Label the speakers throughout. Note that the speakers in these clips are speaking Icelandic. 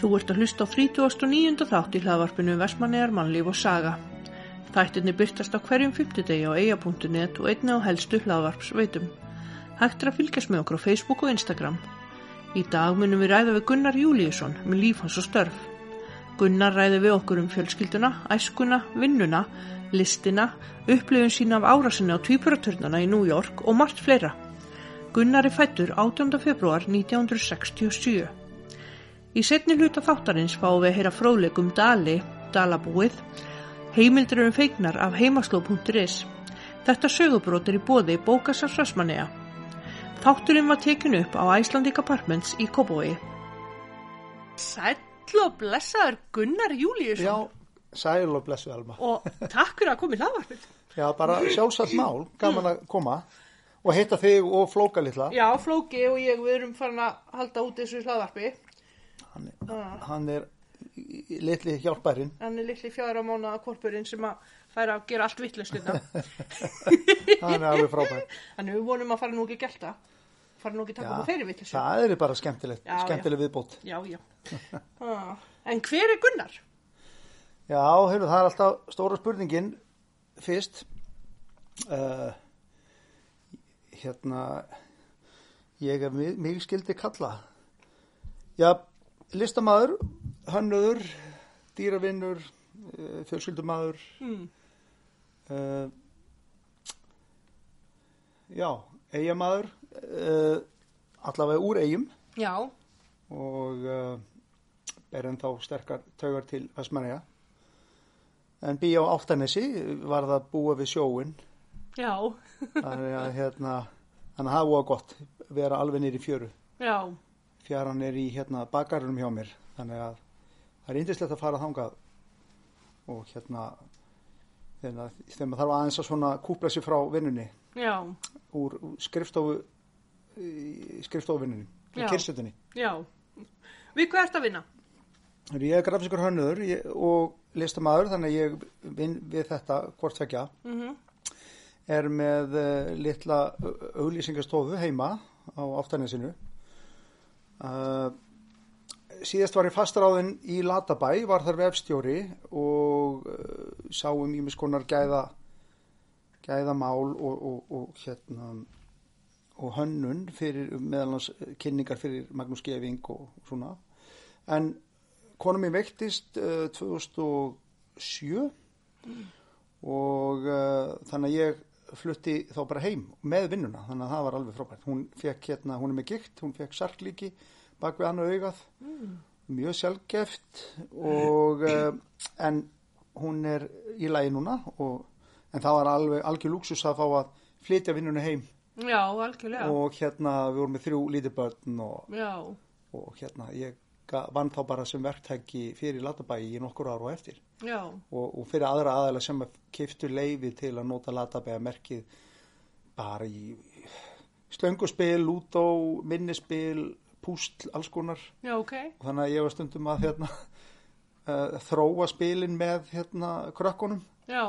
Speaker 1: Þú ert að hlusta á 39. þátt í hlaðvarpinu Vestmannegar mannlíf og saga. Þættinni byrtast á hverjum fymtudegi á eia.net og einni á helstu hlaðvarpsveitum. Hægt er að fylgjast með okkur á Facebook og Instagram. Í dag munum við ræða við Gunnar Júlíusson með líf hans og störf. Gunnar ræði við okkur um fjölskylduna, æskuna, vinnuna, listina, upplifun sína af árasinni á tvípuraturnana í New York og margt fleira. Gunnar er fættur 18. februar 1967. Í setni hluta þáttarins fáum við að heyra fróðleik um Dali, Dalabúið, heimildir um feignar af heimasló.is. Þetta sögubrót er í bóði bókasars Vestmanneja. Þátturinn var tekin upp á Icelandic Apartments í Kópavogi. Sæll og blessaður Gunnar Júliusson
Speaker 2: Já, sæl og blessu Elma.
Speaker 1: og takk fyrir að koma í laðvarpið.
Speaker 2: Já, bara sjálfsagt mál, gaman að koma og heita þig og flóka litla.
Speaker 1: Já, Flóki og ég, við erum farin að halda út þessu laðvarpi.
Speaker 2: Hann, hann er litli hjálpærin.
Speaker 1: Hann er litli fjára mánuða korpurinn sem að færa að gera allt vittlustuna.
Speaker 2: Hann er alveg frábær.
Speaker 1: Þannig við vonum að fara nú ekki að gelta. Fara nú ekki að taka okkur fyrir vitleysu.
Speaker 2: það er bara skemmtilegt,
Speaker 1: Já, já.
Speaker 2: skemmtileg viðbót.
Speaker 1: Já, já. Ah, en hver er Gunnar?
Speaker 2: Já, heyrðu, það er alltaf stóra spurningin fyrst. Uh, hérna, ég er mig, mig skildi kalla. Já, listamaður, hönnuður, dýravinnur, uh, fjölskyldumadur.
Speaker 1: Mm.
Speaker 2: Uh, Eh, já, eigamadur, uh, allavega úr eigum
Speaker 1: Já,
Speaker 2: og uh, er ennþá sterkar taugar til Vestmannaja. En bí á Áltanesi var það búa við sjóin,
Speaker 1: já,
Speaker 2: þannig að hérna, þannig að það var gott, vera alveg nýri fjöru.
Speaker 1: já,
Speaker 2: Fjaran er í hérna bakarunum hjá mér, þannig að það er yndislegt að fara þangað og hérna, hérna þegar maður þarf aðeins að svona kúpla sér frá vinnunni
Speaker 1: já,
Speaker 2: úr úr skrifstofu, í skrifstofuvinnunni, í
Speaker 1: Já.
Speaker 2: kyrsetunni.
Speaker 1: já. Við hvað ert að vinna?
Speaker 2: Heyrðu, Ég er grafiskur hönnur ég- og listamaður þannig að ég vinn við þetta hvort tvekja.
Speaker 1: Mm
Speaker 2: Er með uh, litla au- auglýsingastofu heima á aftanesinu. Uh, síðast var ég fastaráðinn í Latabæ, var þar vefstjóri og uh, sáum ímis konar gæða, gæðamál og, og, og, hérna, og hönnun fyrir meðalans kynningar fyrir Magnús Geving og svona. En konum mín veiktist uh, 2007 og uh, þannig að ég flutti þá bara heim með vinnuna, þannig að það var alveg frábært. Hún fekk hérna, hún er með gikt, hún fekk sarklíki bak við annað augað, mjög sjálfgeft og uh, en hún er í lagi núna og, en það var alveg algjör lúksus að fá að flytja vinnuna heim
Speaker 1: Já, algjörlega.
Speaker 2: og hérna við vorum með þrjú lítið börn og
Speaker 1: Já,
Speaker 2: og hérna ég ga- vann þá bara sem verktæki fyrir Latabæi í nokkur ára og eftir
Speaker 1: já,
Speaker 2: og, og fyrir aðra aðeila sem að kiftu leifi til að nota Latabæi merkið bara í slönguspil, lútó, minnispil, pústl, alls konar
Speaker 1: já, ok.
Speaker 2: og þannig að ég var stundum að hérna, uh, þróa spilin með hérna, krökkunum
Speaker 1: Já,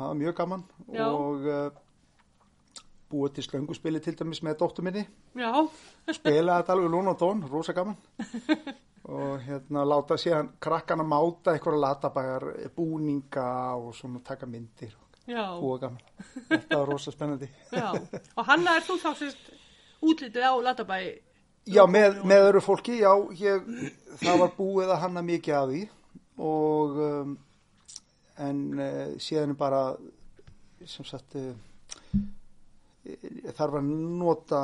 Speaker 2: það var mjög gaman
Speaker 1: Já.
Speaker 2: og uh, búið til slönguspili til dæmis með dóttur minni
Speaker 1: já,
Speaker 2: spila þetta alveg lún og tón, rosa gaman og hérna láta síðan krakkana máta einhverja latabæjar búninga og svona taka myndir og
Speaker 1: já,
Speaker 2: búa gaman þetta var rosa spennandi
Speaker 1: já. Og hanna er þú þá sérst útlitið á Latabæi?
Speaker 2: já, með, með öru fólki, já ég, það var búið að hanna mikið að því og um, en uh, síðan er bara sem sagt uh, þarf að nota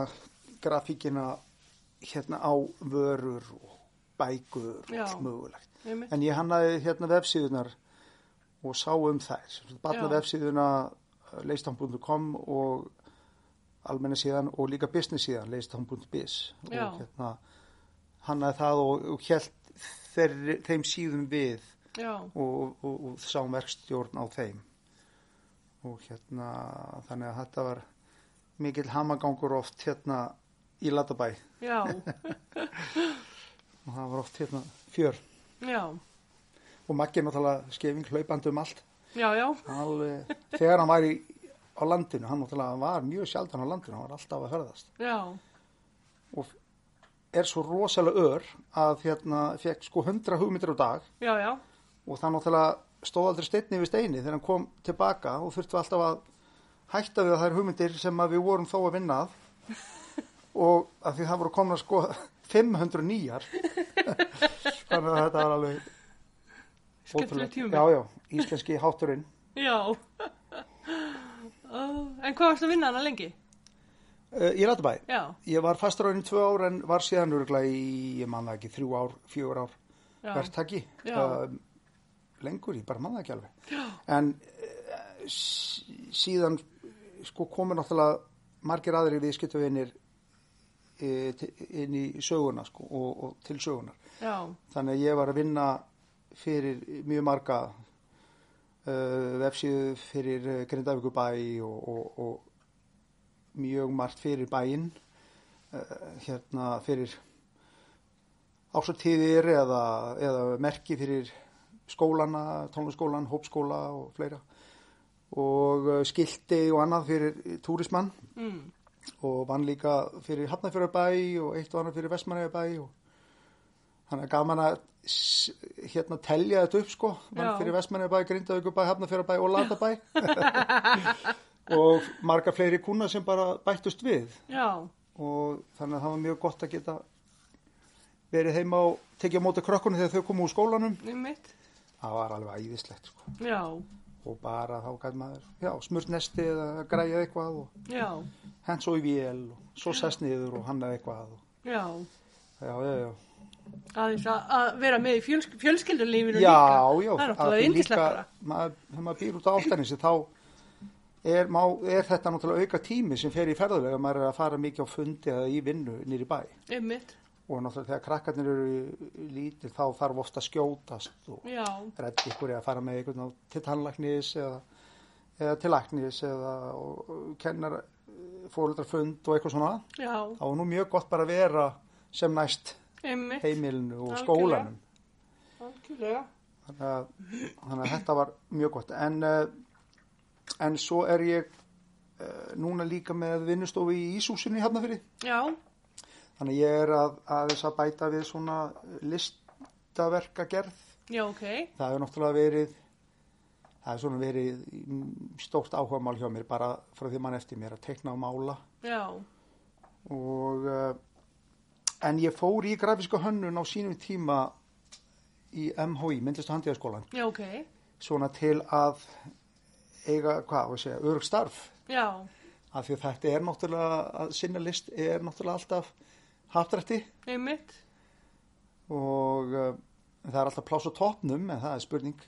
Speaker 2: grafíkina hérna á vörur og bækur og
Speaker 1: Já.
Speaker 2: allt mögulegt
Speaker 1: Einmitt.
Speaker 2: En ég hannaði hérna vefsíðunar og sá um þær. Batna
Speaker 1: Já.
Speaker 2: vefsíðuna eh, leistam.com og almenna síðan og líka business síðan leistam.biz og
Speaker 1: Já.
Speaker 2: hérna hannaði það og, og hjælt þeir, þeim síðum við
Speaker 1: Já,
Speaker 2: og, og, og sáum verkstjórn á þeim og hérna þannig að þetta var mikill hamagangur oft hérna í Latabæ
Speaker 1: já,
Speaker 2: og það var oft hérna fjör
Speaker 1: já,
Speaker 2: og Maggi náttúrulega skefing hlaupandi um allt
Speaker 1: já, já,
Speaker 2: alveg, þegar hann var í, á landinu, hann náttúrulega var mjög sjaldan á landinu, hann var alltaf að ferðast
Speaker 1: já,
Speaker 2: og er svo rosalega ör að hérna fekk sko 100 hugmyndir á dag
Speaker 1: já, já,
Speaker 2: og það náttúrulega stóð aldrei steinni við steini þegar hann kom tilbaka og þurfti alltaf að hætta við þær hugmyndir sem að við vorum þó að vinna að og að því það voru komna sko 500 nýjar þannig að þetta var alveg
Speaker 1: skemmtileg
Speaker 2: ótrúlegt.
Speaker 1: tími.
Speaker 2: já, já, íslenski hátturinn
Speaker 1: Já. Ó, en hvað varst að vinna hana lengi?
Speaker 2: uh, ég rætti bæ
Speaker 1: Já,
Speaker 2: ég var fastur á henni tvö ár en var síðan örgulega í, ég manna ekki, þrjú ár, fjögur ár
Speaker 1: já.
Speaker 2: verktaki
Speaker 1: Já.
Speaker 2: um, lengur, ég bara manna ekki alveg já. en uh, síðan eh, sko komur náttúrulega margir aðri viðskiptavinir eh, til- inn í söguna sko, og, og til sögunar
Speaker 1: Já,
Speaker 2: þannig að ég var að vinna fyrir mjög marga uh, vefsíðu fyrir uh, Grindavíkubæ og, og, og mjög margt fyrir bæinn uh, hérna fyrir ásatíðir eða, eða merki fyrir skólana, tónliskólan, hópskóla og fleira og uh, skilti og annað fyrir túrismann
Speaker 1: mm.
Speaker 2: og vann líka fyrir Hafnarfjörðarbæ og eitt og annað fyrir Vestmannaðarbæ og þannig að gaman að s- hérna telja þetta upp sko vann
Speaker 1: Já.
Speaker 2: fyrir Vestmannaðarbæ, Grindavíkurbæ, Hafnarfjörðarbæ og Latabæ og marga fleiri kuna sem bara bættust við
Speaker 1: já,
Speaker 2: og þannig að það var mjög gott að geta verið heima og tekið á móti krökkunum þegar þau komu úr skólanum
Speaker 1: nýmitt.
Speaker 2: það var alveg æðislegt sko
Speaker 1: Já,
Speaker 2: og bara þá gæti maður já, smurt nesti eða græjað eitthvað og
Speaker 1: já,
Speaker 2: hent svo í vél og svo sest niður og hannað eitthvað og
Speaker 1: já.
Speaker 2: Já, já, já.
Speaker 1: Aðeins að, að vera með í fjölsk fjölskyldulífinu
Speaker 2: Já,
Speaker 1: líka.
Speaker 2: já.
Speaker 1: Það er
Speaker 2: að því
Speaker 1: náttúrulega
Speaker 2: líka-
Speaker 1: yndisleppara.
Speaker 2: maður- Þegar maður býr út á áltanissi þá er, má, er þetta náttúrulega auka tími sem fer í ferðulega. Maður er að fara mikið á fundi eða í vinnu nýri bæ.
Speaker 1: Nýmitt,
Speaker 2: Og náttúrulega þegar krakkarnir eru lítir þá þarf ofta að skjótast og
Speaker 1: já,
Speaker 2: reddi ykkur eða fara með ykkur til tannlæknis eða, eða til læknis eða og, og kennar fóröldrafund og eitthvað svona.
Speaker 1: já,
Speaker 2: Þá er nú mjög gott bara að vera sem næst
Speaker 1: nýmitt,
Speaker 2: heimilinu og
Speaker 1: Algjörlega.
Speaker 2: skólanum.
Speaker 1: algjörlega.
Speaker 2: þannig að, þannig að þetta var mjög gott en, eh, en svo er ég eh, núna líka með vinnustofu í Ísúsinu í Hafnafyrði
Speaker 1: Já,
Speaker 2: þannig að ég er að, að þess að bæta við svona listaverkagerð
Speaker 1: já, ok,
Speaker 2: það hefur náttúrulega verið það hefur svona verið mm, stórt áhuga mál hjá mér bara frá því mann eftir mér að teikna og mála
Speaker 1: já,
Speaker 2: og eh, en ég fór í grafíska hönnun á sínum tíma í MHI, myndlistu handíðaskólan
Speaker 1: já, ok,
Speaker 2: svona til að eiga, hvað, á að segja, örug starf
Speaker 1: já,
Speaker 2: af því að þetta er náttúrulega að sinna list er náttúrulega alltaf haftrætti
Speaker 1: nýmitt,
Speaker 2: og uh, það er alltaf pláss á topnum en það er spurning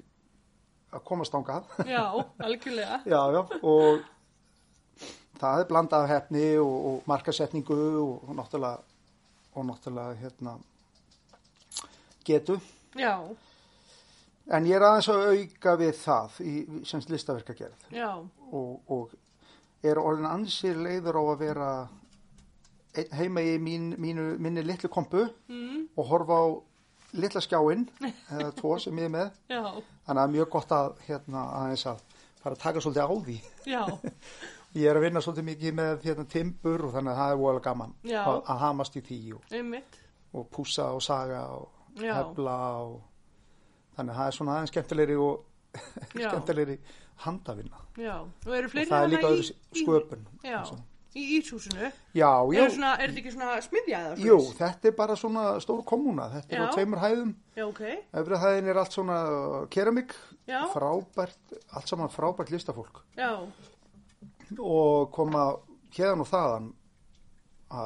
Speaker 2: að komast ángað
Speaker 1: já, algjörlega.
Speaker 2: já, já, og það er blandað af hefni og, og markasetningu og, og náttúrulega og náttúrulega hérna getu,
Speaker 1: Já,
Speaker 2: en ég er aðeins að auka við það í semst listaverkagerð
Speaker 1: já,
Speaker 2: og, og er orðin ansið leiður á að vera einn heima í mín, mínu, minni litlu kompu
Speaker 1: mm,
Speaker 2: og horfa á litla skjáinn eða tvo sem ég er með
Speaker 1: já,
Speaker 2: þannig að það er mjög gott að hérna aðeins að fara að taka svolítið á því
Speaker 1: já,
Speaker 2: ég er að vinna svolítið mikið með hérna timbur og þannig að það er voðalega gaman
Speaker 1: Já.
Speaker 2: að, að hamast í því og,
Speaker 1: nýmitt,
Speaker 2: og pússa og saga og
Speaker 1: Já.
Speaker 2: hefla og þannig að það er svona aðeins skemmtilegri og
Speaker 1: Já.
Speaker 2: skemmtilegri handavinna
Speaker 1: já. Og eru
Speaker 2: og
Speaker 1: fleiri
Speaker 2: það er
Speaker 1: þarna
Speaker 2: líka
Speaker 1: í,
Speaker 2: öðru sköpun
Speaker 1: Í, já,
Speaker 2: og svona.
Speaker 1: í íshúsinu.
Speaker 2: já,
Speaker 1: Er
Speaker 2: já,
Speaker 1: þetta svona, er þetta ekki svona smiðja eða
Speaker 2: Jú,
Speaker 1: svoleiðis?
Speaker 2: þetta er bara svona stór kommuna, þetta
Speaker 1: Já.
Speaker 2: er á tveimur hæðum,
Speaker 1: Já, ok,
Speaker 2: efri hæðin er allt svona keramik,
Speaker 1: Já.
Speaker 2: frábært, allt saman frábært listafólk
Speaker 1: já,
Speaker 2: og koma hérðan og þaðan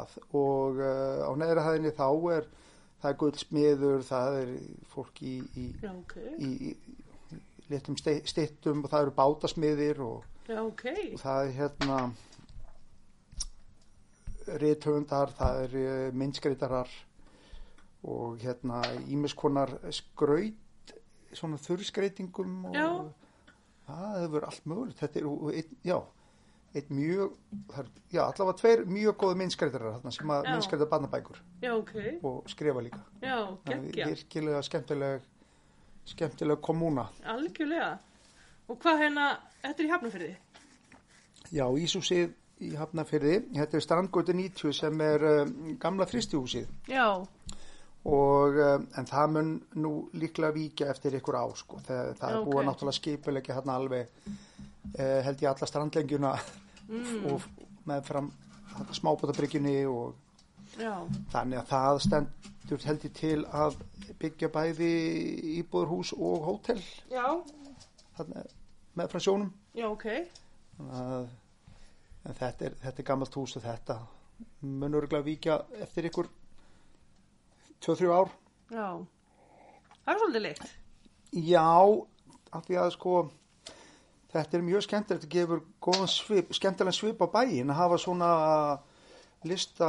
Speaker 2: að og uh, á neðri hæðinni þá er, það er gullsmiður, það er fólk í, í,
Speaker 1: já, ok,
Speaker 2: í, í litum ste- styttum og það eru bátasmiðir og
Speaker 1: já, ok,
Speaker 2: og það er hérna rithöfundar, það er myndskreitarar og hérna ímiskonar skraut svona þurrskreitingum og
Speaker 1: Já.
Speaker 2: það hefur allt mögulegt þetta er, og einn, já einn mjög, það er, já allavega tveir mjög góða myndskreitarar þarna sem að
Speaker 1: Já.
Speaker 2: myndskreita barnabækur
Speaker 1: já, ok,
Speaker 2: og skrifa líka
Speaker 1: já,
Speaker 2: það er
Speaker 1: geggja,
Speaker 2: virkilega skemmtileg skemmtileg kommuna
Speaker 1: algjörlega. Og hvað hérna, þetta er í Hafnarfyrði?
Speaker 2: Já, Ísúsið í Hafnafyrði. Þetta er Strandgötu 90 sem er um, gamla fristihúsið
Speaker 1: Já,
Speaker 2: og um, en það mun nú líklega víkja eftir ykkur á sko. Það, það er
Speaker 1: Ok.
Speaker 2: búið að náttúrulega skipulegja hérna alveg uh, held ég alla strandlengjuna og meðfram smábótabrygginu og
Speaker 1: já,
Speaker 2: Þannig að það stendur held ég til að byggja bæði íbúðurhús og hótel
Speaker 1: já,
Speaker 2: þarna með frá sjónum.
Speaker 1: já, ok,
Speaker 2: Þannig að- En þetta er, þetta er gammalt hús og þetta mun örgulega víkja eftir ykkur 2-3 ár.
Speaker 1: já. Það er svolítið leitt.
Speaker 2: Já, af því að sko þetta er mjög skemmtilegt að gefur góðan svip, skemmtilegan svip á bæin að hafa svona lista,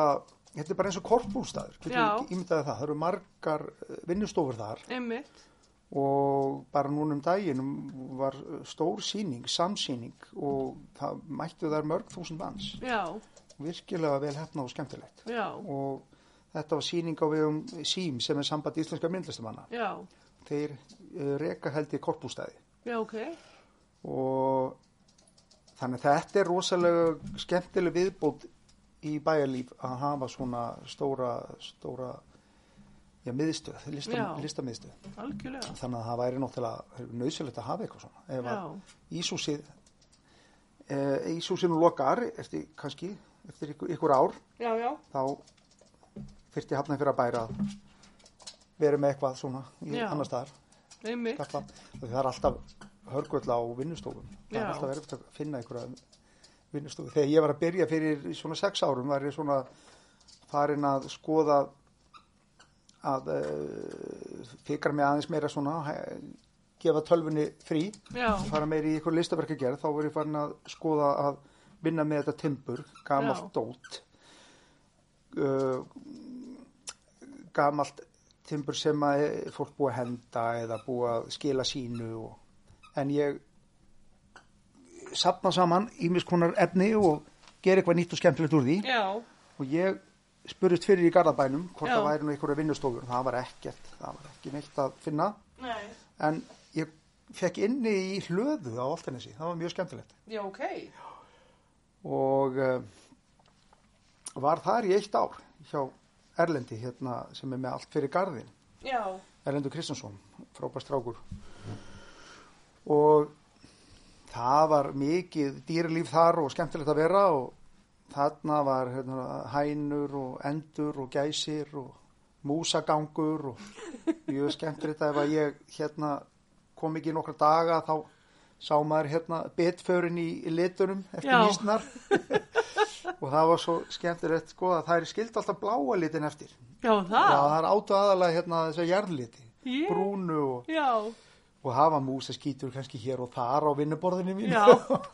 Speaker 2: þetta er bara eins og korpúlstaður,
Speaker 1: Já.
Speaker 2: ímyndaði það, það eru margar eh, vinnustofur þar
Speaker 1: Einmitt,
Speaker 2: og bara núna um daginn var stór síning, samsíning og það mættu þar mörg þúsund manns,
Speaker 1: já,
Speaker 2: virkilega vel hefna og skemmtilegt
Speaker 1: já,
Speaker 2: og þetta var síning á vegum SÍM sem er samband íslenska myndlistamanna
Speaker 1: já,
Speaker 2: þeir eh, reka held í korpústæði
Speaker 1: já, ok,
Speaker 2: og þannig að þetta er rosalega skemmtileg viðbót í bæjarlíf að hafa svona stóra, stóra já, miðstöð, lista,
Speaker 1: Já.
Speaker 2: listamiðstöð
Speaker 1: algjörlega.
Speaker 2: þannig að það væri náttúrulega nöðsilegt að hafa eitthvað svona ef
Speaker 1: Já,
Speaker 2: að Ísúsið e, Ísúsinu lokar eftir kannski, eftir ykkur, ykkur ár
Speaker 1: já, já,
Speaker 2: þá þyrfti hafna fyrir að bæra að vera með eitthvað svona í
Speaker 1: Já.
Speaker 2: annar staðar
Speaker 1: einmitt,
Speaker 2: Katla, af því það er alltaf hörgölla á vinnustofum það
Speaker 1: Já.
Speaker 2: er alltaf verið að finna einhverja vinnustofu, þegar ég var að byrja fyrir svona sex árum var ég svona farin að skoða að uh, fikra mig aðeins meira svona he- gefa tölfunni frí
Speaker 1: já,
Speaker 2: fara meira í einhver listaverk að gera þá var ég farin að skoða að vinna með þetta timbur,
Speaker 1: Já.
Speaker 2: gamalt dót uh, gamalt timbur sem að fólk búið að henda eða búið að skila sínu og, en ég sapna saman ímis konar efni og gera eitthvað nýtt og skemmtilegt úr því
Speaker 1: já,
Speaker 2: og ég spurðist fyrir í Garðabænum hvort
Speaker 1: Já.
Speaker 2: það væri nú einhverja vinnustofur það var ekkert, það var ekki neitt að finna
Speaker 1: nei,
Speaker 2: en ég fekk inni í hlöðu á Altanesi, það var mjög skemmtilegt
Speaker 1: já, ok,
Speaker 2: og uh, var þar í eitt ár hjá Erlendi hérna sem er með allt fyrir garðin
Speaker 1: já,
Speaker 2: Erlendur Kristjánsson, frábær strákur og það var mikið dýralíf þar og skemmtilegt að vera og þarna var hérna, hænur og endur og gæsir og músagangur og mjög skemmtilegt að ef að ég hérna kom ekki í nokkra daga þá sá maður hérna betförin í, í litunum eftir
Speaker 1: Já.
Speaker 2: nýstnar og það var svo skemmtilegt sko að það er skild alltaf bláa litin eftir
Speaker 1: já,
Speaker 2: Já,
Speaker 1: það,
Speaker 2: það er átu aðalega hérna þessu jarðliti,
Speaker 1: Ég?
Speaker 2: brúnu og,
Speaker 1: já,
Speaker 2: og hafa músa skítur kannski hér og þar á vinnuborðinu mínu.
Speaker 1: Já.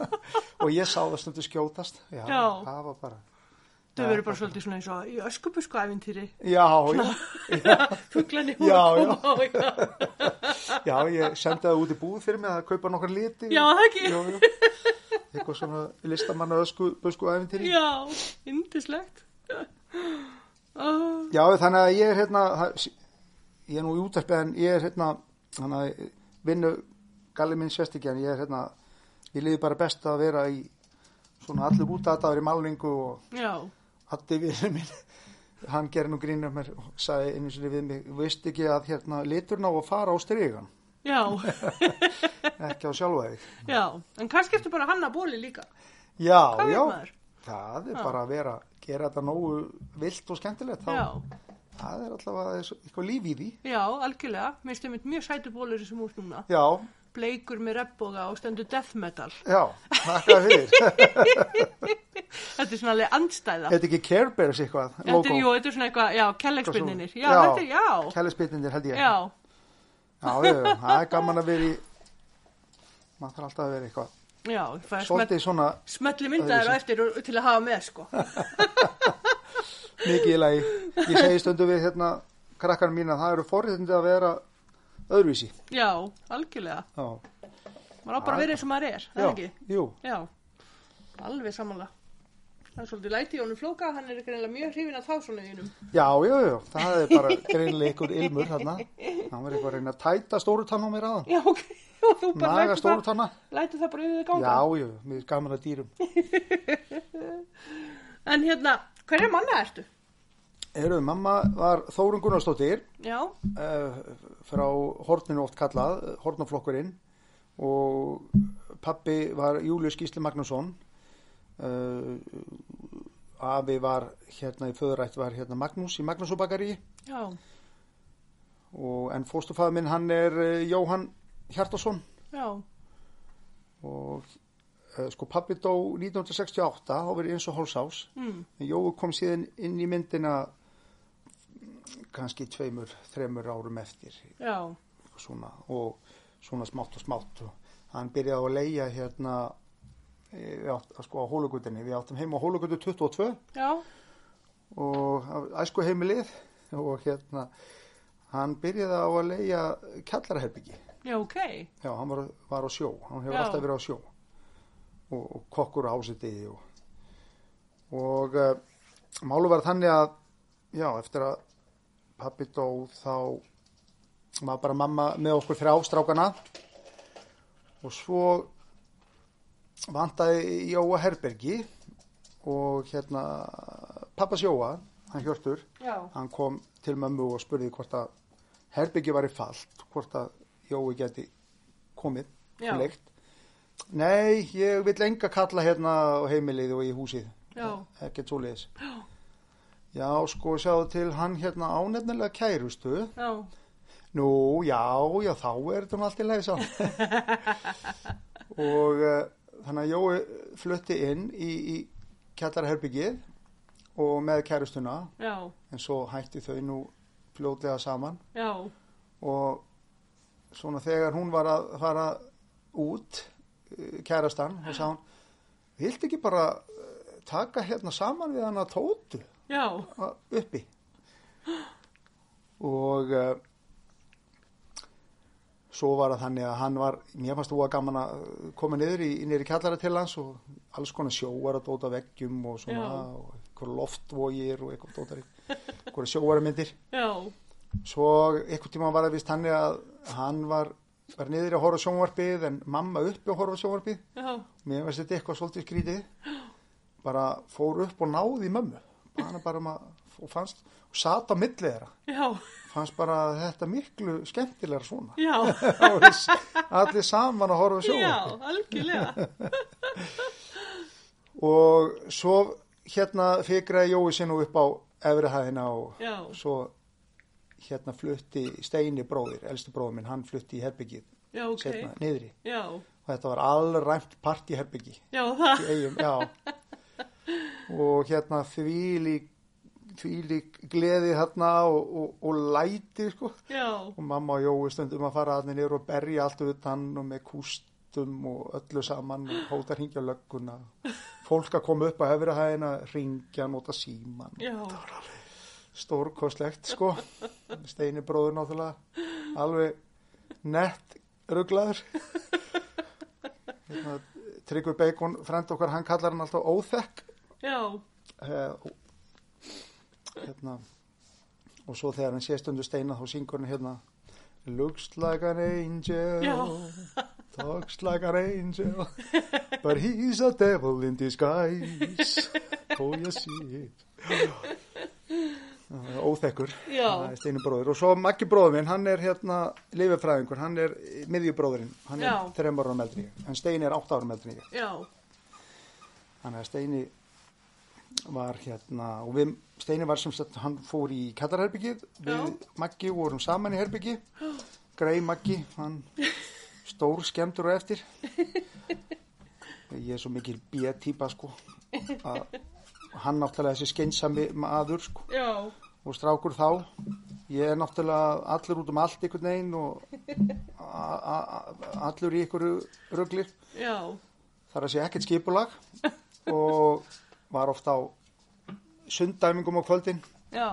Speaker 2: og ég sá það stundu skjótast. Já,
Speaker 1: Já.
Speaker 2: það var bara...
Speaker 1: þau verður bara svolítið svona eins og í öskubusku æfintýri,
Speaker 2: Já, já,
Speaker 1: fugglanir voru
Speaker 2: Já,
Speaker 1: að koma á eitthvað,
Speaker 2: já, ég sendi það út í búð fyrir mig að kaupa nokkar liti.
Speaker 1: já, það ekki,
Speaker 2: Jú, jú. Eitthvað svona listamanna ösku, busku æfintýri.
Speaker 1: já, indislegt, oh,
Speaker 2: Já, þannig að ég er hérna, það- ég er nú í útarpi en ég er hérna, þannig að vinnu galli minn sérst ekki en ég er hérna, ég liði bara best að vera í svona allur út að það er í málningu og
Speaker 1: já,
Speaker 2: Hatti vinnur minn, hann gerir nú grínur mér og sagði einu sinni við mig, veist ekki að hérna liturna á að fara á strygan,
Speaker 1: já,
Speaker 2: ekki á sjálfa þig.
Speaker 1: já, en kannski eftir bara hanna bóli líka,
Speaker 2: Já,
Speaker 1: Hvað veit
Speaker 2: já,
Speaker 1: maður?
Speaker 2: það er bara að vera, gera þetta nógu vilt og skemmtilegt, þá,
Speaker 1: já,
Speaker 2: það er allavega eins og- eitthvað líf í því.
Speaker 1: já, algjörlega, minnst einmitt mjög sætu bólur sem úr núna,
Speaker 2: Já,
Speaker 1: bleikur með reppboga og stendur death metal,
Speaker 2: já, þakka fyrir.
Speaker 1: þetta er svona alveg andstæða,
Speaker 2: Þetta er ekki Care Bears eitthvað,
Speaker 1: þetta er, jú, þetta er svona eitthvað, já, kellegspinninir, já, þetta er, já,
Speaker 2: Kælisbyrninir held ég.
Speaker 1: já,
Speaker 2: Já, já, já, það er gaman að vera í, maður þarf alltaf að vera eitthvað.
Speaker 1: já, það er smell-
Speaker 2: Svolítið svona
Speaker 1: smelli myndaðar á eftir og- til að hafa með, sko,
Speaker 2: mikið í lagi. Ég segi stundu við hérna krakkarinn mín að það eru forréttindi að vera öðruvísi.
Speaker 1: já, algjörlega,
Speaker 2: Já,
Speaker 1: maður á bara að vera eins og maður er, það er ekki,
Speaker 2: jú,
Speaker 1: já, alveg samanlega. Það er svolítið læti í honum flóka, hann er greinlega mjög hrifin að þá svona í hennum.
Speaker 2: já, já, já, það er bara greinilega ykkur ilmur þarna. Hann var eitthvað að reyna að tæta stóru tanna á mér aðan.
Speaker 1: Já, ok, og þú bara
Speaker 2: Naga
Speaker 1: lætur
Speaker 2: stóru
Speaker 1: það,
Speaker 2: tanna.
Speaker 1: lætur það bara yfir þig
Speaker 2: Já,
Speaker 1: ganga.
Speaker 2: já, mér er gaman að dýrum.
Speaker 1: En hérna, hverja manna ertu?
Speaker 2: Heyrðu, mamma var Þórun Gunnarsdóttir
Speaker 1: Já,
Speaker 2: uh, frá horninu oft kallað, eh, hornaflokkurinn og pappi var Július Gísli Magnússon uh, afi var hérna í föðurætt var hérna Magnús í Magnúsubakari
Speaker 1: já,
Speaker 2: og en fóstufæður minn hann er uh, Jóhann Hjartason
Speaker 1: já,
Speaker 2: og uh, sko pappi dó 1968 þá verið eins og hálsás
Speaker 1: mm,
Speaker 2: en Jói kom síðan inn í myndina kannski tveimur, þremur árum eftir
Speaker 1: já,
Speaker 2: svona, og svona smátt og smátt og hann byrjaði að leia hérna eh, við átt, sko, á hólugutinni, við áttum heim á hólugutu 22
Speaker 1: já,
Speaker 2: og æsku heimilið og hérna hann byrjaði á að leia kjallaraherbyggi
Speaker 1: já, ok,
Speaker 2: já, hann var, var á sjó, hann hefur
Speaker 1: Já.
Speaker 2: alltaf verið á sjó og, og kokkur á ásitiði og, og uh, málu var þannig að já, eftir að pappi dó þá var bara mamma með okkur þrjá strákana og svo vantaði Jóa Herbergi og hérna pappas Jóa, hann Hjörtur
Speaker 1: já,
Speaker 2: hann kom til mömmu og spurði hvort að herbyggi var í fallt, hvort að Jói geti komið
Speaker 1: Já.
Speaker 2: og leikt. Nei, ég vil enga kalla hérna á heimilið og í húsið,
Speaker 1: já,
Speaker 2: ekkert svoleiðis. Já. Já, sko, sjáðu til hann hérna ánefnilega kærustu.
Speaker 1: já,
Speaker 2: Nú, já, já, þá er þetta nú allt í leið sá. og uh, þannig að Jói flutti inn í, í kjallarherbyggið og með kærustuna
Speaker 1: já,
Speaker 2: en svo hætti þau nú fljótlega saman
Speaker 1: já,
Speaker 2: og svona þegar hún var að fara út eh, kærastan og sá hún vildi ekki bara eh, taka hérna saman við hana tótu
Speaker 1: já,
Speaker 2: a- uppi og uh, svo var það þannig að hann var mér fannst þú að gaman að koma niður í, niður í kjallara til hans og alls konar sjóar að dóta veggjum og svona
Speaker 1: Já.
Speaker 2: og einhver loftvogir og eitthvað dótari einhverja sjóaramyndir
Speaker 1: já,
Speaker 2: svo einhvern tíma var það vist þannig að hann var, var niður að horfa á sjónvarpið en mamma uppi að horfa á sjónvarpið
Speaker 1: já,
Speaker 2: mér finnst þetta eitthvað svolítið skrítið bara fór upp og náði í mömmu bara bara um að og fannst og sat á milli þeirra
Speaker 1: já,
Speaker 2: fannst bara þetta miklu skemmtilegra svona
Speaker 1: já,
Speaker 2: Það voru s- allir saman að horfa á
Speaker 1: já,
Speaker 2: sjónvarpið
Speaker 1: algjörlega,
Speaker 2: og svo hérna fikraði Jói sér nú upp á efri hæðina og
Speaker 1: já,
Speaker 2: svo hérna flutti Steini bróðir, elstu bróður minn, hann flutti í herbyggið
Speaker 1: já, ok,
Speaker 2: setna, niðri
Speaker 1: já,
Speaker 2: og þetta var allræmt partíherbyggi
Speaker 1: já, það,
Speaker 2: í eigum, já og hérna þvílík þvílík gleði hérna og, og, og læti sko
Speaker 1: já,
Speaker 2: og mamma og Jói stundum að fara aðni niður og berja allt utan og með kústum og öllu saman og hóta að hringja á lögguna fólk að koma upp á efri hæðina hringja, nota síman
Speaker 1: já,
Speaker 2: stórkostlegt sko Steini bróður náttúrulega alveg nett ruglaður hérna, Tryggvi Bacon frend okkar, hann kallar hann alltaf óþekk
Speaker 1: já,
Speaker 2: eh, og- hérna og svo þegar hann sé stundu Steina þá syngur hann hérna Looks like an angel
Speaker 1: Já.
Speaker 2: Talks like an angel But he's a devil in disguise Oh yes he is Já, Óþekkur
Speaker 1: Já.
Speaker 2: Það er Steini bróður og svo Maggi bróður minn, hann er hérna lififræðingur, hann er miðjubróðurinn, hann
Speaker 1: Já.
Speaker 2: er þrem árum eldri en ég. En Steini er átt árum eldri en ég
Speaker 1: já,
Speaker 2: þannig að Steini var hérna og við, Steini var sem sagt, hann fór í kallarherbyggið, við Maggi vorum saman í herbyggi, grei Maggi hann stór skemmtur og eftir ég er svo mikil B-típa sko að hann náttúrulega þessi skeinsami maður sko
Speaker 1: já,
Speaker 2: og strákur þá ég er náttúrulega allur út um allt einhvern veginn og a- a- a- allur í einhverju ruglir
Speaker 1: já,
Speaker 2: þar að sé ekkert skipulag og var ofta á sunddæmingum á kvöldin
Speaker 1: já,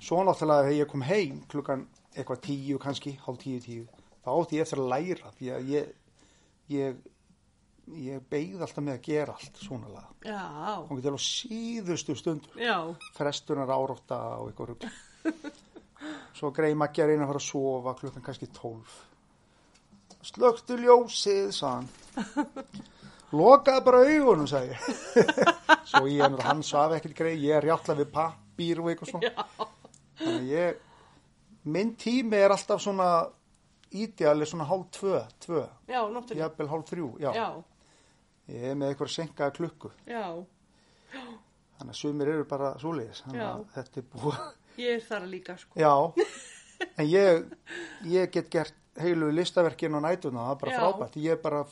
Speaker 2: svo náttúrulega þegar ég kom heim klukkan eitthvað tíu kannski, hálf tíu tíu þá átti ég eftir að læra því að ég ég, ég beigð alltaf með að gera allt svona laga
Speaker 1: já,
Speaker 2: kom til á síðustu stundu
Speaker 1: já,
Speaker 2: frestunar árótta og eitthvað rugl svo greið Maggi að reyna að fara að sofa klukkan kannski 12 slöktu ljósið sagðan lokaði bara augunum, sagði ég. svo ég hann, hann svaf ekkert greið, ég er rjáttlega við pappýr og eitthvað svona. Þannig að ég, minn tími er alltaf svona ídjalið svona hálf tvö, tvö,
Speaker 1: Já, náttúrulega.
Speaker 2: jafnvel hálf þrjú, já.
Speaker 1: Já,
Speaker 2: Ég er með eitthvað senkaða klukku,
Speaker 1: já,
Speaker 2: þannig að sumir eru bara svoleiðis, þannig að
Speaker 1: Já.
Speaker 2: þetta er búið.
Speaker 1: ég er þar líka sko.
Speaker 2: Já, en ég, ég get gert heilu listaverkin og nætuna, það er bara
Speaker 1: Já.
Speaker 2: frábært. Ég bara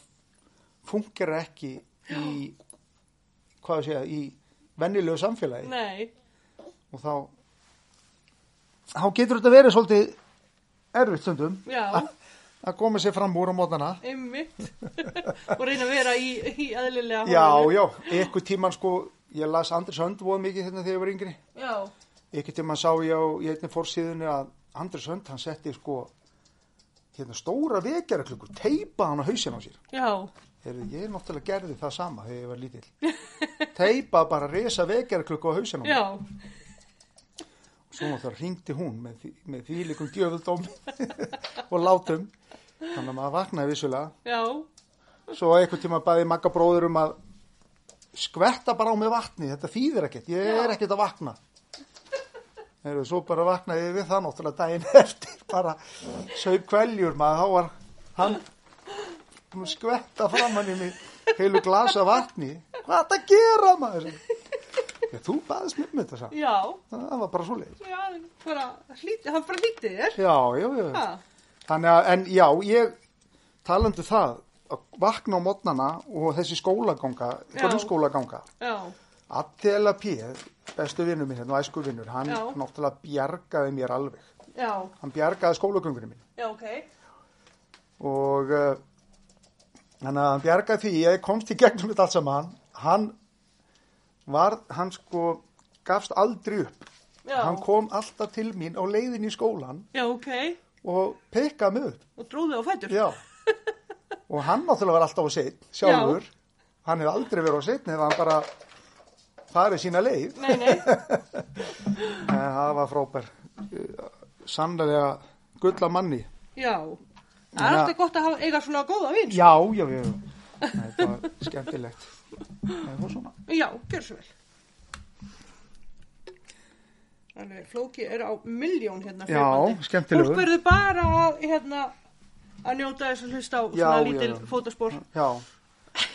Speaker 2: funkar ekki í, hvað að segja, í vennilegu samfélagi.
Speaker 1: Nei,
Speaker 2: og þá þá getur þetta verið svolítið erfitt stundum
Speaker 1: já,
Speaker 2: að að koma sér fram úr á mótana
Speaker 1: einmitt. og reyna að vera í, í aðlilega
Speaker 2: já,
Speaker 1: horfinu.
Speaker 2: já, einhver tíman sko ég las Andris Hönd voða mikið hérna þegar ég var yngri
Speaker 1: Já,
Speaker 2: einhver tíman sá ég á í einni fórsíðunni að Andris Hönd hann setti sko hérna stóra vekjaraklukkur, teipa hann á hausin á sér
Speaker 1: já,
Speaker 2: Heyrðu, ég náttúrulega gerði það sama þegar ég var lítill teipa bara risa vekjaraklukku á hausin á mér
Speaker 1: já,
Speaker 2: svo náttúrulega ringdi hún með því, með því líkum djöfuldóm og látum þannig að maður vaknaði vissulega
Speaker 1: já,
Speaker 2: svo einhvern tíma baði magga bróður um að skvetta bara á mig vatni þetta þýðir ekkert, ég
Speaker 1: Já.
Speaker 2: er ekkert að vakna Heru, svo bara vaknaði ég við það náttúrulega daginn eftir bara saup kveljur maður þá var hann búinn að skvetta framann í mig heilu glasa vatni hvað er þetta að gera maður ég, þú baðist mér með þetta samt
Speaker 1: já,
Speaker 2: það var bara svo leið
Speaker 1: já, bara hlýti, hann bara hlýti þér.
Speaker 2: já, já, já, já.
Speaker 1: Ha,
Speaker 2: Þannig að, en já, ég talandi um það, að vakna á mótnana og þessi skólaganga,
Speaker 1: Já.
Speaker 2: grunnskólaganga,
Speaker 1: já,
Speaker 2: Adela P, bestu vinnur minn hérna og æsku vinnur, hann
Speaker 1: Já.
Speaker 2: náttúrulega bjargaði mér alveg.
Speaker 1: já,
Speaker 2: Hann bjargaði skólagöngunum minn
Speaker 1: já, ok,
Speaker 2: og uh, hann, hann bjargaði því, ég komst í gegnum þetta allt saman, hann var, hann sko gafst aldrei upp.
Speaker 1: já,
Speaker 2: Hann kom alltaf til mín á leiðin í skólan
Speaker 1: já, ok,
Speaker 2: og pekkaði mig upp.
Speaker 1: og dróði á fætur.
Speaker 2: Já, og hann náttúrulega var alltaf á setn, sjálfur. Hann hefði aldrei verið á setn eða hann bara farið sína leið.
Speaker 1: Nei, nei,
Speaker 2: En það var frábær, eh, sannlega gull af manni.
Speaker 1: já, það er
Speaker 2: Þannig að-
Speaker 1: alltaf gott að hafa, eiga svona góða vins.
Speaker 2: Já, já, já, já. Nei, það var skemmtilegt. Nei, það var svona.
Speaker 1: Já, gjör svo vel. Þannig, flóki er á milljón hérna.
Speaker 2: Já,
Speaker 1: hlaupandi.
Speaker 2: skemmtilegur.
Speaker 1: Fólk verður bara að, hérna, að njóta þess að hlusta á
Speaker 2: Já,
Speaker 1: svona
Speaker 2: já,
Speaker 1: lítil
Speaker 2: já.
Speaker 1: fótaspor.
Speaker 2: Já,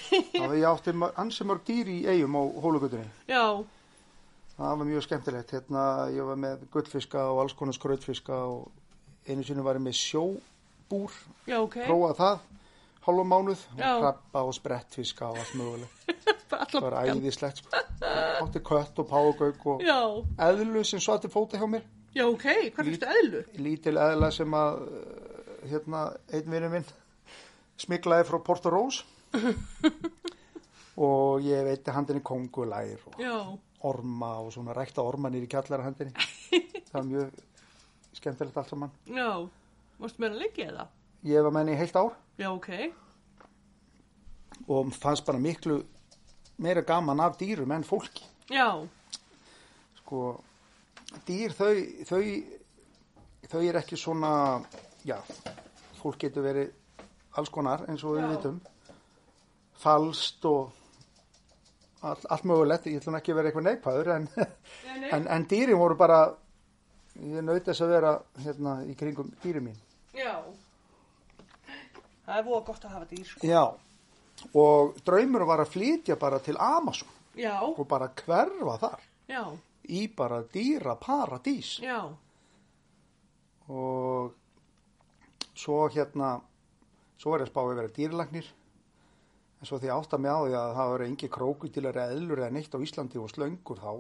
Speaker 2: það var ég átti mör- ansi mörg dýr í eigum á hólugutinni.
Speaker 1: Já,
Speaker 2: Það var mjög skemmtilegt. Hérna, ég var með gullfiska og alls konar skrautfiska og einu sinni var ég með sjóbúr
Speaker 1: já, ok.
Speaker 2: prófað það hálfa mánuð og
Speaker 1: Já.
Speaker 2: krabba og sprettfiska og allt mögulegt
Speaker 1: Bara
Speaker 2: það
Speaker 1: allan
Speaker 2: var
Speaker 1: pakkan.
Speaker 2: æðislegt sko. átti kött og págauk og
Speaker 1: Já,
Speaker 2: eðlu sem svo til fóta hjá mér
Speaker 1: já, ok. Hvað fyrstu eðlu?
Speaker 2: lítil eðla sem að uh, hérna, einn vinnu minn smiklaði frá Porto Rós og ég veitti handinni kongulær og
Speaker 1: Já,
Speaker 2: orma og svona rækta orma nýri kjallara handinni það var mjög skemmtilegt allt saman
Speaker 1: já. Varstu meira lengi eða?
Speaker 2: ég var með henni í heilt ár
Speaker 1: Já, ok.
Speaker 2: og fannst bara miklu meira gaman af dýrum en fólki
Speaker 1: Já,
Speaker 2: sko, dýr þau, þau, þau er ekki svona, já, fólk getur verið alls konar eins og við
Speaker 1: Já.
Speaker 2: vitum, falskt og all, allt mögulegt, ég ætlum ekki að vera eitthvað neikvæður, en,
Speaker 1: Nei, nei.
Speaker 2: en, en dýrin voru bara, ég naut þess að vera hérna í kringum dýrin mín.
Speaker 1: já. Það er búið gott að hafa dýr, sko.
Speaker 2: Já, og draumur var að flytja bara til Amazon
Speaker 1: Já,
Speaker 2: og bara hverfa þar
Speaker 1: já,
Speaker 2: í bara dýra paradís.
Speaker 1: já,
Speaker 2: og svo hérna svo er ég að spá að vera dýrlagnir en svo því ég átta mig á því að það verið engi krókudilar eða eðlur eða neitt á Íslandi og slöngur þá,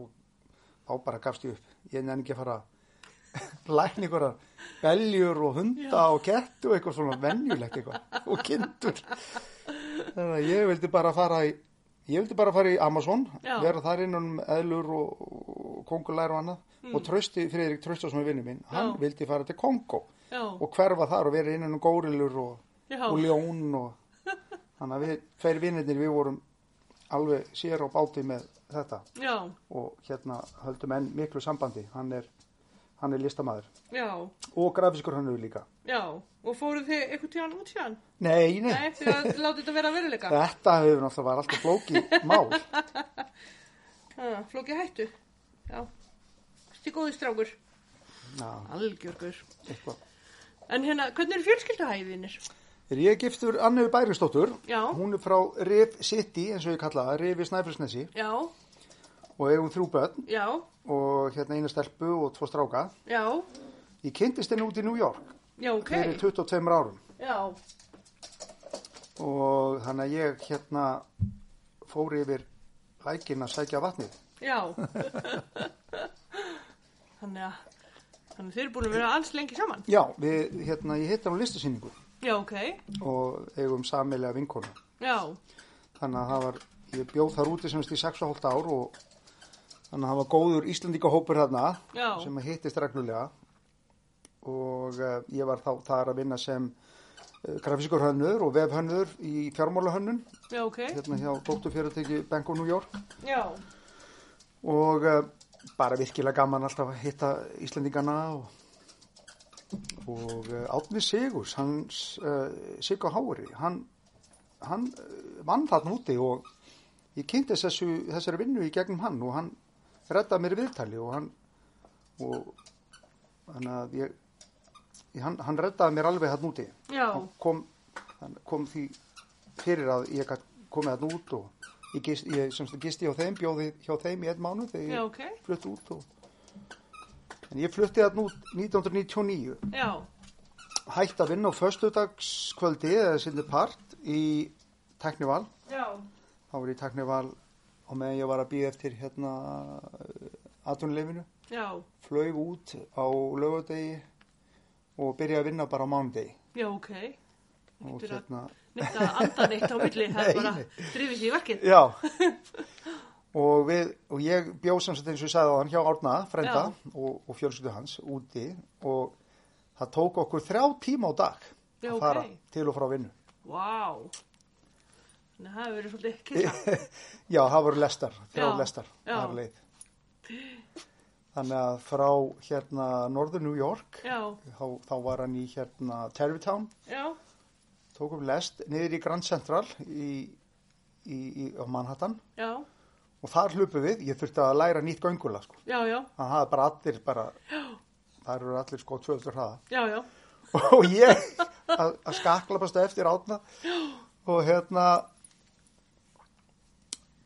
Speaker 2: þá bara gafst ég upp ég nefn ekki að fara að lækna einhverja beljur og hunda og kettu og eitthvað svona venjulegt eitthvað og kindur þannig að ég vildi bara fara í ég vildi bara fara í Amazon
Speaker 1: Já.
Speaker 2: vera þar innan um eðlur og, og kongulær og annað og trösti, Friðrik Tröstason vinnu minn, hann
Speaker 1: Já.
Speaker 2: vildi fara til Kongo
Speaker 1: já,
Speaker 2: og hverfa þar og vera innan um górilur og,
Speaker 1: já,
Speaker 2: og ljón og þannig að við, tveir vinnirnir við vorum alveg sér og báti með þetta
Speaker 1: já,
Speaker 2: og hérna höldum enn miklu sambandi hann er, hann er listamæður
Speaker 1: já,
Speaker 2: og grafiskur hönnur líka.
Speaker 1: já. Og fóruð þið einhvern tíðan út sér?
Speaker 2: Nei, nei,
Speaker 1: Nei, því að láta þetta vera að veruleika.
Speaker 2: þetta hefur náttúrulega var alltaf flókið mál.
Speaker 1: Ha, Flóki hættu. Já. Sti góði strákur.
Speaker 2: Já,
Speaker 1: Algjörgur.
Speaker 2: eitthvað.
Speaker 1: En hérna, hvernig eru fjölskylduhæðinir?
Speaker 2: Er ég giftur Annu Bæringsdóttur,
Speaker 1: Já.
Speaker 2: hún er frá Rif City, eins og ég kalla það, Rif í Snæfellsnesi
Speaker 1: Já,
Speaker 2: og eigum þrjú börn
Speaker 1: já,
Speaker 2: og hérna eina stelpu og tvo stráka.
Speaker 1: já,
Speaker 2: Ég kynntist henni út í New York
Speaker 1: já, ok.
Speaker 2: fyrir 22 árum
Speaker 1: Já,
Speaker 2: og þannig að ég hérna fór yfir lækin að sækja vatnið.
Speaker 1: já. þannig að, þannig að þeir eru búin að vera alls lengi saman.
Speaker 2: Já, við, hérna, ég hitt hann á listasýningu
Speaker 1: Já, ok,
Speaker 2: og eigum samilega vinkona.
Speaker 1: já,
Speaker 2: Þannig að það var, ég bjóð þar úti semst í 6,5 ár og þannig að það var góður Íslandíkahópur þarna
Speaker 1: já,
Speaker 2: sem að hittist reglulega og uh, ég var þá þar að vinna sem uh, grafískur hönnur og vefhönnur í fjármálahönnun
Speaker 1: já, ok,
Speaker 2: hérna hjá dótturfjörðutekju Bank of New York
Speaker 1: já,
Speaker 2: og uh, bara virkilega gaman alltaf að hitta Íslendingana og, og uh, Átni Sigurs hans uh, Sigur Hári hann, hann uh, vann þarna úti og ég kynntist þessu, þessari vinnu í gegnum hann og hann reddaði mér viðtali og hann og hann að ég, ég hann, hann reddaði mér alveg þarna úti
Speaker 1: já,
Speaker 2: hann kom, hann kom því fyrir að ég gat komið þarna út og ég, gist, ég semst gisti hjá þeim, bjóði hjá þeim í einn mánu þegar
Speaker 1: já,
Speaker 2: ég
Speaker 1: ok,
Speaker 2: flutti út og en ég flutti þarna út 1999
Speaker 1: já,
Speaker 2: hætti að vinna á föstudagskvöldi eða sinni part í teknival
Speaker 1: já,
Speaker 2: þá var ég í teknival og meðan ég var að býða eftir hérna aðtunleifinu
Speaker 1: já,
Speaker 2: flög út á lögadegi og byrjaði að vinna bara á mánudegi
Speaker 1: já, ok. Þetta
Speaker 2: og
Speaker 1: er að-
Speaker 2: hérna
Speaker 1: Neitt að anda neitt á milli, það er
Speaker 2: Nei,
Speaker 1: bara,
Speaker 2: nei.
Speaker 1: drifið sér í verkið.
Speaker 2: Já og, við, og ég bjóð sem sagt eins og ég sagði á hann hjá Árna, frenda og, og fjölskyldu hans úti og það tók okkur þrjá tíma á dag
Speaker 1: Já,
Speaker 2: að
Speaker 1: ok.
Speaker 2: fara til og frá vinnu.
Speaker 1: Vá, þannig að það hefur verið svolítið kissa.
Speaker 2: Já, það voru lestar, þrjá
Speaker 1: Já,
Speaker 2: lestar,
Speaker 1: já.
Speaker 2: það var leið. Þannig að frá hérna norður New York,
Speaker 1: Já,
Speaker 2: þá, þá var hann í hérna Terrytown,
Speaker 1: já,
Speaker 2: tókum lest niður í Grand Central í, í, í, á Manhattan
Speaker 1: já,
Speaker 2: og þar hlupu við, ég þurfti að læra nýtt göngula sko.
Speaker 1: já, já,
Speaker 2: Þannig að það er bara allir bara, það eru allir sko 200 hraða.
Speaker 1: já, já,
Speaker 2: Og ég að, að skakla bara eftir átna og hérna,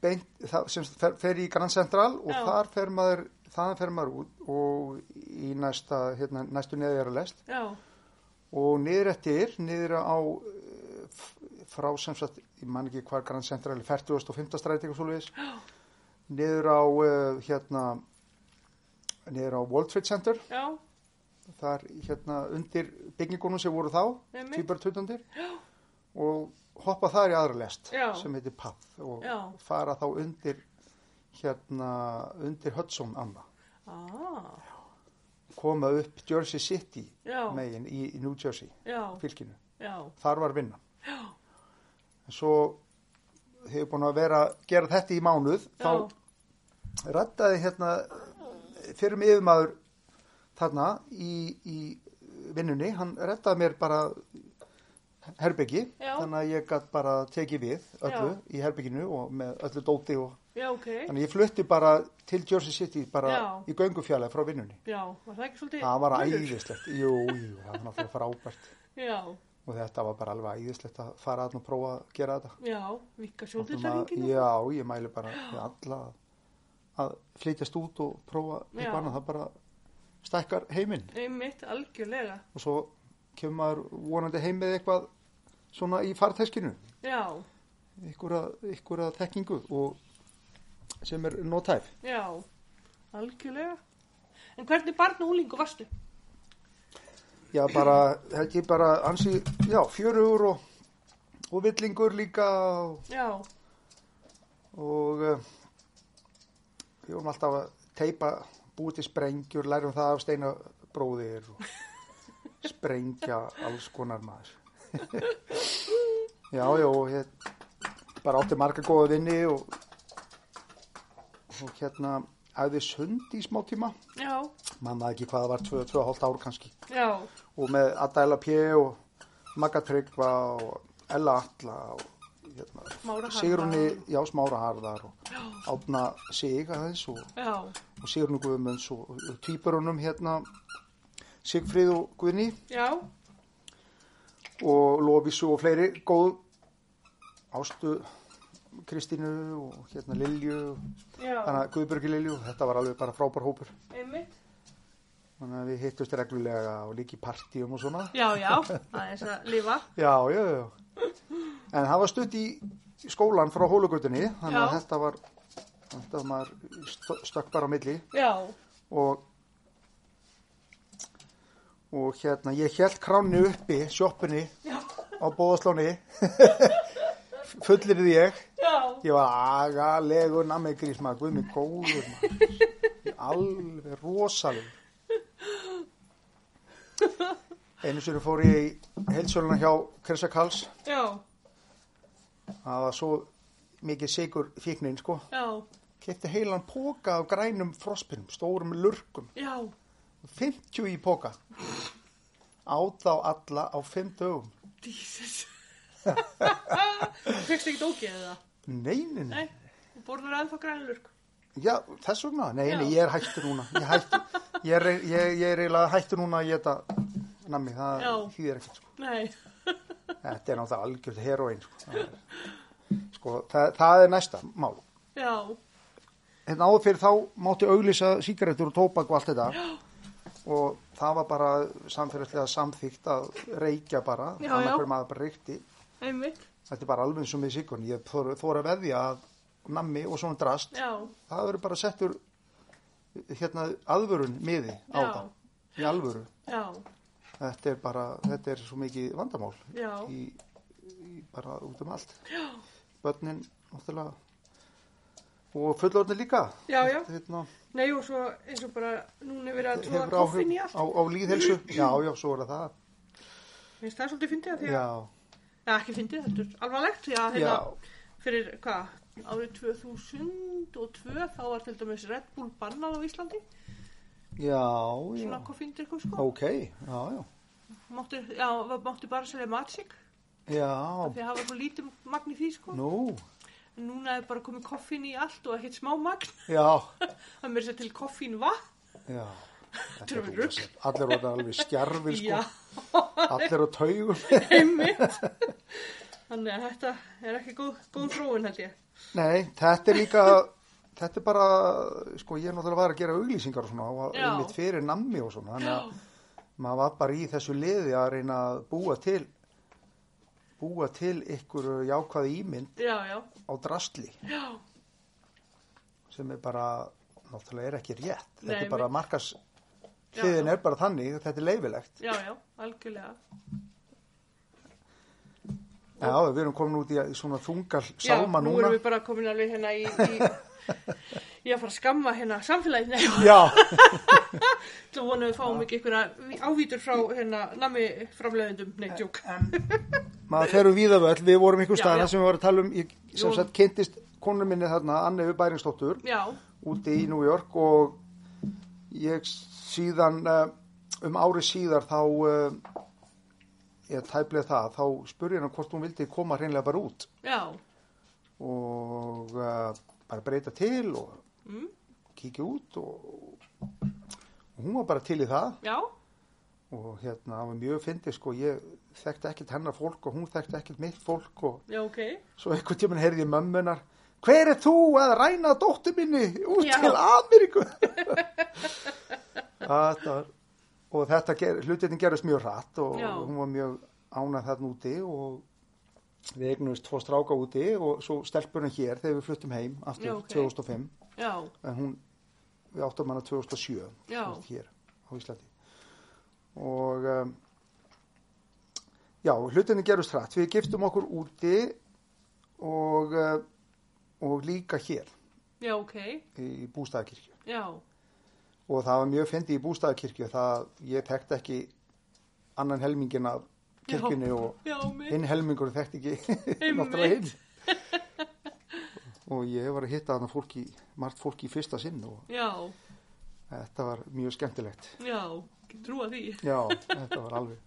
Speaker 2: beint, það, sem sagt fer, fer í Grand Central og
Speaker 1: Já.
Speaker 2: þar fer maður, þaðan fer maður út og í næsta, hérna, næstu neðjara lest
Speaker 1: já,
Speaker 2: og niður eftir, niður á, eh, f- frá sem sagt, ég man ekki hvað Grand Central er, 40. og 50. stræti eitthvað svoleiðis, niður á, eh, hérna, niður á World Trade Center
Speaker 1: já,
Speaker 2: þar hérna undir byggingunum sem voru þá,
Speaker 1: Einmitt.
Speaker 2: tvíbartutundir og hoppa þar í aðra lest
Speaker 1: Já.
Speaker 2: sem heitir Path og
Speaker 1: Já.
Speaker 2: fara þá undir hérna undir Hudson Anna
Speaker 1: ah,
Speaker 2: koma upp Jersey City
Speaker 1: Já.
Speaker 2: megin í, í New Jersey
Speaker 1: já,
Speaker 2: fylkinu,
Speaker 1: já,
Speaker 2: þar var vinna en svo hefur búin að vera gera þetta í mánuð
Speaker 1: já,
Speaker 2: þá rættaði hérna fyrir mig yfirmaður þarna í, í vinnunni, hann rættaði mér bara herbyggi
Speaker 1: Já.
Speaker 2: þannig að ég gætt bara tekið við öllu í herbygginu og með öllu dóti og
Speaker 1: já, ok,
Speaker 2: þannig að ég flutti bara til Jersey City bara
Speaker 1: Já.
Speaker 2: í göngufjallega frá vinnunni
Speaker 1: já, var það ekki svolítið?
Speaker 2: það var
Speaker 1: munur?
Speaker 2: æðislegt, jú, jú, það var náttúrulega frábært
Speaker 1: Já,
Speaker 2: og þetta var bara alveg æðislegt að fara að og prófa að gera þetta
Speaker 1: já, vika
Speaker 2: Svona-
Speaker 1: sjóðutarringinu.
Speaker 2: Já, ég mæli bara við alla að- að flytjast út og prófa
Speaker 1: Já.
Speaker 2: eitthvað annað, það bara stækkar heiminn
Speaker 1: Einmitt, algjörlega,
Speaker 2: og svo kemur maður vonandi heim með eitthvað svona í farteskinu,
Speaker 1: já,
Speaker 2: einhverja, einhverja þekkingu og sem er notæf.
Speaker 1: já, algjörlega. En hvernig barn og úlingu varstu?
Speaker 2: Já, bara, held ég bara ansi, já, fjörugur og, og villingur líka og,
Speaker 1: Já,
Speaker 2: og uh, við vorum alltaf að teipa búið til sprengjur, lærum það af steina bróðir og sprengja alls konar maður já, já og ég bara átti marga góða vinni og, og hérna æði sund í smá tíma
Speaker 1: já,
Speaker 2: mannaði ekki hvað það var 2-2,5 ár kannski
Speaker 1: já,
Speaker 2: og með Adela P. og Magga Tryggva og Ella Alla og hérna,
Speaker 1: Smára Harðar.
Speaker 2: Sigrunni, já, Smára Harðar og Átna Sig aðeins og,
Speaker 1: já,
Speaker 2: og Sigrunni Guðmunds og, og týpurunum hérna Sigfríð og Guðni
Speaker 1: já,
Speaker 2: og Lofísu og fleiri góð ástu Kristínu og hérna Lilju
Speaker 1: já,
Speaker 2: þannig að Guðbjörgi Lilju, þetta var alveg bara frábær hópur
Speaker 1: einmitt.
Speaker 2: þannig að við hittust reglulega og líki partíum og svona
Speaker 1: Já, já, aðeins að lifa.
Speaker 2: Já, já, já. En það var stutt í skólan frá hólugutinni, þannig
Speaker 1: Já.
Speaker 2: að þetta var, þetta var maður stö- stökk bara á milli
Speaker 1: Já,
Speaker 2: og, og hérna, ég held kráni uppi, sjoppunni
Speaker 1: já,
Speaker 2: á bóðaslóni, fullir því ég.
Speaker 1: já,
Speaker 2: Ég var agalegur nammi grís, maður, guð mig góður, maður. Ég Alveg rosaleg. Einu sinni fór ég í heilsöluna hjá Kressa Karls.
Speaker 1: já,
Speaker 2: Það var svo mikið sigur fíknin, sko.
Speaker 1: já,
Speaker 2: Kefti heilan póka af grænum frospinum, stórum lurkum.
Speaker 1: já,
Speaker 2: 50 í póka. Át þá alla á 5 dögum.
Speaker 1: Jesus. Fyrst ekki dókið eða?
Speaker 2: Nei, nei, nei.
Speaker 1: Nei, þú borður ennþá grænlurk.
Speaker 2: Já, þess vegna. Nei, nei,
Speaker 1: Já.
Speaker 2: ég er hættur núna. Ég, hættu, ég, er, ég, ég er eiginlega hættur núna að geta nammi. Það
Speaker 1: Já.
Speaker 2: hýðir ekkert, sko.
Speaker 1: Nei,
Speaker 2: Þetta er náttúrulega algjörð heroin, sko. Það er, sko, það, það er næsta mál.
Speaker 1: já,
Speaker 2: hérna áður fyrir þá mátti auglýsa sígarettur og tóbak og allt þetta og það var bara samfélagslega samþýgt að reykja bara
Speaker 1: Já,
Speaker 2: Annar
Speaker 1: já.
Speaker 2: hver maður bara reykti
Speaker 1: einmitt,
Speaker 2: þetta er bara alveg eins og með síkun ég þor, þor að veðja að nammi og svona drast
Speaker 1: já,
Speaker 2: það verður bara settur hérna aðvörun miði á
Speaker 1: Já.
Speaker 2: það í alvöru
Speaker 1: já,
Speaker 2: þetta er bara, þetta er svo mikið vandamál
Speaker 1: já,
Speaker 2: í, í bara út um allt börnin náttúrulega og fullorðin líka
Speaker 1: já, já.
Speaker 2: hérna,
Speaker 1: Nei, og svo eins og bara núna er verið að tróða
Speaker 2: hefur áhrif
Speaker 1: koffin í allt.
Speaker 2: á, á líðhelsu já, já, svo er það það
Speaker 1: Mér finnst það svolítið fyndið að því að,
Speaker 2: já,
Speaker 1: já, ekki fyndið, þetta er alvarlegt því að
Speaker 2: já,
Speaker 1: hérna, fyrir, hvað, árið 2002 þá var til dæmis Red Bull bannað á Íslandi,
Speaker 2: já, já
Speaker 1: svona koffindrykkum sko.
Speaker 2: ok, já, já
Speaker 1: Mátti, já, var- mátti bara selja matsik,
Speaker 2: já,
Speaker 1: því að hafa svo lítið magn í því sko.
Speaker 2: nú
Speaker 1: En núna er bara komið koffin í allt og ekkert smá magn,
Speaker 2: já,
Speaker 1: það er mér sér til koffin vatn.
Speaker 2: já
Speaker 1: Þetta er rugl.
Speaker 2: allir voru alveg skjarfir sko,
Speaker 1: Já,
Speaker 2: allir á taugum
Speaker 1: einmitt. Þannig að þetta er ekki góð, góð þróun held ég.
Speaker 2: nei, þetta er líka þetta er bara, sko, ég er náttúrulega var að gera auglýsingar og svona, og
Speaker 1: Já.
Speaker 2: einmitt fyrir nammi og svona, þannig að
Speaker 1: Já.
Speaker 2: maður var bara í þessu liði að reyna að búa til búa til ykkur jákvæði ímynd
Speaker 1: Já, já,
Speaker 2: á drastli
Speaker 1: já,
Speaker 2: sem er bara, náttúrulega er ekki rétt þetta
Speaker 1: Nei,
Speaker 2: er bara
Speaker 1: einmitt.
Speaker 2: markas
Speaker 1: Já,
Speaker 2: hliðin
Speaker 1: já.
Speaker 2: er bara þannig, þetta er leifilegt
Speaker 1: já, já, algjörlega.
Speaker 2: já, við erum komin út í svona þungal
Speaker 1: já,
Speaker 2: sálma
Speaker 1: nú
Speaker 2: núna
Speaker 1: erum við bara komin alveg hérna í, í ég er að fara að skamma hérna samfélagið, nei,
Speaker 2: já,
Speaker 1: þú vonum við fáum ekki einhverja ávítur frá hérna nami framlegundum, nei, djók.
Speaker 2: maður ferum víðavöll, við vorum ykkur
Speaker 1: Já,
Speaker 2: staðna
Speaker 1: já.
Speaker 2: sem við varum að tala um ég,
Speaker 1: Jú.
Speaker 2: sem sagt kynntist konur minni þarna Annefu Bæringsdóttur
Speaker 1: Já,
Speaker 2: úti í New York og ég síðan eh, um ári síðar þá eh, ég tæplega það þá spurði hann hvort hún vildi koma hreinlega bara út
Speaker 1: já,
Speaker 2: og uh, bara breyta til og
Speaker 1: Mm.
Speaker 2: kíkja út og, og hún var bara til í það
Speaker 1: já,
Speaker 2: og hérna, það var mjög fyndið sko, ég þekkti ekkert hennar fólk og hún þekkti ekkert mitt fólk og
Speaker 1: já, ok,
Speaker 2: svo einhvern tímann heyrði ég mömmunar hver er þú að ræna dóttur minni út
Speaker 1: Já.
Speaker 2: til Ameríku þetta var og þetta ger, hlutinni gerist mjög hratt og
Speaker 1: Já.
Speaker 2: hún var mjög ánað þarna úti og við eignumist tvo stráka úti og svo stelpunum hér þegar við fluttum heim aftur
Speaker 1: Já, ok.
Speaker 2: 2005
Speaker 1: já,
Speaker 2: en hún, við áttum hana 2007
Speaker 1: Já.
Speaker 2: sem sagt hér á Íslandi og um, já, hlutinni gerust hratt við giftum okkur úti og uh, og líka hér
Speaker 1: já, ok,
Speaker 2: í bústæðakirkju
Speaker 1: já,
Speaker 2: og það var mjög fyndi í bústæðakirkju það ég þekkt ekki annan helmingin af kirkjunni og
Speaker 1: já, mig,
Speaker 2: hinn helmingur þekkt ekki
Speaker 1: Einmitt.
Speaker 2: náttúrulega hinn og ég var að hitta þarna fólki margt fólki í fyrsta sinn og
Speaker 1: já,
Speaker 2: Þetta var mjög skemmtilegt.
Speaker 3: Já, getur trúa því.
Speaker 2: Já, þetta var alveg.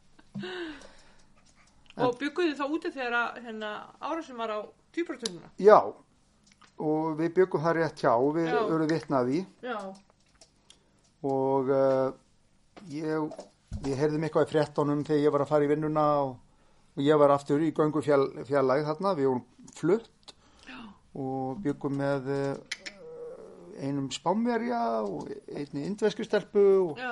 Speaker 2: En-
Speaker 3: Og bygguðu þá úti þegar að, hérna, árásum var á týpuratununa.
Speaker 2: Já, og við byggum það rétt hjá, við
Speaker 3: Já.
Speaker 2: vorum vitnaði
Speaker 3: Já,
Speaker 2: og uh, ég, ég heyrðum eitthvað í fréttunum þegar ég var að fara í vinnuna og, og ég var aftur í göngu fjall, fjallæg þarna, við vorum flutt og byggum með uh, einum spámverja og einni indvesku stelpu og
Speaker 3: já,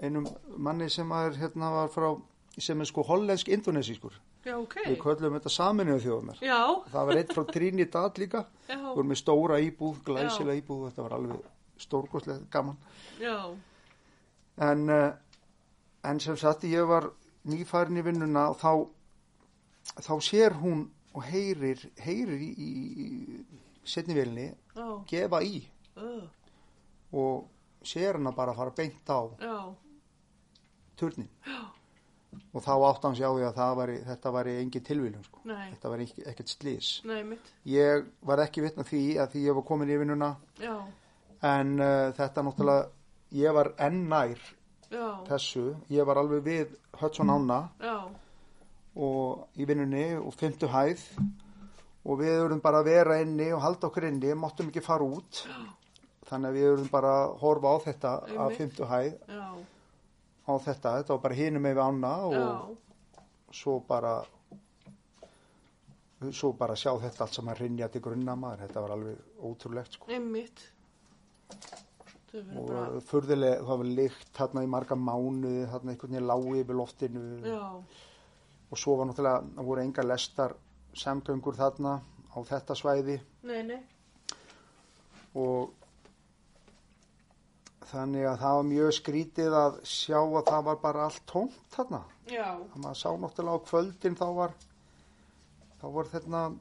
Speaker 2: einum manni sem var, hérna, var frá, sem er sko hollensk indonesískur.
Speaker 3: já, ok.
Speaker 2: Við köllum þetta saminuðu þjóðunar.
Speaker 3: Já,
Speaker 2: Það var eitt frá Trinidad líka.
Speaker 3: já,
Speaker 2: Við vorum með stóra íbúð, glæsilega íbúð, þetta var alveg stórkostlega gaman.
Speaker 3: já,
Speaker 2: En, eh, en sem sagt, ég var nýfærin í vinnuna og þá, þá sér hún og heyrir, heyrir í, í, í setni vilni
Speaker 3: já,
Speaker 2: gefa í
Speaker 3: uh,
Speaker 2: og sér hana bara fara beint á
Speaker 3: já,
Speaker 2: turnin. Og þá átt hann sér á því að það væri, þetta væri engin tilvílum, sko.
Speaker 3: nei,
Speaker 2: Þetta væri ekki- ekkert slís.
Speaker 3: nei, mitt,
Speaker 2: Ég var ekki vitna því að því ég var komin í vinnuna
Speaker 3: já,
Speaker 2: en uh, þetta náttúrulega ég var enn nær
Speaker 3: já,
Speaker 2: þessu ég var alveg við
Speaker 3: Mm.
Speaker 2: Hudson Ána
Speaker 3: já,
Speaker 2: og í vinnunni og fymtu hæð og við vorum bara að vera inni og halda okkur inni, máttum ekki fara út þannig að við vorum bara að horfa á þetta af
Speaker 3: Einmitt.
Speaker 2: fymtu hæð
Speaker 3: já,
Speaker 2: á þetta, þetta var bara hinum með ána og
Speaker 3: já,
Speaker 2: svo bara svo bara sjá þetta allt saman rinja til grunna maður, þetta var alveg ótrúlegt sko.
Speaker 3: einmitt. Þau verður bara,
Speaker 2: og furðilega, það var lykt þarna í marga mánuði, þarna einhvern veginn lági yfir loftinu
Speaker 3: já,
Speaker 2: og svo var náttúrulega, það voru engar lestar samgöngur þarna á þetta svæði
Speaker 3: nei, nei,
Speaker 2: og þannig að það var mjög skrítið að sjá að það var bara allt tómt þarna
Speaker 3: já,
Speaker 2: að maður sá náttúrulega á kvöldin þá var þá var þarna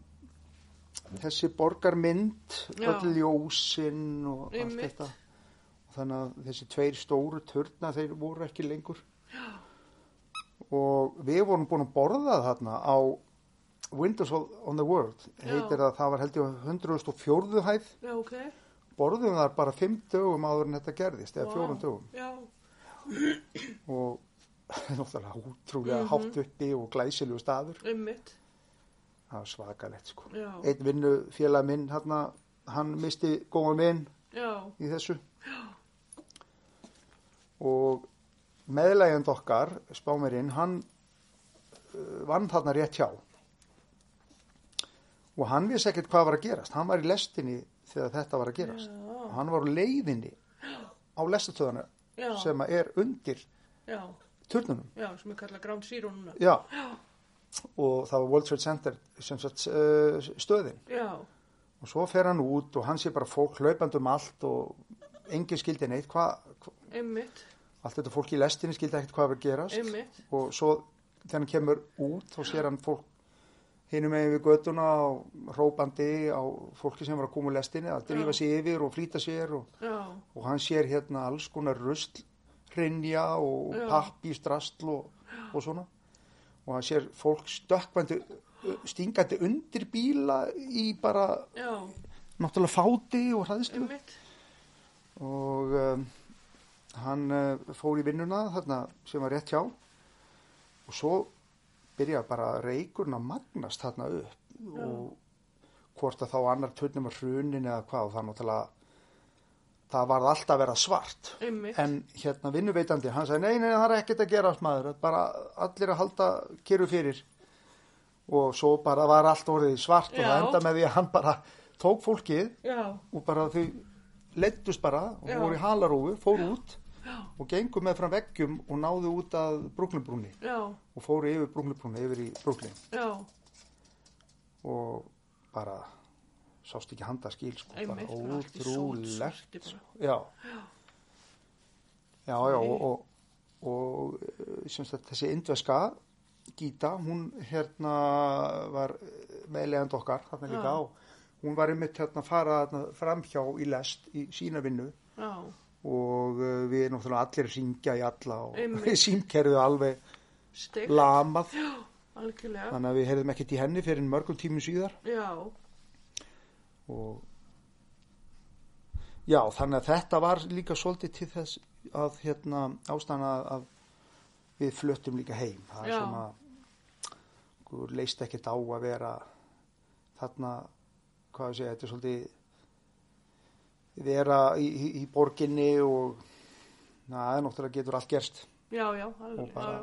Speaker 2: þessi borgarmynd
Speaker 3: Já.
Speaker 2: öll ljósin og allt
Speaker 3: Einmitt.
Speaker 2: þetta og þannig að þessi tveir stóru turna þeir voru ekki lengur Já. og við vorum búin að borða þarna á Windows on the World
Speaker 3: Já.
Speaker 2: heitir það, það var held ég 104. hæð
Speaker 3: já, ok,
Speaker 2: borðum þar bara 5 dögum áður en þetta gerðist eða
Speaker 3: Vá.
Speaker 2: 4 dögum
Speaker 3: já,
Speaker 2: og náttúrulega útrúlega
Speaker 3: Mhm.
Speaker 2: hátt uppi og glæsilegu staður
Speaker 3: einmitt,
Speaker 2: það var svakalegt sko
Speaker 3: já,
Speaker 2: einn vinnu félag minn hérna, hann misti góðan vinn
Speaker 3: já,
Speaker 2: í þessu og meðlægjand okkar spámerinn, hann uh, vann þarna rétt hjá og hann vissi ekkert hvað var að gerast hann var í lestinni þegar þetta var að gerast
Speaker 3: Já.
Speaker 2: hann var á leiðinni á lestastöðana
Speaker 3: já,
Speaker 2: sem að er undir
Speaker 3: já,
Speaker 2: turnunum
Speaker 3: já, sem ég kalla Ground Zero núna,
Speaker 2: já og það var World Trade Center sem sagt uh, stöðin
Speaker 3: já,
Speaker 2: og svo fer hann út og hann sé bara fólk hlaupandi um allt og engin skildi neitt hva, hva,
Speaker 3: einmitt,
Speaker 2: allt þetta fólk í lestinni skildi ekkert hvað var að gerast
Speaker 3: einmitt,
Speaker 2: og svo þegar hann kemur út þá sér hann fólk hinum megin við göduna og rópandi á fólki sem var að koma úr lestinni að drífa
Speaker 3: Já.
Speaker 2: sig yfir og flýta sér og,
Speaker 3: já,
Speaker 2: og hann sér hérna alls konar rusl hrinja og
Speaker 3: Já.
Speaker 2: pappístrastl og, og svona og hann sér fólk stökkvandi stingandi undir bíla í bara
Speaker 3: já,
Speaker 2: náttúrulega fáti og hræðslu
Speaker 3: einmitt,
Speaker 2: og um, hann uh, fór í vinnuna þarna sem var rétt hjá og svo byrjaði bara reikurinn að magnast þarna upp og hvort að þá annar törnum að hrunin eða hvað og það náttúrulega það varð alltaf að vera svart
Speaker 3: einmitt,
Speaker 2: en hérna vinnuveitandi hann sagði nei, nei, það er ekkert að gera maður bara allir að halda kyrru fyrir og svo bara var allt orðið svart og
Speaker 3: Já.
Speaker 2: það enda með því að hann bara tók fólkið
Speaker 3: já,
Speaker 2: og bara þau leittust bara og
Speaker 3: Já.
Speaker 2: voru í halarófu, fóru út
Speaker 3: Já.
Speaker 2: og gengu með fram veggjum og náðu út að Brúklinbrúni
Speaker 3: já,
Speaker 2: og fóru yfir Brúklinbrúni, yfir í Brúklin
Speaker 3: já,
Speaker 2: og bara sást ekki handa skil sko, bara
Speaker 3: einmitt, bara allt í sko.
Speaker 2: ótrúlegt
Speaker 3: sótsvarti bara.
Speaker 2: já já, já og, og, og eh, sem sagt þessi indveska Gita, hún hérna var meðlegand okkar þarna
Speaker 3: Já.
Speaker 2: líka og hún var einmitt hérna að fara hérna, framhjá í lest í sína vinnu
Speaker 3: já,
Speaker 2: og uh, við náttúrulega allir syngja í alla og
Speaker 3: Einmitt.
Speaker 2: símkerfið alveg
Speaker 3: steg,
Speaker 2: lamað
Speaker 3: algjörlega,
Speaker 2: þannig að við heyrðum ekkert í henni fyrir mörgum tímum síðar
Speaker 3: já,
Speaker 2: og Já, þannig að þetta var líka svolítið til þess að hérna, ástæðan að- að við fluttum líka heim. Það er
Speaker 3: Já.
Speaker 2: svona, okkur leist ekkert á að vera þarna, hvað ég segja, þetta er svolítið vera í, í, í borginni og na, það er náttúrulega getur allt gerst.
Speaker 3: já, já,
Speaker 2: Og,
Speaker 3: alveg,
Speaker 2: bara,
Speaker 3: já,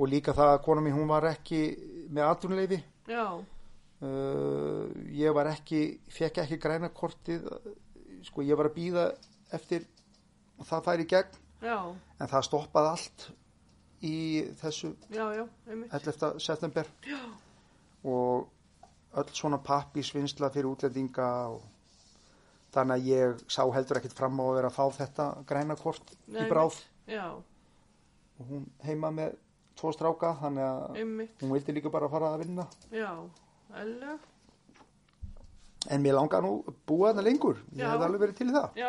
Speaker 2: og líka það að kona mín, hún var ekki með atvinnuleifi.
Speaker 3: já, já,
Speaker 2: Uh, ég var ekki, fekk ekki græna kortið, sko ég var að býða eftir að það færi í gegn
Speaker 3: já,
Speaker 2: en það stoppaði allt í þessu
Speaker 3: já, já, einmitt,
Speaker 2: 11. september Já. og öll svona pappi svinsla fyrir útlendinga og þannig að ég sá heldur ekkit fram á að vera að fá þetta græna kort
Speaker 3: Nei,
Speaker 2: í bráð
Speaker 3: já,
Speaker 2: og hún heima með tvo stráka þannig að
Speaker 3: einmitt,
Speaker 2: hún vildi líka bara fara að vinna
Speaker 3: já, alveg,
Speaker 2: en mér langar nú að búa þarna lengur ég
Speaker 3: Já.
Speaker 2: hefði alveg verið til í það
Speaker 3: já,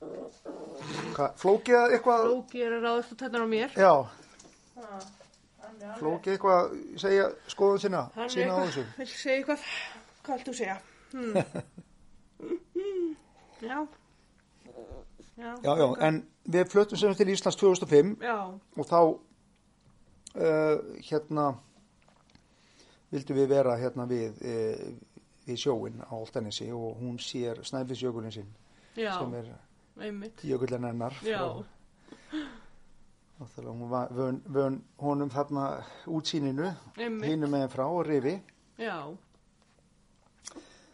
Speaker 2: Hva, flókið eða eitthvað
Speaker 3: Lóki er að ráðast að tæta á mér,
Speaker 2: já,
Speaker 3: hann er alveg,
Speaker 2: flókið eitthvað segja skoðun sína,
Speaker 3: hann er
Speaker 2: sína á þessu
Speaker 3: eitthvað, vil segja eitthvað, hvað ættu að segja, hmm, já, já,
Speaker 2: já, já, en við fluttum sem sagt til Íslands 2005
Speaker 3: já,
Speaker 2: og þá uh, hérna vildum við vera hérna við uh, við sjóin á Altanesi og hún sér snæfisjökulinn sinn
Speaker 3: já,
Speaker 2: sem er
Speaker 3: einmitt,
Speaker 2: jökullin hennar
Speaker 3: já,
Speaker 2: og hún var vön, vön honum þarna útsýninu
Speaker 3: einmitt,
Speaker 2: hinum meðin frá og rifi
Speaker 3: já,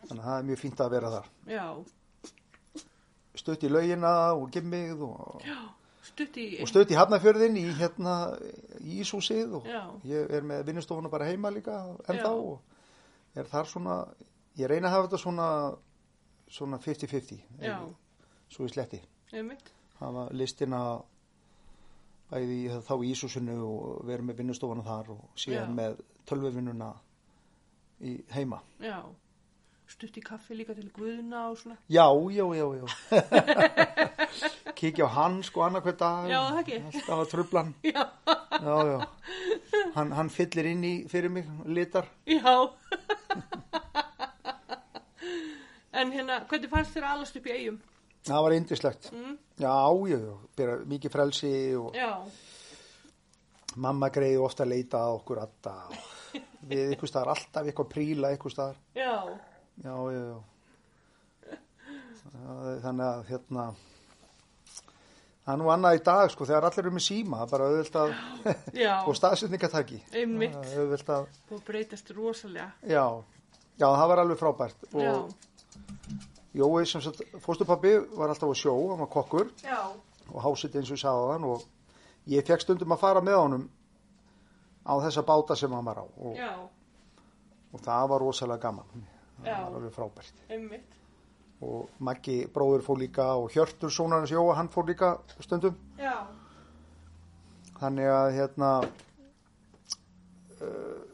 Speaker 2: þannig að það er mjög fínt að vera þar
Speaker 3: já,
Speaker 2: stutt í laugina og gimmið og,
Speaker 3: stutt í,
Speaker 2: og stutt í hafnafjörðin í hérna í Íshúsið og
Speaker 3: já,
Speaker 2: ég er með vinnustofuna bara heima líka
Speaker 3: Já.
Speaker 2: ennþá og er þar svona ég reyna að hafa þetta svona svona 50-50
Speaker 3: já,
Speaker 2: ef- svo í sletti
Speaker 3: einmitt,
Speaker 2: hafa listina bæði í- þá í Íshúsinu og vera með vinnustofuna þar og síðan
Speaker 3: Já.
Speaker 2: með tölvuvinnuna í heima
Speaker 3: já, stutt í kaffi líka til guðna og svona,
Speaker 2: Já, já, já, já Kíkja á hann sko annarkvæð dag
Speaker 3: Já, það ekki.
Speaker 2: Alltaf að trubla hann
Speaker 3: já,
Speaker 2: Já, já Hann, hann fyllir inn í fyrir mig, litar
Speaker 3: Já En hérna, hvernig fannst þér að alast upp í eigum?
Speaker 2: Það var indislegt
Speaker 3: Mm?
Speaker 2: Já, já, já, byrja, mikið frelsi og
Speaker 3: Já,
Speaker 2: mamma greiði ofta að leita að okkur alltaf við ykkur staðar, alltaf eitthvað príla ykkur staðar,
Speaker 3: já,
Speaker 2: já, já, já Það- þannig að hérna það er nú annað í dag sko, þegar allir eru með síma það er bara auðvelt að,
Speaker 3: já,
Speaker 2: og staðsetningataki
Speaker 3: einmitt
Speaker 2: Það er auðvelt að,
Speaker 3: og breytast rosalega
Speaker 2: já já, það var alveg frábært
Speaker 3: Já,
Speaker 2: og Jói sem sagt, fóstupappi var alltaf á sjó, hann var kokkur
Speaker 3: já,
Speaker 2: og hásitt eins og ég sagði hann og ég fekk stundum að fara með honum á þessa báta sem hann var á og,
Speaker 3: já,
Speaker 2: og það var rosalega gaman það
Speaker 3: Já.
Speaker 2: var alveg frábært
Speaker 3: einmitt
Speaker 2: og Maggi bróður fór líka og Hjörtur sonar hans Jóa, hann fór líka stundum
Speaker 3: Já,
Speaker 2: þannig að hérna uh,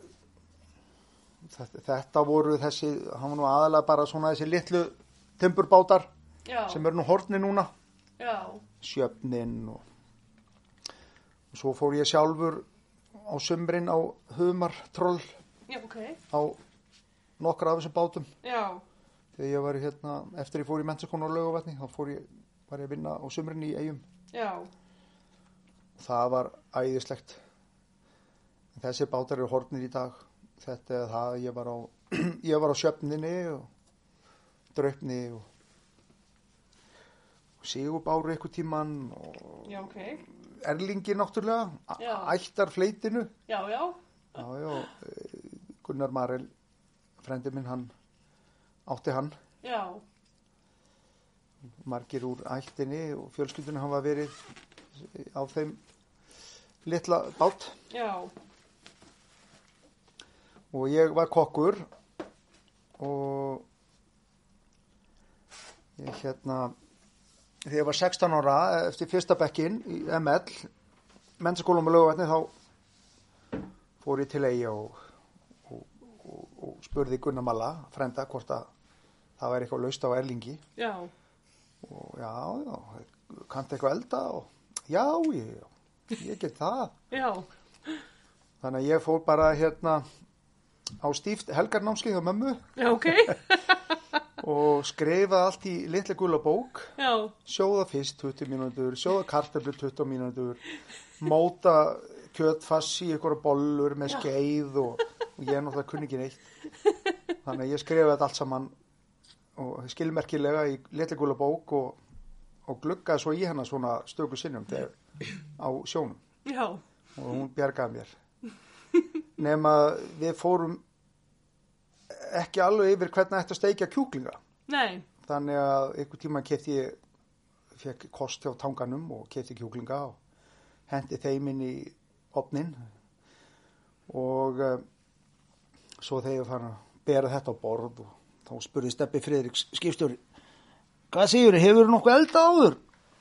Speaker 2: þetta, þetta voru þessi hann var nú aðalega bara svona þessi litlu timburbátar
Speaker 3: já,
Speaker 2: sem eru nú hortni núna
Speaker 3: já,
Speaker 2: sjöfnin og, og svo fór ég sjálfur á sumrin á humartroll
Speaker 3: já, ok
Speaker 2: á nokkra af þessum bátum
Speaker 3: Já,
Speaker 2: þegar ég var í, hérna, eftir ég fór í mennsakonu á laugavatni þá fór ég, var ég að vinna á sumrin í eigum
Speaker 3: já,
Speaker 2: það var æðislegt En þessi bátar eru hornir í dag þetta er það, ég var á ég var á sjöfninni og draupni og, og sigurbáru einhver tíman og
Speaker 3: já, ok
Speaker 2: Erlingi náttúrulega, a-
Speaker 3: Já.
Speaker 2: ættar fleitinu
Speaker 3: Já, já,
Speaker 2: já, já, eh, Gunnar Marel frendi minn hann átti hann,
Speaker 3: já,
Speaker 2: margir úr ættinni og fjölskyldunni hann var verið eh, á þeim litla bát
Speaker 3: já,
Speaker 2: og ég var kokkur og ég hérna þegar ég var 16 ára eftir fyrsta bekkin í ML mennskólum og lögvætni þá fór ég til eigi og, og, og, og spurði Gunnar Malla frenda hvort að það væri eitthvað laust á Erlingi
Speaker 3: já,
Speaker 2: og já, já, kannti eitthvað elda og já, ég, já, ég get það
Speaker 3: já,
Speaker 2: þannig að ég fór bara hérna á stíft helgarnámskeið hjá mömmu
Speaker 3: já, ok
Speaker 2: og skrifa allt í litla gula bók
Speaker 3: já,
Speaker 2: sjóða fyrst 20 mínútur, sjóða kartablu 20 mínútur, móta kjötfass í ykkur bollur með skeið og, og ég er náttúrulega kunni ekki neitt. Þannig að ég skrifa þetta allt saman og skilmerkilega í litla gula bók og, og gluggaði svo í hennar svona stöku sinnum þegar á sjónum
Speaker 3: já,
Speaker 2: og hún bjargaði mér. Nefn að við fórum ekki alveg yfir hvernig ætti að steikja kjúklinga
Speaker 3: nei,
Speaker 2: þannig að einhver tíma kefti ég fekk kost hjá tanganum og kefti kjúklinga og hendi þeim inn í opnin og uh, svo þegar ég fann að bera þetta á borð og þá spurði Steppi Friðriks skipstjóri hvað segir, hefur nokkuð elda áður?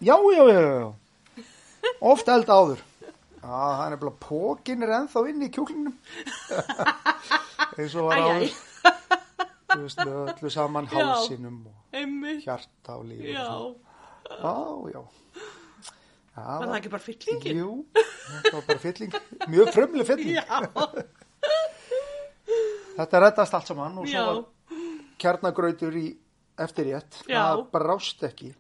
Speaker 2: já, já, já, já oft elda áður Já, það er nefnilega pókin er ennþá inn í kjúklingnum eins og var
Speaker 3: Æ, æ.
Speaker 2: áður Þú veist, með öllu saman
Speaker 3: Já.
Speaker 2: hálsinum og
Speaker 3: einmitt,
Speaker 2: hjarta og lífi
Speaker 3: já,
Speaker 2: og svona. já, já. Já,
Speaker 3: var það ekki bara fyllingin?
Speaker 2: Jú, þetta var bara fylling mjög frumleg fylling
Speaker 3: Já,
Speaker 2: þetta reddast allt saman og svo
Speaker 3: já,
Speaker 2: var kjarnagrautur í eftirrétt
Speaker 3: Já.
Speaker 2: það brást ekki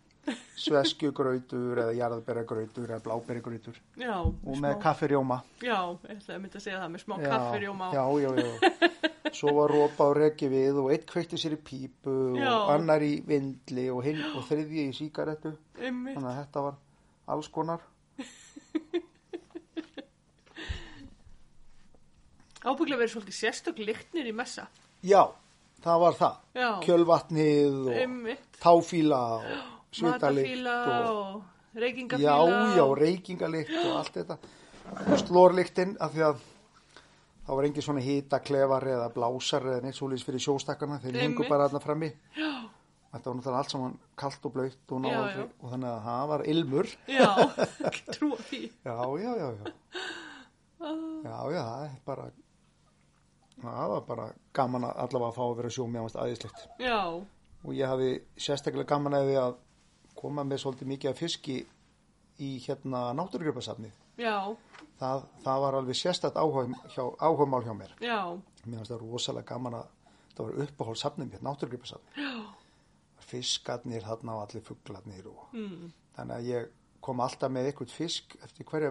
Speaker 2: sveskjugrautur eða jarðberjagrautur eða bláberjagrautur
Speaker 3: já,
Speaker 2: og
Speaker 3: smá-
Speaker 2: með kaffirjóma
Speaker 3: já, ég ætlaði að mynda að segja það með smá
Speaker 2: Já,
Speaker 3: kaffirjóma
Speaker 2: já, já, já. svo var rópa og reki við og eitt kveikti sér í pípu
Speaker 3: Já.
Speaker 2: og annar í vindli og, hinn, og þriðji í sígarettu
Speaker 3: einmitt,
Speaker 2: þannig að þetta var alls konar
Speaker 3: ábygglega verið svolítið sérstök lyktnir í messa,
Speaker 2: já, það var það
Speaker 3: já,
Speaker 2: kjölvatnið og
Speaker 3: einmitt,
Speaker 2: táfíla og svitalikt
Speaker 3: matafíla
Speaker 2: og,
Speaker 3: og reykingafíla
Speaker 2: já, já,
Speaker 3: og-
Speaker 2: reykingalikt og allt þetta slorliktin af því að þá var engin svona hitaklefar eða blásar eða neitt svoleiðis fyrir sjóstakkana þeir
Speaker 3: Einmitt.
Speaker 2: hengu bara þarna frammi já. þetta var náttúrulega allt saman kalt og blöytt og,
Speaker 3: Já,
Speaker 2: náði-
Speaker 3: já.
Speaker 2: og þannig að það var ilmur
Speaker 3: já, ekki trúa því,
Speaker 2: já, já, já, já já, já, það er bara það var bara gaman að allavega að fá að vera sjómi ámast aðeinslegt
Speaker 3: já,
Speaker 2: og ég hafi sérstaklega gaman að því að koma með svolítið mikið af fiski í hérna náttúrugripasafnið.
Speaker 3: já,
Speaker 2: Það, það var alveg sérstakt áhuga, hjá, áhugamál hjá mér.
Speaker 3: já,
Speaker 2: Mér fannst það rosalega gaman að það var uppáhald safnið mitt, náttúrugripasafnið. Fiskarnir þarna og allir fuglarnir og
Speaker 3: mm.
Speaker 2: þannig að ég kom alltaf með eitthvað fisk eftir hverja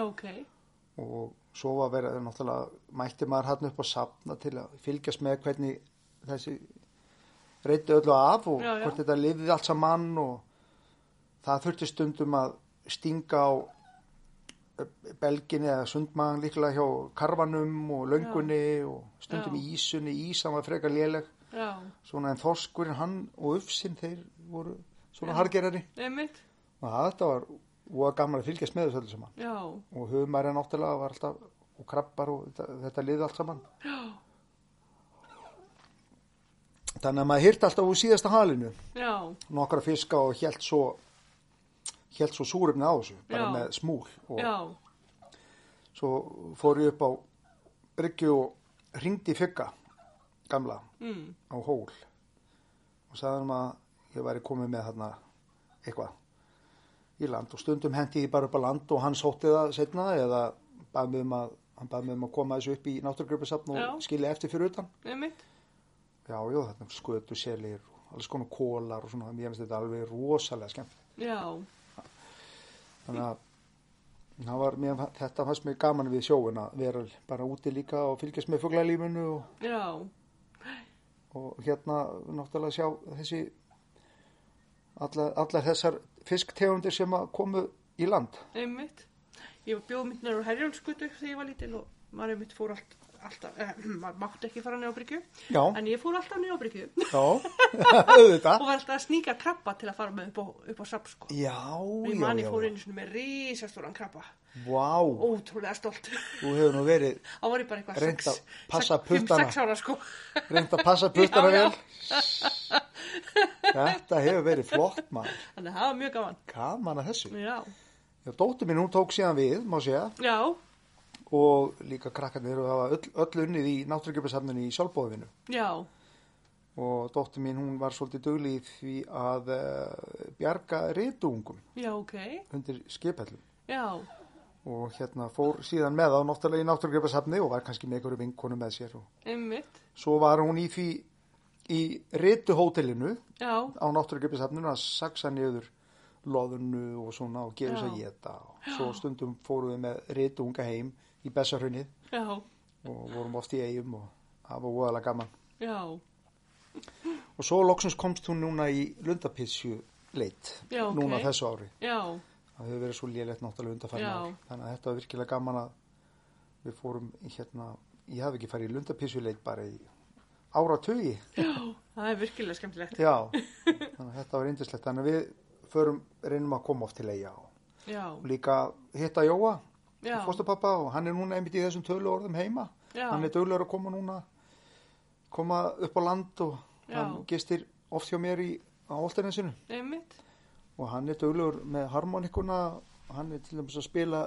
Speaker 3: já, ok,
Speaker 2: og svo var verið náttúrulega mætti maður hann upp á safna til að fylgjast með hvernig þessi reyndi öllu af og
Speaker 3: Já, já.
Speaker 2: hvort þetta lifði allt saman og það þurfti stundum að stinga á belginni eða sundmagan líklega hjá karfanum og löngunni og stundum
Speaker 3: Já.
Speaker 2: í ísunni, ísan var frekar léleg
Speaker 3: já,
Speaker 2: svona en þorskurinn hann og ufsinn þeir voru svona hargerari
Speaker 3: einmitt,
Speaker 2: og þetta var og gaman að fylgjast með þessu öllu saman
Speaker 3: já,
Speaker 2: og hugumæri náttúrulega var alltaf og krabbar og þetta, þetta liði allt saman
Speaker 3: já,
Speaker 2: þannig að maður hýrti alltaf úr síðasta halinu
Speaker 3: já,
Speaker 2: nokkra fiska og hélt svo hélt svo súrumni á þessu bara
Speaker 3: Já.
Speaker 2: með smúl og
Speaker 3: já,
Speaker 2: svo fór ég upp á bryggju og ringdi fugga gamla
Speaker 3: mm.
Speaker 2: á hól og sagði hann að ég væri komið með þarna eitthvað í land og stundum hendi ég bara upp á land og hann sótti það setna eða bað mig um að, hann bað mig um að koma þessu upp í náttúrgripasafn og
Speaker 3: Já.
Speaker 2: skilja eftir fyrir utan
Speaker 3: einmitt,
Speaker 2: já, já, þarna skötu selir og alls konar kólar og svona mér finnst þetta alveg rosalega skemmt
Speaker 3: já,
Speaker 2: þannig að það var, mér, þetta fannst mér gaman við sjóin að vera bara úti líka og fylgjast með fuglalífinu og
Speaker 3: já,
Speaker 2: og hérna náttúrulega sjá þessi allar, allar þessar fisktegundir sem að komu í land
Speaker 3: einmitt ég var bjóðmyndnar úr herjálfskutu þegar ég var lítil og maður einmitt fór allt, alltaf eh, maður mátti ekki fara niður á bryggju
Speaker 2: já,
Speaker 3: en ég fór alltaf niður á bryggju og
Speaker 2: já, auðvitað
Speaker 3: var alltaf að sníka krabba til að fara með upp á, upp á sapp sko
Speaker 2: já,
Speaker 3: og ég
Speaker 2: já,
Speaker 3: mani
Speaker 2: já,
Speaker 3: fór
Speaker 2: já.
Speaker 3: einu svona með risastóran krabba
Speaker 2: vá,
Speaker 3: ótrúlega stolt
Speaker 2: þú hefur nú verið
Speaker 3: þá var ég bara eitthvað
Speaker 2: Reynt
Speaker 3: sex-
Speaker 2: að passa
Speaker 3: sex- fimm,
Speaker 2: puttana.
Speaker 3: sex ára sko
Speaker 2: reynd að passa puttana
Speaker 3: Já, já.
Speaker 2: vel þetta hefur verið flott maður
Speaker 3: þannig að það var mjög gaman
Speaker 2: gaman að þessu
Speaker 3: já,
Speaker 2: já, dóttir mín hún tók síðan við, má segja
Speaker 3: já,
Speaker 2: og líka krakkarnir og hafa öll, öll unnið í náttúrugjöfisafninu í sjálfbóðinu
Speaker 3: já,
Speaker 2: og dóttir mín hún var svolítið duglið því að uh, bjarga reytungum
Speaker 3: já, ok
Speaker 2: undir skipellum
Speaker 3: já,
Speaker 2: og hérna fór síðan með á náttúrulega í náttúrugripasafni og var kannski með einhverju vinkonu með sér og
Speaker 3: einmitt
Speaker 2: svo var hún í því í Ritu hótelinu
Speaker 1: já,
Speaker 2: á náttúrugrippisafninu að saksa niður loðunu og svona og gera þess að
Speaker 1: Já.
Speaker 2: geta og svo stundum fórum við með Ritu unga heim í Bessarhunnið
Speaker 1: já,
Speaker 2: og vorum oft í eigum og það var voðalega gaman
Speaker 1: já,
Speaker 2: og svo loksins komst hún núna í lundapissju leitt
Speaker 1: Já, ok.
Speaker 2: núna þessu ári
Speaker 1: já,
Speaker 2: það hefur verið svo lélegt náttúrulega undanfæna
Speaker 1: Já.
Speaker 2: þannig að þetta var virkilega gaman að við fórum í hérna ég hef ekki farið í lundapísuleit bara í áratugi
Speaker 1: já, það er virkilega skemmtilegt.
Speaker 2: já, þannig að þetta var indislegt þannig að við förum, reynum að koma oft til eiga og
Speaker 1: Já,
Speaker 2: líka hitta Jóa
Speaker 1: já,
Speaker 2: fóstupappa og hann er núna einmitt í þessum tölu orðum heima
Speaker 1: já,
Speaker 2: hann er dögulegur að koma núna koma upp á land og
Speaker 1: Já.
Speaker 2: hann gistir oft hjá mér í á Olternesinu
Speaker 1: einmitt,
Speaker 2: og hann er dögulegur með harmonikuna hann er til dæmis að spila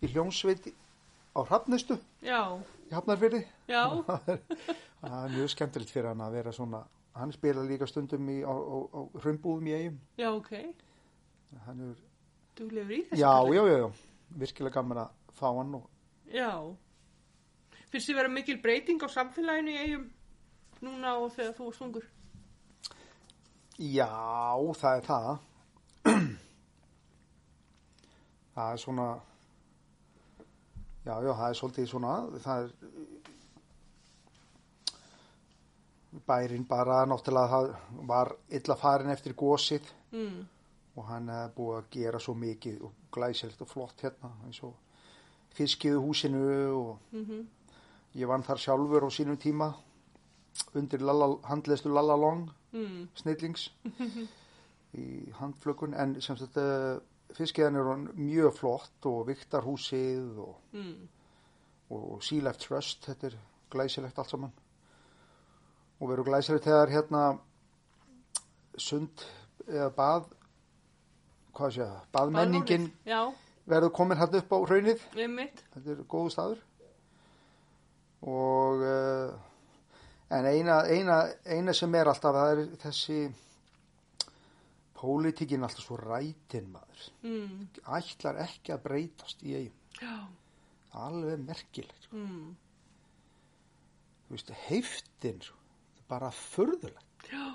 Speaker 2: í hljómsveit á Hrafnistu
Speaker 1: já,
Speaker 2: í Hafnarfyrði
Speaker 1: já,
Speaker 2: það er það er mjög skemmtilegt fyrir hann að vera svona hann spila líka stundum í, á, á, á hraumbúðum í eigum
Speaker 1: já, ok,
Speaker 2: hann er,
Speaker 1: þú lefur í þessu.
Speaker 2: já,
Speaker 1: kallar.
Speaker 2: já, já, já virkilega gaman að fá hann og
Speaker 1: Já, finnst þið vera mikil breyting á samfélaginu í eigum núna og þegar þú varst ungur?
Speaker 2: Já, það er það. það er svona, já, já, það er svolítið svona, það er, bærin bara náttúrulega það var illa farin eftir gósið
Speaker 1: Mm,
Speaker 2: og hann hefði búið að gera svo mikið og glæsilegt og flott hérna, eins og fiskið í húsinu og
Speaker 1: mm
Speaker 2: ég vann þar sjálfur á sínum tíma undir lala, handleðslu Lala Long
Speaker 1: mm,
Speaker 2: snillings í handflökun en sem sagt eh, fiskiðan er hann mjög flott og viktarhúsið og,
Speaker 1: mm,
Speaker 2: og Sea Life Trust þetta er glæsilegt allt saman og verður glæsilegt þegar hérna sund eða bað hvað sé það, baðmenningin
Speaker 1: Baðmálið, Já,
Speaker 2: verður komin hérna upp á raunið
Speaker 1: einmitt,
Speaker 2: þetta er góðu staður og uh, en eina, eina, eina sem er alltaf það er þessi pólitíkin alltaf svo rætin maður
Speaker 1: mm,
Speaker 2: ætlar ekki að breytast í eigum
Speaker 1: já,
Speaker 2: Það er alveg merkilegt sko.
Speaker 1: mm,
Speaker 2: Þú veist, heiftin sko. það er bara furðulegt
Speaker 1: já,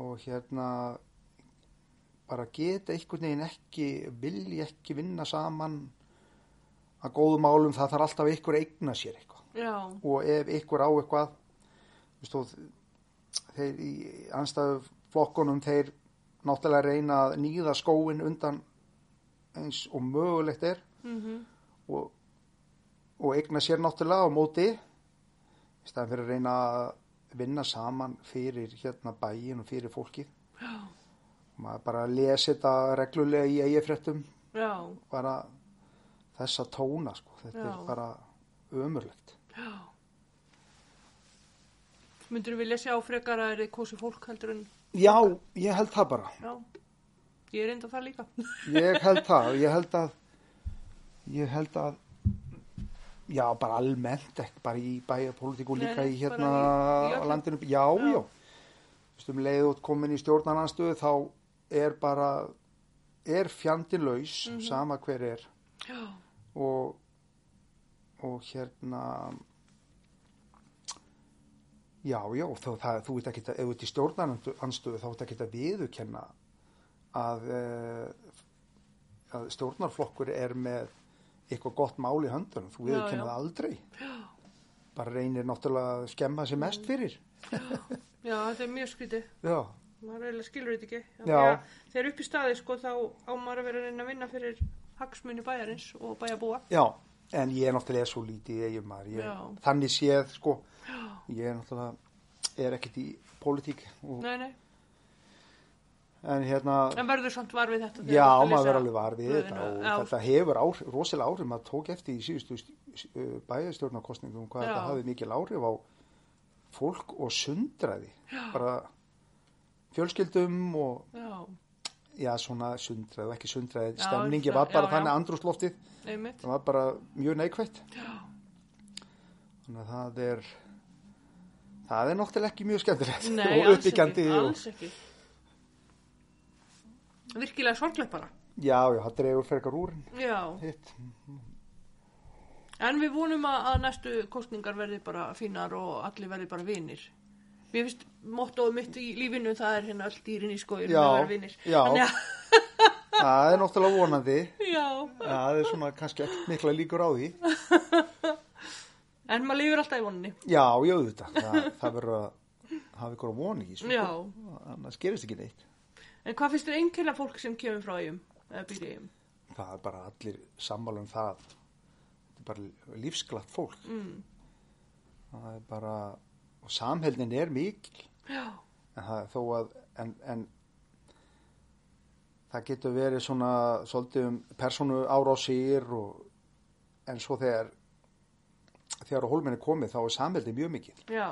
Speaker 2: og hérna bara geta einhvern veginn ekki vilji ekki vinna saman að góðum álum það þarf alltaf einhver að eigna sér eitthvað
Speaker 1: já,
Speaker 2: og ef ykkur á eitthvað þú veist, og þeir í anstæðu flokkunum þeir náttúrulega reyna að nýða skóin undan eins og mögulegt er
Speaker 1: mhm,
Speaker 2: og, og eigna sér náttúrulega á móti í staðan fyrir að reyna að vinna saman fyrir hérna bæin og fyrir fólkið
Speaker 1: já,
Speaker 2: maður bara lesi þetta reglulega í eigifréttum
Speaker 1: já,
Speaker 2: bara þessa tóna sko. þetta
Speaker 1: Já.
Speaker 2: er bara ömurlegt
Speaker 1: já. Myndur vilja sjá frekar að er þið kósi fólk heldur en,
Speaker 2: já, ég held það bara
Speaker 1: já, ég er enda það líka.
Speaker 2: ég held það ég held að ég held að já bara almennt ekki bara í bæjarpolítíku
Speaker 1: Nei,
Speaker 2: líka í
Speaker 1: nei,
Speaker 2: hérna
Speaker 1: bara í- í
Speaker 2: á
Speaker 1: öllu.
Speaker 2: landinu já
Speaker 1: Já.
Speaker 2: já Vistum, leið út komin í stjórnarnanstöðu þá er bara er fjandin laus
Speaker 1: Mhm.
Speaker 2: sama hver er
Speaker 1: Já,
Speaker 2: og og hérna já já þá, það, þú veit ekki að ef þú ert í stjórnarnanstöðu þá veit ekki að viðurkenna að, eh, að stjórnarflokkur er með eitthvað gott mál í höndunum þú
Speaker 1: Já,
Speaker 2: viðurkenna
Speaker 1: já.
Speaker 2: það aldrei
Speaker 1: já,
Speaker 2: bara reynir náttúrulega að skemma sér mest fyrir
Speaker 1: já, þetta er mjög skrítið.
Speaker 2: já,
Speaker 1: maður eiginlega skilur þetta ekki Af
Speaker 2: Já.
Speaker 1: því að þegar upp í staði sko þá á maður að vera að reyna að vinna fyrir hagsmunni bæjarins og bæjarbúa
Speaker 2: já en ég er náttúrulega svo lítið eigum maður ég,
Speaker 1: Já.
Speaker 2: þannig séð sko ég er náttúrulega er ekkert í pólitík og,
Speaker 1: nei, nei.
Speaker 2: en hérna
Speaker 1: en verður samt var við þetta þegar
Speaker 2: Já,
Speaker 1: þú ert að lesa
Speaker 2: maður verður alveg var við
Speaker 1: blöðin
Speaker 2: þetta og
Speaker 1: já,
Speaker 2: þetta hefur áhrif, rosalega áhrif, maður tók eftir í síðustu bæjarstjórnarkostningum hvað
Speaker 1: Já.
Speaker 2: þetta hafði mikil áhrif á fólk og sundraði, bara fjölskyldum og
Speaker 1: já,
Speaker 2: já, svona sundraði og ekki sundraði,
Speaker 1: Já,
Speaker 2: stemningi
Speaker 1: það-
Speaker 2: var bara
Speaker 1: já, já.
Speaker 2: þannig andrúsloftið,
Speaker 1: einmitt
Speaker 2: það var bara mjög neikvætt. Já. Þannig að það er, það er náttúrulega ekki mjög skemmtilegt
Speaker 1: nei,
Speaker 2: og
Speaker 1: alls ekki,
Speaker 2: uppbyggjandi og
Speaker 1: alls ekki virkilega sorglega bara
Speaker 2: já, já, það dregur frekar úr en
Speaker 1: já,
Speaker 2: hitt.
Speaker 1: en við vonum að, að næstu kostningar verði bara fínar og allir verði bara vinir mér finnst mottóið mitt í lífinu það er hérna öll dýrin í skóinu
Speaker 2: Já,
Speaker 1: það er vinnir
Speaker 2: já.
Speaker 1: Þannig að,
Speaker 2: það er náttúrulega vonandi
Speaker 1: já,
Speaker 2: það er svona kannski ekki mikla líkur á því
Speaker 1: en maður lifir alltaf í voninni
Speaker 2: já, já, þetta það, það verður að hafa ykkur að vona í þessu
Speaker 1: já,
Speaker 2: annars gerist ekki neitt
Speaker 1: en hvað finnst þér einkenna fólk sem kemur frá eigum eða býr í eigum
Speaker 2: það er bara allir sammála um það þetta er bara lífsglatt fólk
Speaker 1: mm.
Speaker 2: það er bara og samheldin er mikil
Speaker 1: já,
Speaker 2: en það er þó að en, en það getur verið svona svolítið um persónu árásir og, en svo þegar þegar á hólminni komið þá er samheldin mjög mikil
Speaker 1: já,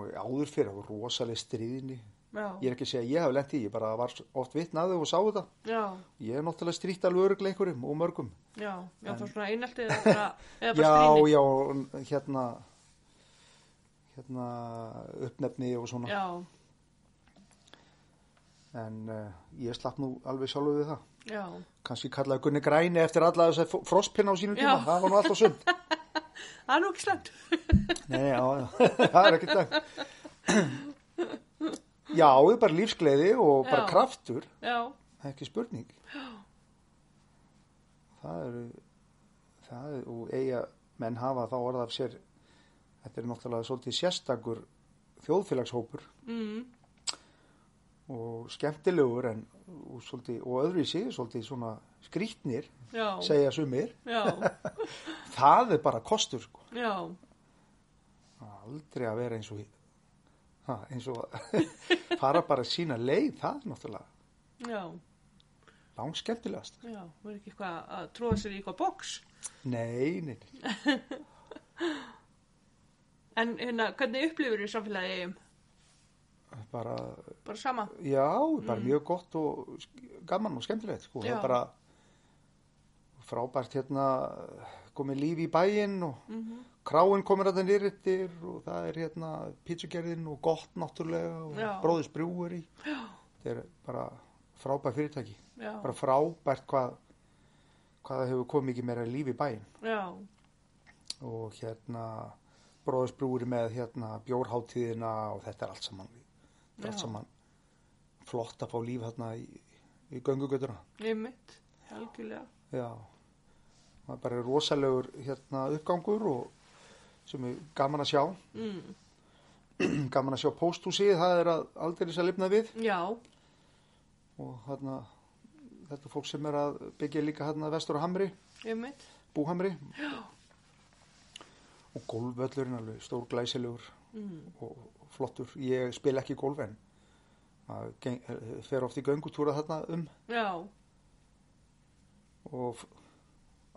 Speaker 2: og áður fyrir það voru rosaleg stríðni
Speaker 1: já,
Speaker 2: ég er ekki að segja að ég hef lent í, ég bara var oft vitnaði og sá þetta
Speaker 1: já
Speaker 2: ég er náttúrulega strítt alveg öruglega einhverjum og mörgum
Speaker 1: já, já, þá svona einaltið eða bara, eða bara
Speaker 2: já,
Speaker 1: stríðni
Speaker 2: já, hérna hérna uppnefni og svona
Speaker 1: já,
Speaker 2: en uh, ég slapp nú alveg sjálfur við það
Speaker 1: já,
Speaker 2: kannski kallaði Gunni Græni eftir alla þess að frostpinna á sínum tíma,
Speaker 1: Já.
Speaker 2: það var nú alltaf sund
Speaker 1: það er nú ekki slæmt
Speaker 2: nei, nei, já, já, það er ekki dag já, við bara lífsgleði og bara
Speaker 1: Já.
Speaker 2: kraftur
Speaker 1: já,
Speaker 2: það er ekki spurning það eru það er, og eiga menn hafa þá orða af sér þetta er náttúrulega svolítið sérstakur þjóðfélagshópur
Speaker 1: mm.
Speaker 2: og skemmtilegur en, og, svolítið, og öðruvísi, svolítið svona skrýtnir,
Speaker 1: já,
Speaker 2: segja sumir
Speaker 1: já,
Speaker 2: það er bara kostur sko.
Speaker 1: já
Speaker 2: aldrei að vera eins og ha, eins og fara bara sína leið, það er náttúrulega
Speaker 1: já,
Speaker 2: langt skemmtilegast
Speaker 1: já, verður ekki eitthvað að tróða sér í eitthvað bóks
Speaker 2: nei, nei, nei.
Speaker 1: en hérna, hvernig upplifur þér samfélagi í eigum
Speaker 2: bara,
Speaker 1: bara sama,
Speaker 2: já, bara mjög gott og sk- gaman og skemmtilegt sko. það
Speaker 1: Mm. Já.
Speaker 2: er bara frábært hérna komið líf í bæinn og
Speaker 1: Mhm.
Speaker 2: kráin komir að það nýrittir og það er hérna pítsugerðin og gott náttúrulega
Speaker 1: Já.
Speaker 2: og bróðis brúur í þetta er bara frábært fyrirtæki
Speaker 1: já,
Speaker 2: bara frábært hvað hvað það hefur komið mikið meira líf í bæinn
Speaker 1: já
Speaker 2: og hérna bróðisbrúri með hérna bjórháttíðina og þetta er allt saman þetta er
Speaker 1: Já.
Speaker 2: allt saman flott að fá líf hérna í, í göngugötuna
Speaker 1: Einmitt, algjörlega.
Speaker 2: já það er bara rosalegur hérna uppgangur og sem er gaman að sjá
Speaker 1: Mm.
Speaker 2: gaman að sjá pósthúsið, það er að aldrei þess að lifna við
Speaker 1: Já,
Speaker 2: og hérna þetta er fólk sem er að byggja líka hérna vestur á Hamri
Speaker 1: einmitt.
Speaker 2: búhamri Já. og golfvöllurinn alveg stór glæsilegur
Speaker 1: Mm.
Speaker 2: og flottur ég spila ekki golf en maður geng- eh, fer oft í göngutúra þarna um
Speaker 1: Já,
Speaker 2: og f-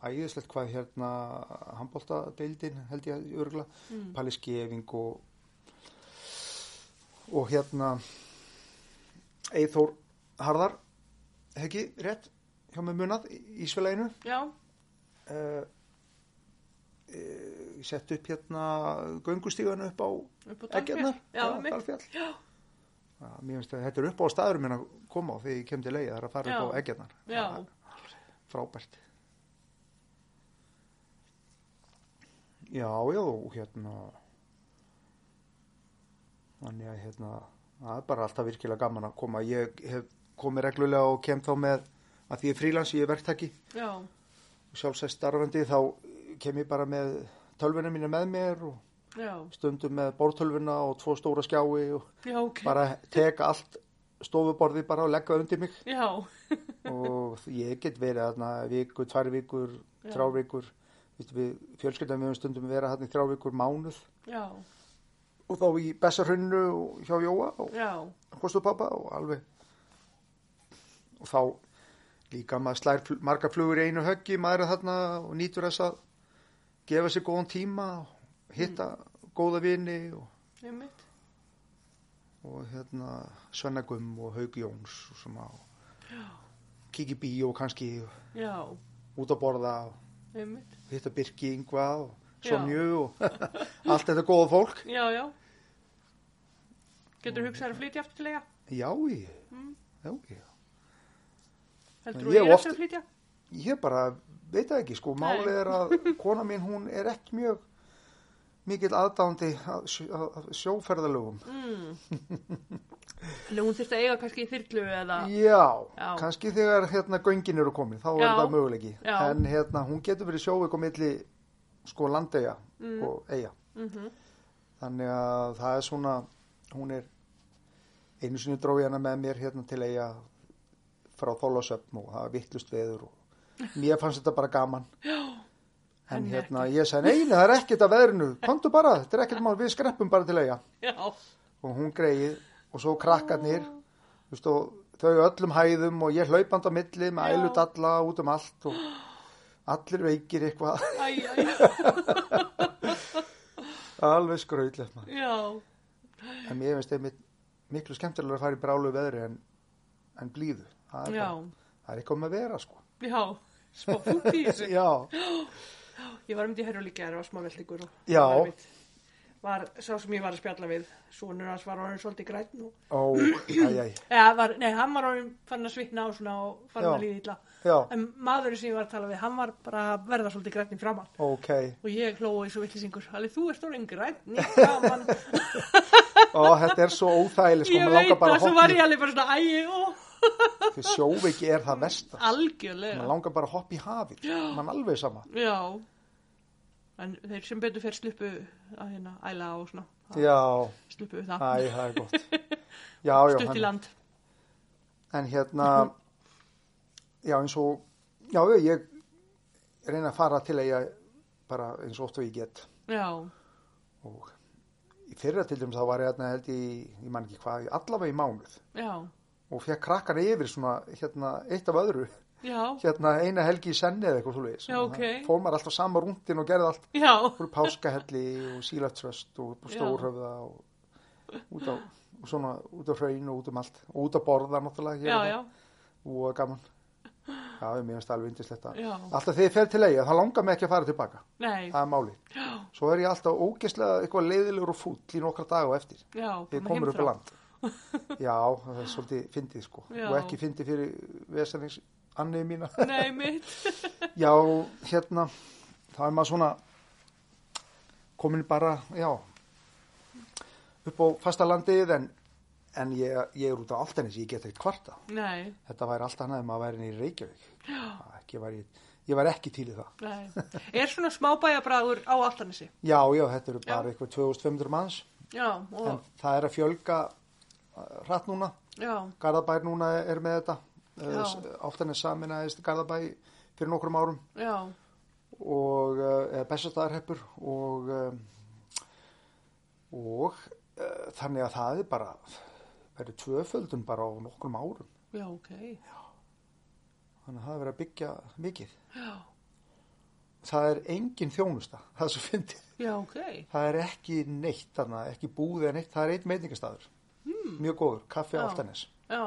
Speaker 2: æðislegt hvað hérna handbóltadeildin held ég örgla mm. Palli Skeving og og hérna Eithór Harðar hekki rétt hjá með munað í Ísveleginu
Speaker 1: já,
Speaker 2: uh, uh, sett upp hérna göngustígan upp á
Speaker 1: upp á
Speaker 2: Eggjarnar,
Speaker 1: Dalfjall. Já,
Speaker 2: hérna. já,
Speaker 1: einmitt.
Speaker 2: Dalfjall. Já, mér finnst að þetta er upp á staður minn að koma á þegar ég kem til leið, það er að fara upp á hérna.
Speaker 1: Já.
Speaker 2: eggjarnar.
Speaker 1: Já,
Speaker 2: Frábært. Já, já, og hérna, þannig að hérna, það er bara alltaf virkilega gaman að koma. Ég hef komið reglulega og kem þá með, að því ég er frílans, ég er verktaki,
Speaker 1: já,
Speaker 2: sjálfsætt starfandi, þá kem ég bara með tölvuna mína með mér og
Speaker 1: já,
Speaker 2: stundum með bortölvuna og tvo stóra skjái og
Speaker 1: já, ok.
Speaker 2: bara teka allt stofuborði bara og leggja undir mig
Speaker 1: Já,
Speaker 2: og ég get verið þarna viku, tvær vikur,
Speaker 1: Já.
Speaker 2: þrjá vikur Vistu, við fjölskyldan við höfum stundum verið þarna í þrjá vikur mánuð
Speaker 1: já,
Speaker 2: og þá í Bessarhunnu og hjá Jóa og
Speaker 1: já,
Speaker 2: Kostu pappa og alveg og þá líka maður slær fl- margar flugur í einu höggi maður er þarna og nýtur þess að gefa sér góðan tíma og hitta góða vini og
Speaker 1: einmitt.
Speaker 2: og hérna Svennagum og Haug Jóns og svona kíkja í bíó kannski
Speaker 1: Já,
Speaker 2: út að borða og
Speaker 1: einmitt.
Speaker 2: hitta Birki yngva og
Speaker 1: Já.
Speaker 2: Sonju og allt þetta góða fólk
Speaker 1: Já, já. Getur hugsað að flytja aftur til eiga?
Speaker 2: já, ég,
Speaker 1: Mm.
Speaker 2: já, ég
Speaker 1: Heldur
Speaker 2: Ég
Speaker 1: þú að ég er
Speaker 2: oft-
Speaker 1: eftir að flytja?
Speaker 2: ég bara veit það ekki sko, málið
Speaker 1: Nei.
Speaker 2: er að kona mín hún er ekki mjög mikill aðdándi að, sjó- að sjóferðalögum.
Speaker 1: Þannig að Mm. hún þurfti að eiga kannski í þyrlu eða
Speaker 2: Já,
Speaker 1: Ah. Já.
Speaker 2: kannski þegar hérna göngin eru komin, þá er
Speaker 1: Já.
Speaker 2: það möguleiki.
Speaker 1: Já.
Speaker 2: En hérna, hún getur verið sjóveik á milli sko landeyja
Speaker 1: Mm.
Speaker 2: og eiga.
Speaker 1: Mhm.
Speaker 2: Þannig að það er svona, hún er, einu sinni drói hana með mér hérna til eiga frá þólasöfn og það er vittlust veður og mér fannst þetta bara gaman. Já. En
Speaker 1: henni
Speaker 2: hérna, ég sagði, nei, nei, það er ekkert að veðrinu, komdu bara, þetta er ekkert mál, við skreppum bara til eiga
Speaker 1: Já,
Speaker 2: og hún greið og svo krakkarnir þú veist, og þau öllum hæðum og ég hlaupandi á milli með
Speaker 1: Já.
Speaker 2: ælu dalla út um allt og allir veikir eitthvað
Speaker 1: æ, æ,
Speaker 2: alveg skrautlegt maður.
Speaker 1: já,
Speaker 2: en mér finnst einmitt miklu skemmtilega að fara í brálu veðri en, en blíðu það er,
Speaker 1: já,
Speaker 2: bara- það er eitthvað með að vera sko
Speaker 1: já, smá fútt í þessu.
Speaker 2: já,
Speaker 1: Ég var um því herjum líka, það var smá veltingur og
Speaker 2: Já.
Speaker 1: var, einmitt- var sá sem ég var að spjalla við, sonur hans var orðin svolítið græn og,
Speaker 2: ó, æj, æj
Speaker 1: eða, var, nei, hann var orðin fann að svitna og svona og fann
Speaker 2: Já.
Speaker 1: að líða illa.
Speaker 2: já,
Speaker 1: En maðurinn sem ég var að tala við, hann var bara að verða svolítið grænn í framann
Speaker 2: ok,
Speaker 1: og ég hlóa eins og villisingur, alveg þú ert orðin grænn í framann.
Speaker 2: og þetta er svo óþægileg sko,
Speaker 1: ég
Speaker 2: maður
Speaker 1: veit
Speaker 2: langar bara
Speaker 1: það,
Speaker 2: að
Speaker 1: svo var
Speaker 2: hoppa
Speaker 1: ég alveg bara svona, æ, ó,
Speaker 2: í- því sjóveiki er það versta maður
Speaker 1: algjörlega.
Speaker 2: langar bara að hoppa í hafið mann alveg sama
Speaker 1: Já, en þeir sem betur fyrir sluppu að hérna æla og svona, að
Speaker 2: já,
Speaker 1: sluppu það,
Speaker 2: Æ, það er gott. Já, já,
Speaker 1: stutt í
Speaker 2: en,
Speaker 1: land.
Speaker 2: en hérna, já eins og, já ég reyna að fara til eiga bara eins og oft og ég get
Speaker 1: Já,
Speaker 2: og í fyrra til dæmis þá var ég hérna held í, ég man ekki hvað, í allavega í mánuð
Speaker 1: já,
Speaker 2: og fekk krakkana yfir svona hérna eitt af öðru,
Speaker 1: já,
Speaker 2: hérna eina helgi í senni eða eitthvað svo leiðis.
Speaker 1: Já, ok.
Speaker 2: Fór maður alltaf sama rúndin og gerði allt
Speaker 1: já,
Speaker 2: úr páskahelli og sílatröst og upp á
Speaker 1: Já.
Speaker 2: stórhöfða og út á, og svona, út á hraun og út um allt og út að borða náttúrulega hérna.
Speaker 1: já, já,
Speaker 2: og gaman já, mér finnst það alveg yndislegt að
Speaker 1: Já.
Speaker 2: alltaf þegar ég fer til eiga, það langar mig ekki að fara tilbaka
Speaker 1: nei,
Speaker 2: það er máli,
Speaker 1: já,
Speaker 2: svo er ég alltaf ógeðslega eitthvað leiðilegur og fúll í nokkra daga og eftir
Speaker 1: já,
Speaker 2: þegar ég komur upp á land já, það er svolítið fyndið sko
Speaker 1: Já.
Speaker 2: og ekki fyndið fyrir vesanings annið mína
Speaker 1: Nei, mitt,
Speaker 2: Já, hérna, þá er maður svona komin bara, já, upp á fastalandið en, en ég, ég er út á allt ég get ekkert kvarta.
Speaker 1: nei,
Speaker 2: Þetta væri allt annað ef maður væri í Reykjavík. Já. Ekki væri, ég væri ekki til í það.
Speaker 1: nei, er svona smábæjabræður á altanissi,
Speaker 2: Já, já, þetta eru bara
Speaker 1: Já.
Speaker 2: eitthvað 2500 manns
Speaker 1: já, og,
Speaker 2: en það er að fjölga uh, hratt núna.
Speaker 1: já,
Speaker 2: Garðabær núna er með þetta. Eh,
Speaker 1: Já.
Speaker 2: Áltanis saminæðist Garðabæ fyrir nokkrum árum.
Speaker 1: já,
Speaker 2: og uh, Bessastæðarheppur og um, og uh, þannig að það er bara verið tvöföldun bara á nokkrum árum
Speaker 1: já, ok,
Speaker 2: þannig að það er verið að byggja mikið
Speaker 1: já,
Speaker 2: það er engin þjónusta, það er svo fyndið
Speaker 1: já, ok,
Speaker 2: það er ekki neitt þarna, ekki búið eða neitt, það er einn meitingastæður mm. mjög góður, kaffi
Speaker 1: Hmm. Já.
Speaker 2: aftanis
Speaker 1: já,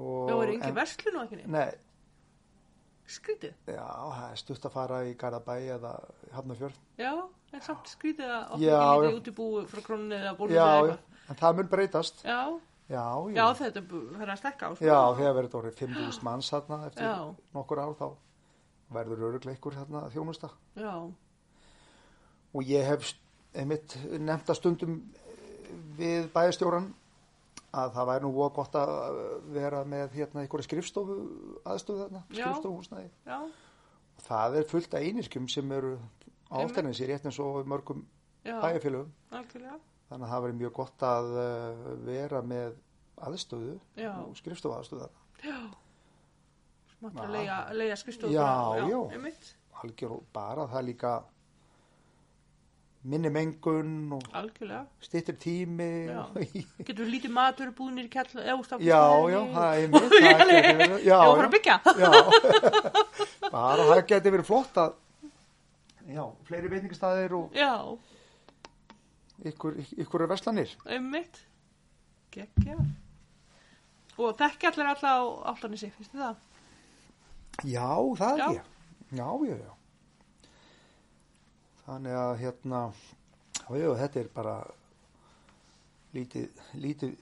Speaker 2: og,
Speaker 1: já, er engin verslun og ekki neitt,
Speaker 2: Nei,
Speaker 1: skrítið,
Speaker 2: já, það er stutt að fara í Garðabæ eða Hafnarfjörn
Speaker 1: já, en samt skrítið að opna
Speaker 2: Já,
Speaker 1: ekki
Speaker 2: já.
Speaker 1: neitt útibú frá krónunni eða bólunni
Speaker 2: Já,
Speaker 1: eða
Speaker 2: já,
Speaker 1: eitthvað,
Speaker 2: en það mun breytast
Speaker 1: já,
Speaker 2: Já,
Speaker 1: Já, þetta bu- það er að stekka á. sko.
Speaker 2: Já, þegar verður þetta orðið 5.000 manns hérna eftir
Speaker 1: Já.
Speaker 2: nokkur ár þá verður öruglega ykkur hérna þjónusta.
Speaker 1: Já,
Speaker 2: Og ég hef st- einmitt nefnda stundum eh, við bæjastjóran að það væri nú voða gott að vera með hérna ykkur skrifstofu aðstöðu þarna,
Speaker 1: Já.
Speaker 2: skrifstofuhúsnaði.
Speaker 1: já,
Speaker 2: Það er fullt af einirkjum sem eru
Speaker 1: Einmitt.
Speaker 2: ástæðan sér rétt eins og í mörgum
Speaker 1: já,
Speaker 2: bæjarfélögum.
Speaker 1: algjörlega.
Speaker 2: Þannig að það verður mjög gott að eh, vera með aðstöðu
Speaker 1: Já.
Speaker 2: og skrifstofu aðstöðu þarna.
Speaker 1: Já, smátt
Speaker 2: Já.
Speaker 1: að leiða, leiða skrifstofu.
Speaker 2: Já,
Speaker 1: bara,
Speaker 2: já.
Speaker 1: Einmitt,
Speaker 2: algjör og bara það er líka minni mengun og
Speaker 1: algjörlega.
Speaker 2: stýttir tími
Speaker 1: Já.
Speaker 2: og-
Speaker 1: Getur lítið matur búinir í kjall, eða úst á
Speaker 2: já, já, það er mitt það gæti verið- já,
Speaker 1: Já, ég var að byggja.
Speaker 2: já. bara það geti verið flott að já, fleiri veitingastæðir og
Speaker 1: Já,
Speaker 2: ykkur, ykkur er verslanir
Speaker 1: einmitt. Gekkja. Og þekki allir alla á áttanissi, finnst þið það?
Speaker 2: já, það
Speaker 1: Já.
Speaker 2: er ég já, já, já þannig að hérna já, já, þetta er bara lítið, lítið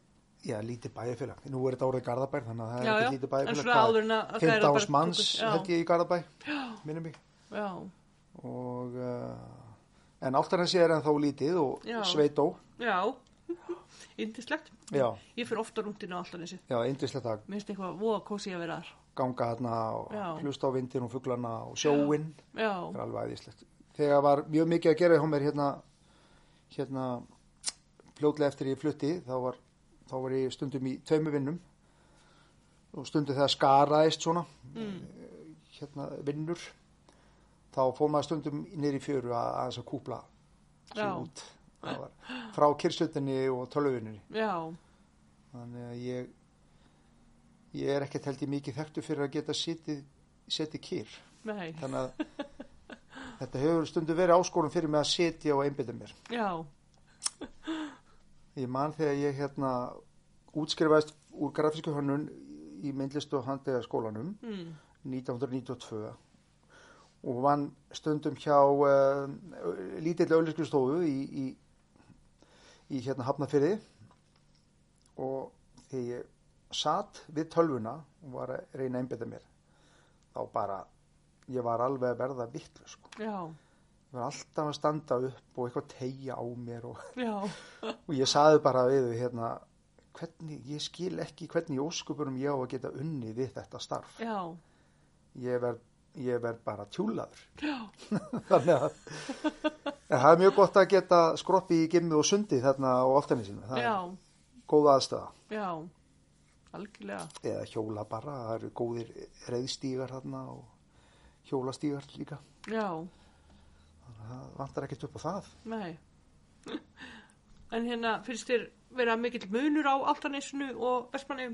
Speaker 2: já, lítið bæjarfélag, nú er þetta orðið Garðabær þannig að það er
Speaker 1: Já, já.
Speaker 2: ekki lítið
Speaker 1: En
Speaker 2: bæjarfélag
Speaker 1: svona áður en að- að Garðabæ
Speaker 2: 15 árs manns
Speaker 1: tókust, já.
Speaker 2: held ég í Garðabær minnum mig
Speaker 1: Já,
Speaker 2: og uh, en Áltanesi er ennþá lítið og
Speaker 3: Já.
Speaker 2: Sveitó
Speaker 3: Já, indislegt.
Speaker 2: já,
Speaker 3: Ég fyrir ofta rúndin á alltaf þessi.
Speaker 2: já, indislegt að
Speaker 3: Mér finnst eitthvað voða kósi að vera þar.
Speaker 2: ganga þarna og
Speaker 3: Já.
Speaker 2: hlusta á vindin og fuglana og sjóin það
Speaker 3: Já,
Speaker 2: er alveg æðislegt þegar var mjög mikið að gera hjá mér hérna hérna fljótlega eftir ég flutti þá var, þá var ég stundum í tveimu vinnum og stundum þegar skaraðist svona
Speaker 3: mm,
Speaker 2: hérna vinnur þá fór maður stundum niður í fjöru að aðeins að kúpla sig
Speaker 3: Já.
Speaker 2: út Það var, frá kyrsutinni og tölvuninni
Speaker 3: já,
Speaker 2: þannig að ég ég er ekkert held ég mikið þekktu fyrir að geta setið, setið kýr
Speaker 3: nei,
Speaker 2: þannig að þetta hefur stundu verið áskorun fyrir mig að setja og einbytta mér.
Speaker 3: já,
Speaker 2: Ég man þegar ég hérna útskrifaðist úr grafísku hönnun í myndlistu og handega skólanum
Speaker 3: mm.
Speaker 2: 1992 og vann stundum hjá uh, lítill auðlísku stofu í, í, í hérna hafnafyrði og þegar ég satt við tölvuna og var að reyna að einbytta mér þá bara, ég var alveg að verða vittlu sko.
Speaker 3: já,
Speaker 2: Ég var alltaf að standa upp og eitthvað tegja á mér og,
Speaker 3: já,
Speaker 2: og ég saði bara við þau hérna, hvernig, ég skil ekki hvernig í ósköpunum ég á að geta unni við þetta starf.
Speaker 3: já,
Speaker 2: Ég verð, ég verð bara tjúlaður.
Speaker 3: já,
Speaker 2: Þannig að en það er mjög gott að geta skroppi í gimmi og sundi þarna á oftanisinu. Það
Speaker 3: já,
Speaker 2: er góð aðstöða.
Speaker 3: já, algjörlega,
Speaker 2: Eða hjóla bara, það eru góðir reyðstígar þarna og hjólastígar líka.
Speaker 3: já,
Speaker 2: Það vantar ekkert upp á það.
Speaker 3: nei. En hérna, finnst þér vera mikill munur á Altanesinu og Vestmanneum?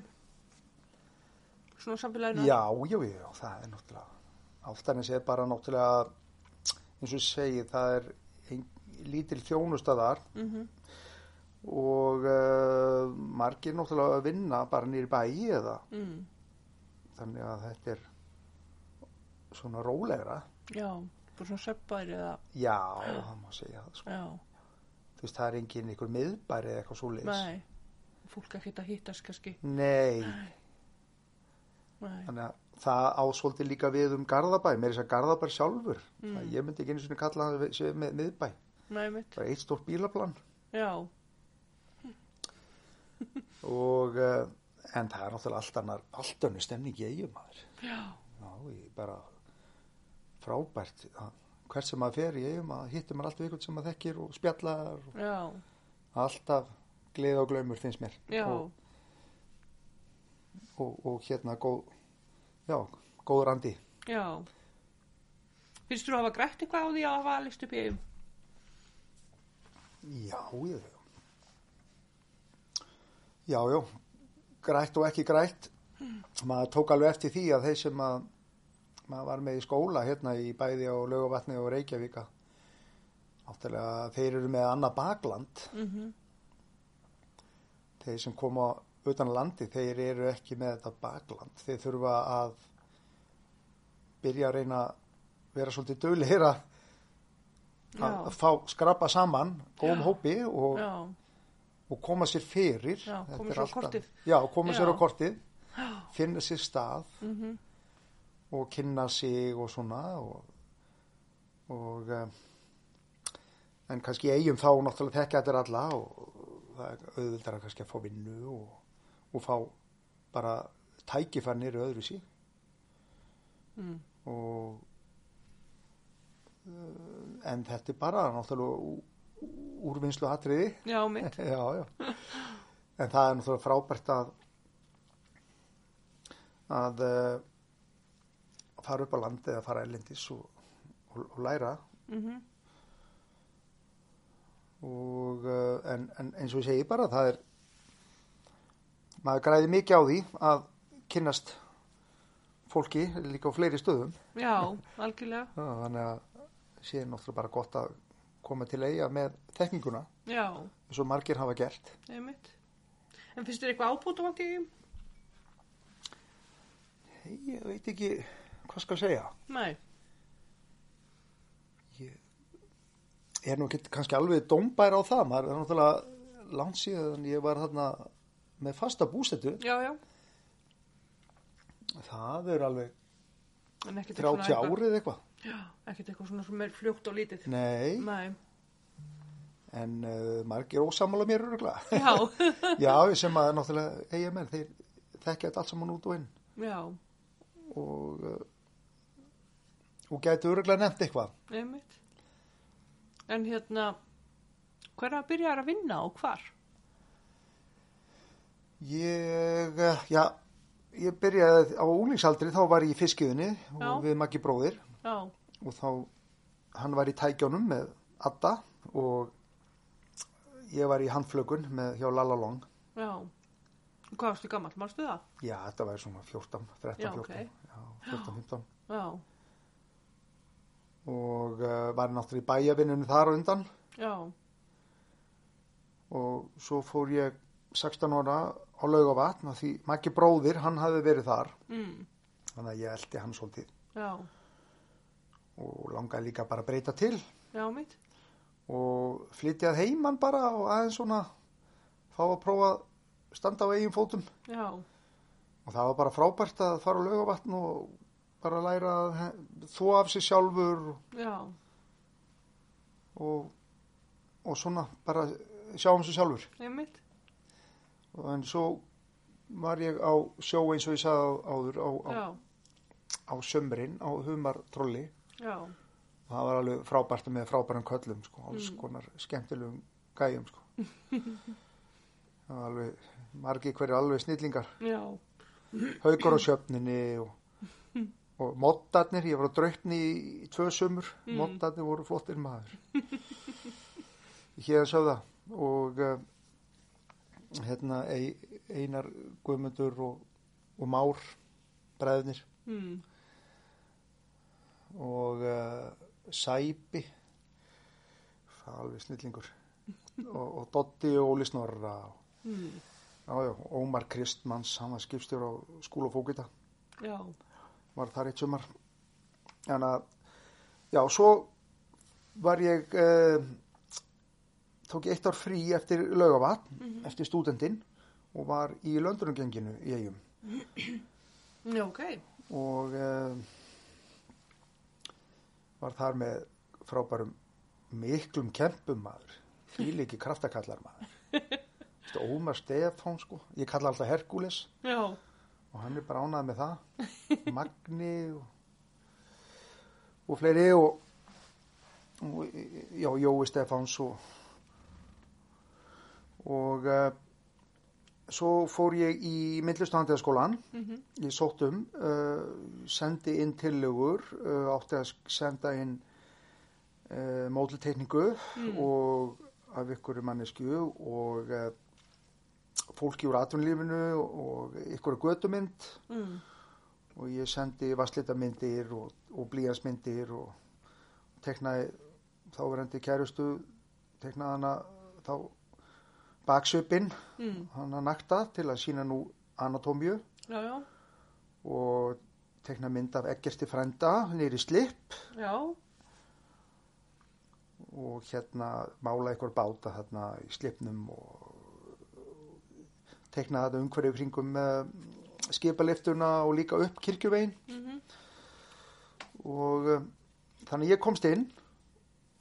Speaker 3: Svona samfélaginu?
Speaker 2: Já, já, já, já, það er náttúrulega Áltanes er bara náttúrulega eins og ég segi, það er ein, lítil þjónustadar
Speaker 3: Mm
Speaker 2: og uh, margir náttúrulega að vinna bara nýri bæi eða
Speaker 3: mm.
Speaker 2: þannig að þetta er svona rólegra
Speaker 3: Já, bara svona seppbæri eða,
Speaker 2: Já, það má segja það sko.
Speaker 3: já,
Speaker 2: Þú veist, það er engin ykkur miðbæri eða eitthvað svoleiðis
Speaker 3: nei, fólk ekkert að hittast kannski,
Speaker 2: Nei,
Speaker 3: nei,
Speaker 2: þannig að það ásvoldi líka við um Garðabæ, mér er þess að Garðabæ sjálfur mm. ég myndi ekki einu sinni kalla það við- sé með miðbæ,
Speaker 3: nei mitt,
Speaker 2: bara eitt stórt bílaplan
Speaker 3: já,
Speaker 2: og uh, en það er náttúrulega allt annar allt önnur stemning í eigum maður
Speaker 3: já,
Speaker 2: já, ég bara frábært að hvert sem maður fer í eigum að hittum maður alltaf ykkur sem maður þekkir og spjallar og
Speaker 3: já,
Speaker 2: alltaf gleð og glaumur finnst mér
Speaker 3: já,
Speaker 2: Og, og, og hérna góð já, góður andi
Speaker 3: já. Finnst þú að hafa grætt eitthvað á því að hafa list upp í eigum?
Speaker 2: já, ég já, já grætt og ekki grætt
Speaker 3: Hmm.
Speaker 2: maður tók alveg eftir því að þeir sem að maður var með í skóla hérna í bæði á Laugavatni og Reykjavíka áttúrulega þeir eru með annað bakland
Speaker 3: Mm
Speaker 2: þeir sem koma utan af landi þeir eru ekki með þetta bakland þeir þurfa að byrja að reyna að vera svolítið dölir að að
Speaker 3: Já.
Speaker 2: fá skrapa saman góðum
Speaker 3: Já.
Speaker 2: hópi og,
Speaker 3: Já,
Speaker 2: og koma sér fyrir
Speaker 3: Já,
Speaker 2: Þetta
Speaker 3: koma sér
Speaker 2: er
Speaker 3: á
Speaker 2: allt annað.
Speaker 3: kortið.
Speaker 2: já, koma sér
Speaker 3: Já.
Speaker 2: á kortið
Speaker 3: já,
Speaker 2: finna sér stað
Speaker 3: mhm,
Speaker 2: og kynna sig og svona og, og eh, en kannski í eigum þá náttúrulega þekka þetta er alla og það er auðvildara kannski að fá vinnu og, og fá bara tækifannir öðru sí
Speaker 3: Mm.
Speaker 2: og eh, en þetta er bara náttúrulega ú- úrvinnslu atriði
Speaker 3: já, mitt,
Speaker 2: já, já. En það er náttúrulega frábært að að uh, fara upp á landi eða fara ellendis og, og, og læra
Speaker 3: mhm,
Speaker 2: og uh, en, en eins og ég segi bara það er maður græði mikið á því að kynnast fólki líka á fleiri stöðum
Speaker 3: já, algjörlega,
Speaker 2: Já, þannig að sé náttúrulega bara gott að koma til eiga með þekkinguna
Speaker 3: já,
Speaker 2: eins og margir hafa gert
Speaker 3: nei mitt. En finnst þér eitthvað ábútavant í eigum?
Speaker 2: ég veit ekki hvað skal segja
Speaker 3: Nei,
Speaker 2: ég er nú ekki kannski alveg dómbær á það maður er náttúrulega langt síðan ég var þarna með fasta búsetu
Speaker 3: já, já,
Speaker 2: það er alveg
Speaker 3: en ekkert
Speaker 2: 30
Speaker 3: eitthvað-
Speaker 2: árið eitthvað
Speaker 3: Já, ekkert eitthvað svona sem er fljótt og lítið.
Speaker 2: Nei,
Speaker 3: Nei.
Speaker 2: en uh, margir ósamála mér örugla.
Speaker 3: Já,
Speaker 2: Já, sem að náttúrulega eigin menn, þeir þekkja þetta allt saman út og inn
Speaker 3: já,
Speaker 2: og, uh, og gæti örugla nefnt eitthvað.
Speaker 3: einmitt. En hérna, hver að byrja að vinna og hvar?
Speaker 2: Ég, uh, já, ég byrjaði á úlingsaldri, þá var ég í fiskiðinni og
Speaker 3: Já.
Speaker 2: við Maggi bróðir
Speaker 3: Já,
Speaker 2: og þá, hann var í tækjónum með Adda og ég var í handflögun með hjá Lala Long.
Speaker 3: já. Hvað varstu gammal, marstu það?
Speaker 2: Já, þetta var svona 14, 13,
Speaker 3: Já,
Speaker 2: 14,
Speaker 3: ok.
Speaker 2: já, 14, 15
Speaker 3: Já,
Speaker 2: og uh, var náttúrulega í bæjavinnunni þar á undan
Speaker 3: já,
Speaker 2: og svo fór ég 16 ára á laugavatn og því Maggi bróðir, hann hafði verið þar
Speaker 3: mm,
Speaker 2: þannig að ég eldi hann svolítið
Speaker 3: já,
Speaker 2: og langaði líka bara að breyta til
Speaker 3: já, mitt.
Speaker 2: og flytjað heiman bara og aðeins svona fá að prófa að standa á eigin fótum
Speaker 3: Já,
Speaker 2: og það var bara frábært að fara á laugavatn og bara læra að he- þvo af sér sjálfur
Speaker 3: já,
Speaker 2: og, og svona bara sjá um sér sjálfur
Speaker 3: einmitt.
Speaker 2: en svo var ég á sjó eins og ég sagði á- áður á, á,
Speaker 3: Já,
Speaker 2: á sömurinn á humartrolli
Speaker 3: já,
Speaker 2: og það var alveg frábært með frábærum köllum sko, alls konar skemmtilegum gæjum sko. það var alveg margir hverju alveg snillingar
Speaker 3: já,
Speaker 2: haugur á sjöfninni og, og moddarnir, ég var á draupni í tvö sömur, mm. moddarnir voru flottir maður hér sögða og uh, hérna Ei- Einar Guðmundur og, og Már bræðnir
Speaker 3: mm,
Speaker 1: Hmm.
Speaker 2: og uh, Sæpi það er alveg snillingur og, og Dotti og Óli Snorra og,
Speaker 1: Hmm.
Speaker 3: mm,
Speaker 2: já, já, Ómar Kristmanns, hann var skipstjór á skúla og fókita
Speaker 3: já,
Speaker 2: var þar eitt sumar en að já, svo var ég eh, tók ég eitt ár frí eftir laugavatn eftir stúdendinn og var í löndunugenginu í eigum
Speaker 3: já, ok,
Speaker 2: og eh, var þar með frábærum miklum kempum maður fíl ekki kraftakallar maður Þetta Ómar Stefán sko ég kalla alltaf Herkules
Speaker 3: já,
Speaker 2: og hann er bara ánað með það Magni og, og fleiri og, og já, Jói Stefáns og og uh, svo fór ég í myndlistuhandiðaskólan
Speaker 1: Mhm.
Speaker 2: ég sótt um uh, sendi inn tillögur uh, átti að sk- senda inn uh, mótilteikningu og af ykkur mannesku og uh, fólki úr atvinnulífinu og ykkur götumynd
Speaker 1: Hmm.
Speaker 3: mm,
Speaker 2: og ég sendi vasslitamindir og, og blíjansmyndir og teknaði þáverandi kærustu teknaði hana þá baksöpinn
Speaker 1: Hmm.
Speaker 3: mm,
Speaker 2: hana nakta til að sína nú anatómju
Speaker 3: já, já,
Speaker 2: og tekna mynd af Eggerti frænda nýri slipp
Speaker 3: já,
Speaker 2: og hérna mála ykkur báta þarna í slippnum og tekna þetta umhverju kringum uh, skipaliftuna og líka upp kirkjuvegin
Speaker 3: mhm,
Speaker 2: og um, þannig ég komst inn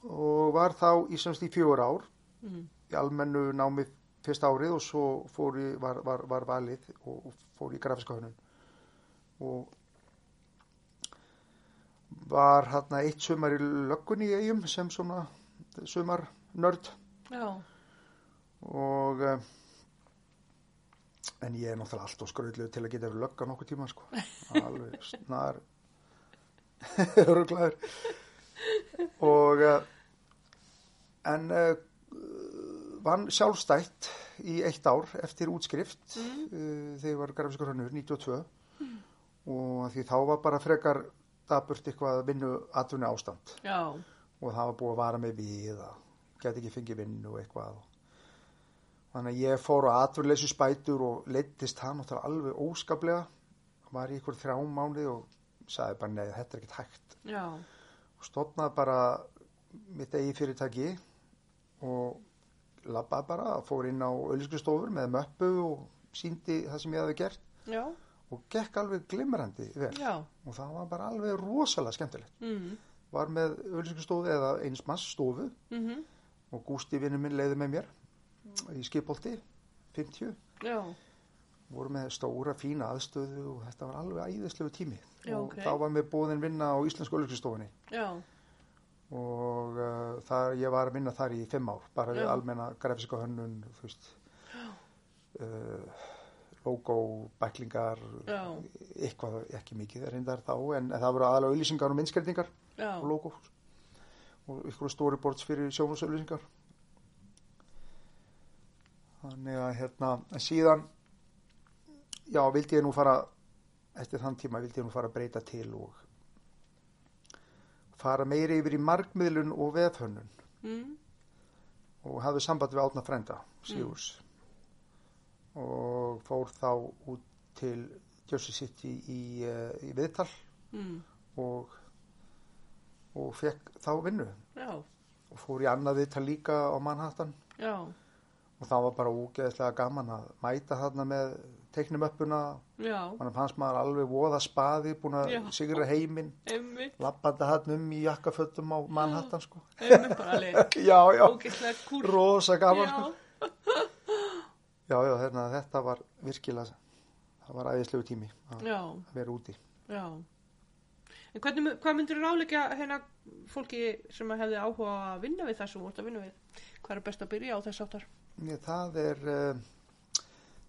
Speaker 2: og var þá í semst í fjögur ár
Speaker 1: Hmm.
Speaker 3: mm,
Speaker 2: í almennu námi fyrst árið og svo fór ég, var, var, var valið og, og fór í grafiska hönnun og var hérna eitt sumar í löggunni í eigum sem svona sumar nörd
Speaker 3: já,
Speaker 2: og eh, en ég er náttúrulega alltaf skröðlu til að geta verið lögga nokkuð tíma sko. alveg snar öruglaður og eh, en uh, vann sjálfstætt í eitt ár eftir útskrift mm. þegar ég var grafiskur hönnur 92 og því þá var bara frekar daburt eitthvað vinnu atvinni ástand
Speaker 3: já,
Speaker 2: og það var búið að vara mig við að geta ekki fengið vinnu og eitthvað þannig að ég fór á atvinnulegsu spætur og leittist hann og það alveg óskaplega var í ykkur þrjá mánuði og sagði bara neði þetta er ekkert hægt
Speaker 3: já,
Speaker 2: og stofnaði bara mitt eigi fyrirtæki og labbaði bara, fór inn á öllskustofur með möppu og síndi það sem ég hafi gert
Speaker 3: já,
Speaker 2: og gekk alveg glimrandi vel
Speaker 3: já,
Speaker 1: Hmm.
Speaker 2: og það var bara alveg rosalega skemmtilegt
Speaker 3: mm,
Speaker 2: var með auðlýsingastofu eða einsmanns stofu
Speaker 1: Mm
Speaker 2: og Gústi vinnur minn leiði með mér í skipolti 50
Speaker 1: Já,
Speaker 2: voru með stóra fína aðstöðu og þetta var alveg æðislegu tími
Speaker 1: Já,
Speaker 2: og
Speaker 1: ok.
Speaker 2: þá var mér búðin vinna á Íslensku Ölluskistofunni
Speaker 1: já,
Speaker 2: og uh, þar, ég var að vinna þar í fimm ár bara við
Speaker 1: Já.
Speaker 2: almenna grafiska hönnun þú veist uh, logo, bæklingar
Speaker 1: já,
Speaker 2: eitthvað ekki mikið reyndar þá en, en það voru aðalega auðlýsingar og minnskildingar
Speaker 1: já,
Speaker 2: og logo og ykkur storyboards fyrir sjónvarsauðlýsingar þannig að hérna en síðan já, vildi ég nú fara eftir þann tíma vildi ég nú fara að breyta til og fara meiri yfir í markmiðlun og vefhönnun
Speaker 1: mm,
Speaker 2: og hafði samband við Átna frænda Sigurs og fór þá út til Jersey City í, eh, í viðtal
Speaker 1: mm,
Speaker 2: og, og fekk þá vinnu
Speaker 1: já,
Speaker 2: og fór í annað viðtal líka á Manhattan
Speaker 1: já,
Speaker 2: og það var bara úgeðslega gaman að mæta þarna með teiknumöppuna
Speaker 1: já,
Speaker 2: mannum hans maður alveg voða spaði búin að
Speaker 1: Já.
Speaker 2: sigra heiminn
Speaker 1: einmitt,
Speaker 2: lappandi hann um í jakkafötum á Manhattan sko
Speaker 1: einmitt bara leið,
Speaker 2: já, já,
Speaker 1: ógeðslega kúr,
Speaker 2: rosa gaman
Speaker 1: já,
Speaker 2: sko já, já, hérna, þetta var virkilega það var æðislegu tími að
Speaker 1: já,
Speaker 2: vera úti
Speaker 1: já. En hvernig, hvað myndir ráleika hérna fólki sem að hefði áhuga á að vinna við það sem þú vart að vinna við? Hvað er best að byrja á þess áttar?
Speaker 2: Ég, það er uh,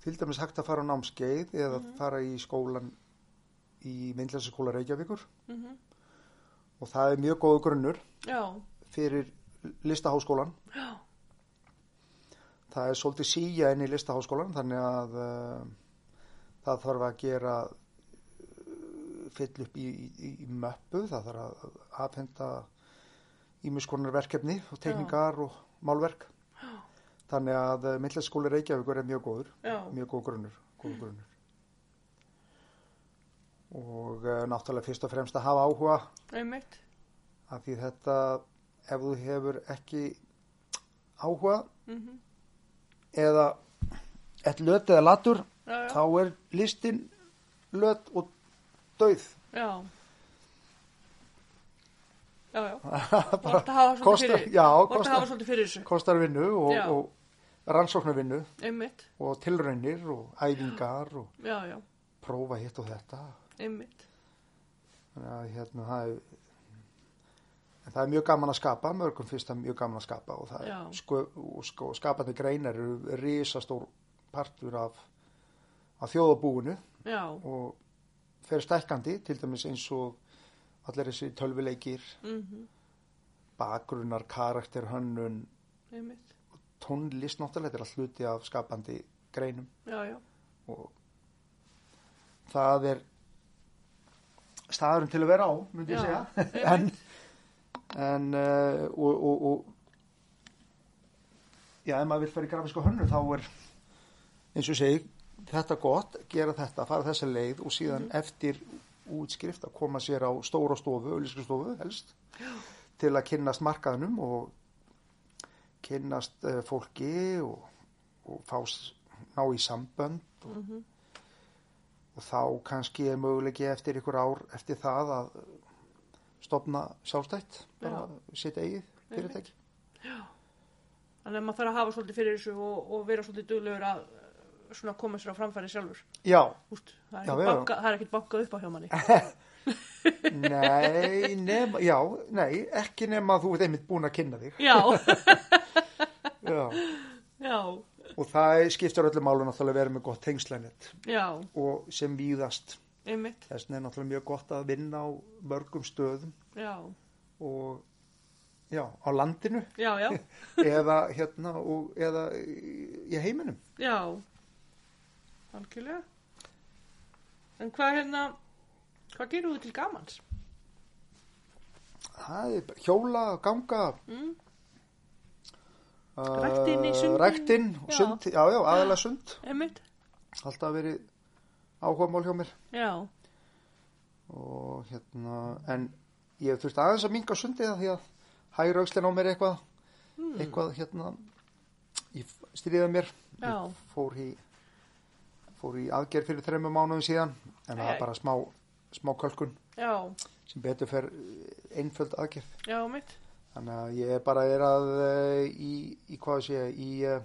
Speaker 2: til dæmis hægt að fara á námskeið eða
Speaker 1: Mhm.
Speaker 2: fara í skólan í myndlæsaskóla Reykjavíkur
Speaker 1: Mm
Speaker 2: og það er mjög góðu grunnur
Speaker 1: Já,
Speaker 2: fyrir listaháskólan
Speaker 1: já,
Speaker 2: það er svolítið síja inn í listaháskólan þannig að uh, það þarf að gera uh, fyll upp í, í, í möppu, það þarf að afhenda ímiskonar verkefni og teikningar og málverk þannig að uh, myndlæsskóli Reykjavíkur er mjög góður
Speaker 1: já,
Speaker 2: mjög góð grunnur, góð grunnur. og uh, náttúrulega fyrst og fremst að hafa áhuga
Speaker 1: einmitt,
Speaker 2: af því þetta ef þú hefur ekki áhuga
Speaker 1: mm
Speaker 2: eða ett löt eða latur
Speaker 1: já, já,
Speaker 2: þá er listin löt og dauð
Speaker 1: já. Já, já, þú
Speaker 2: bara
Speaker 1: vart að hafa svolítið
Speaker 2: kostar,
Speaker 1: fyrir,
Speaker 2: já,
Speaker 1: þú vart að hafa
Speaker 2: kostar,
Speaker 1: svolítið fyrir þessu,
Speaker 2: kostar vinnu og,
Speaker 1: Já.
Speaker 2: og rannsóknarvinnu
Speaker 1: einmitt,
Speaker 2: og tilraunir og æfingar og
Speaker 1: já, já,
Speaker 2: prófa hitt og þetta
Speaker 1: einmitt,
Speaker 2: þannig að hérna það er en það er mjög gaman að skapa mörgum finnst það mjög gaman að skapa og, það er
Speaker 1: Já.
Speaker 2: sko, og sko, skapandi greinar eru risastór partur af, af þjóðabúinu
Speaker 1: já,
Speaker 2: og fer stækkandi til dæmis eins og allir þessi tölvuleikir
Speaker 1: mhm.
Speaker 2: bakgrunnar, karakter, hönnun
Speaker 1: einmitt,
Speaker 2: tónlist náttúrulega þetta er að hluti af skapandi greinum
Speaker 1: já, já,
Speaker 2: og það er staðurinn til að vera á myndi
Speaker 1: Já,
Speaker 2: ég
Speaker 1: einmitt.
Speaker 2: segja en, en uh, og, og, og já, ef maður vil fara í grafísku hönnu þá er eins og ég segi, þetta gott gera þetta, fara þessa leið og síðan
Speaker 1: Mhm.
Speaker 2: eftir útskrift að koma sér á stóra stofu, ölliskastofu helst til að kynnast markaðnum og kynnast uh, fólki og, og fá, s- ná í sambönd og, og þá kannski er mögulegi eftir ykkur ár eftir það að stopna sjálfstætt bara sitt eigið fyrirtæki
Speaker 1: þannig að maður þarf að hafa svolítið fyrir þessu og, og vera svolítið duglegur að eh, svona koma sér á framfæri sjálfur
Speaker 2: Já,
Speaker 1: Úst, það, er
Speaker 2: Já,
Speaker 1: ekkert
Speaker 2: já.
Speaker 1: banka, það er ekkert bankað upp á hjá manni
Speaker 2: nei, nema, já, nei, ekki nema að þú ert einmitt búin að kynna þig.
Speaker 1: já,
Speaker 2: Já.
Speaker 1: já,
Speaker 2: Og það skiptir öllum málu náttúrulega að vera með gott tengslænett
Speaker 1: já
Speaker 2: og sem víðast.
Speaker 1: einmitt,
Speaker 2: Þess vegna er náttúrulega mjög gott að vinna á mörgum stöðum
Speaker 1: já,
Speaker 2: og já, á landinu
Speaker 1: já, já
Speaker 2: eða hérna og, eða í í heiminum.
Speaker 1: já algjörlega en hvað hérna hvað gerum við til gamans?
Speaker 2: Það er bara hjóla, ganga,
Speaker 1: Mm?
Speaker 2: uh,
Speaker 1: Ræktin í sundin.
Speaker 2: ræktin og
Speaker 1: Já.
Speaker 2: sund, já, já, aðalega sund.
Speaker 1: einmitt,
Speaker 2: Alltaf verið áhuga mál hjá mér.
Speaker 1: já,
Speaker 2: og hérna en ég hef þurft aðeins að minga sundið af því að hægur aukslinn á mér eitthvað
Speaker 1: Hmm.
Speaker 2: eitthvað hérna ég stríða mér
Speaker 1: já
Speaker 2: ég fór í fór í aðgerð fyrir þreymum mánuðum síðan en það
Speaker 1: Æ, æ.
Speaker 2: var bara smá smá kölkun
Speaker 1: já,
Speaker 2: sem betur fer einföld aðgerð
Speaker 3: já, mitt.
Speaker 2: Þannig að ég bara er að eh, í, í hvað sé, ég, í eh,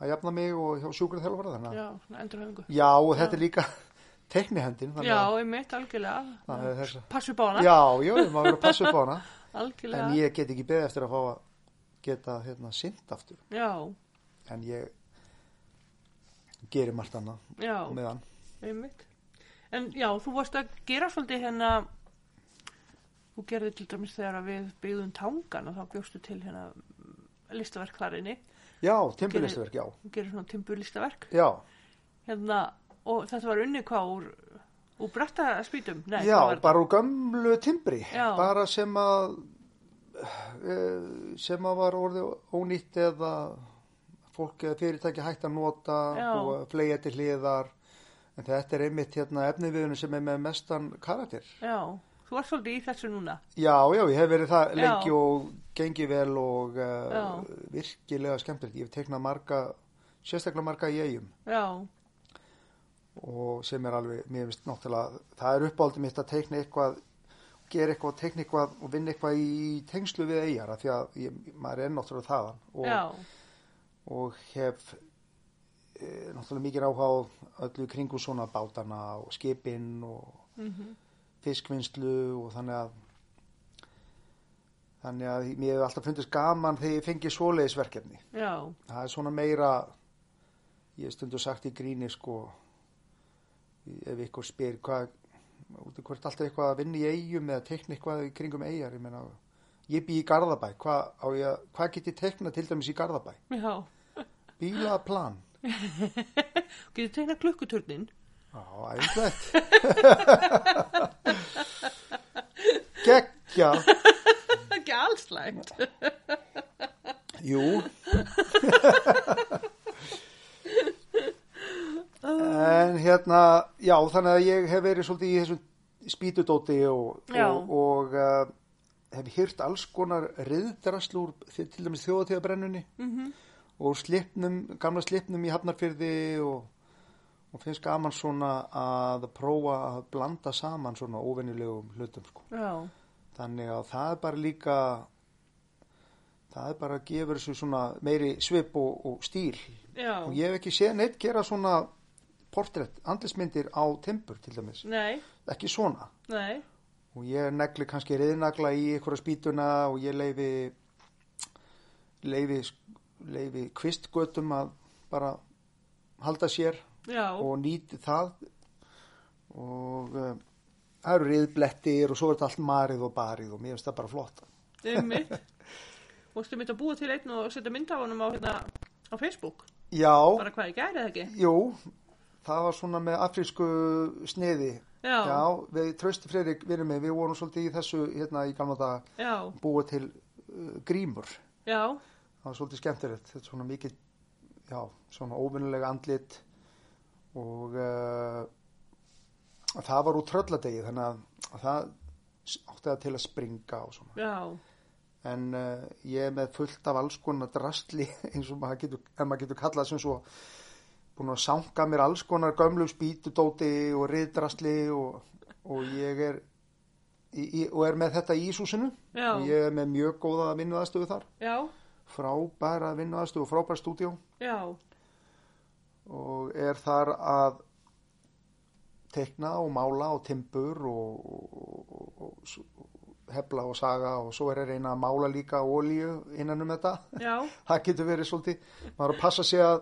Speaker 2: að jafna mig og hjá sjúkrið þjálfara þannig. að-
Speaker 3: Já, svona endurhæfingu.
Speaker 2: Já, og þetta er líka teknihendin.
Speaker 3: Já, einmitt, algjörlega.
Speaker 2: Þannig að þess að...
Speaker 3: Passu bá hana,
Speaker 2: Já, já, maður verður að passa upp á hana.
Speaker 3: algjörlega.
Speaker 2: En ég get ekki beðið eftir að fá að geta hérna sint aftur.
Speaker 3: Já,
Speaker 2: En ég gerir margt annað
Speaker 3: já,
Speaker 2: með hann.
Speaker 3: einmitt. En já, þú varst að gera svolítið hérna, þú gerði til dæmis þegar að við byggðum tangan og þá bjóstu til hérna mm, listaverk þar inni.
Speaker 2: Já, timbulistaverk, já.
Speaker 3: Þú gerir svona timburlistaverk.
Speaker 2: Já,
Speaker 3: Hérna, og þetta var unni hvað úr, úr bretta spýtum? Nei,
Speaker 2: já
Speaker 3: hvað var
Speaker 2: bara úr gömlu timbri.
Speaker 3: Já.
Speaker 2: Bara sem að eh, sem að var orðið ónýtt eða fólk eða fyrirtæki hægt að nota
Speaker 3: Já.
Speaker 2: og fleigja til hliðar en þetta er einmitt hérna efniviðunum sem er með mestan karakter
Speaker 3: þetta? Já, þú varst svolítið í þessu núna.
Speaker 2: Já, já, ég hef verið það
Speaker 3: Já.
Speaker 2: lengi og gengið vel og uh,
Speaker 3: Já.
Speaker 2: virkilega skemmtilegt. Ég hef teknað marga, sérstaklega marga í eigum
Speaker 3: Já,
Speaker 2: og sem er alveg, mér finnst náttúrulega, það er uppáldið mitt að teikna eitthvað, gera eitthvað, teikna eitthvað og vinna eitthvað í tengslu við eigara því að ég, maður er náttúrulega þaðan og,
Speaker 3: já,
Speaker 2: og hef e, náttúrulega mikið áhuga á öllu í kringum svona bátana og skipin og
Speaker 3: mhm,
Speaker 2: fiskvinnslu og þannig að þannig að mér hefur alltaf fundist gaman þegar ég fengi svoleiðis verkefni.
Speaker 3: já,
Speaker 2: Það er svona meira ég hef stundu sagt í gríni sko ef ykkur spyr hvað út í hvert alltaf eitthvað að vinna í eigum eða teikna eitthvað í kringum eigjar ég meina ég bý í Garðabæ hvað, á ég að- hvað get ég teikna til dæmis í Garðabæ
Speaker 3: já.
Speaker 2: bílaplan
Speaker 3: Getur tegna klukkuturnin?
Speaker 2: Já, æðislegt. Gekkja.
Speaker 3: Ekki alls lægt.
Speaker 2: Jú En hérna Já þannig að ég hef verið svolítið í þessum spýtudóti og,
Speaker 3: Já.
Speaker 2: og, og uh, hef hýrt alls konar reyðdraslu úr þi- til dæmis þjóðatíðabrennunni
Speaker 3: Mhm.
Speaker 2: og úr slipnum, gamla slipnum í Hafnarfyrði og, og finnst gaman svona að prófa að blanda saman svona óvenjulegum hlutum sko
Speaker 3: Já,
Speaker 2: þannig að það er bara líka það er bara að gefa þessu svona meiri svip og, og stíl
Speaker 3: já.
Speaker 2: og ég hef ekki séð neitt gera svona portrétt, andlismyndir á timbur til dæmis,
Speaker 3: Nei,
Speaker 2: ekki svona
Speaker 3: nei,
Speaker 2: og ég negli kannski reyðnagla í einhverja spýtuna og ég leifi leifi leifi kvistgötum að bara halda sér
Speaker 3: já,
Speaker 2: og nýti það og um, það eru riðblettir og svo er þetta allt marið og barið og mér finnst það bara flott
Speaker 3: einmitt. Vostu mitt að búa til einn og setja mynd af honum á, hérna, á Facebook?
Speaker 2: já,
Speaker 3: Bara hvað ég gæri það ekki?
Speaker 2: jú það var svona með afrísku sniði
Speaker 3: Já, já,
Speaker 2: við trösti Freirik vinur minn, við vorum svolítið í þessu hérna í gamla dag
Speaker 3: já,
Speaker 2: búa til uh, grímur það
Speaker 3: já,
Speaker 2: var svolítið skemmtilegt þetta er svona mikið, já, svona óvinnulega andlit og uh, það var úr trölladegi þannig að það átti það til að springa og svona
Speaker 3: já,
Speaker 2: en uh, ég er með fullt af alls konar drastli eins og maður getur, ef maður getur kallað sem svo búin að sanga mér alls konar gömlu spýtudóti og riðdrasli og, og ég er í, í, og er með þetta í Ísúsinu
Speaker 3: Já.
Speaker 2: og ég er með mjög góða vinnuðastöfu þar
Speaker 3: já,
Speaker 2: frábæra vinnuðastöfu, frábæra stúdíó
Speaker 3: já,
Speaker 2: og er þar að tekna og mála og timbur og, og, og, og, og hefla og saga og svo er að reyna að mála líka olíu innan um þetta
Speaker 3: já,
Speaker 2: það getur verið svolítið maður á að passa sig að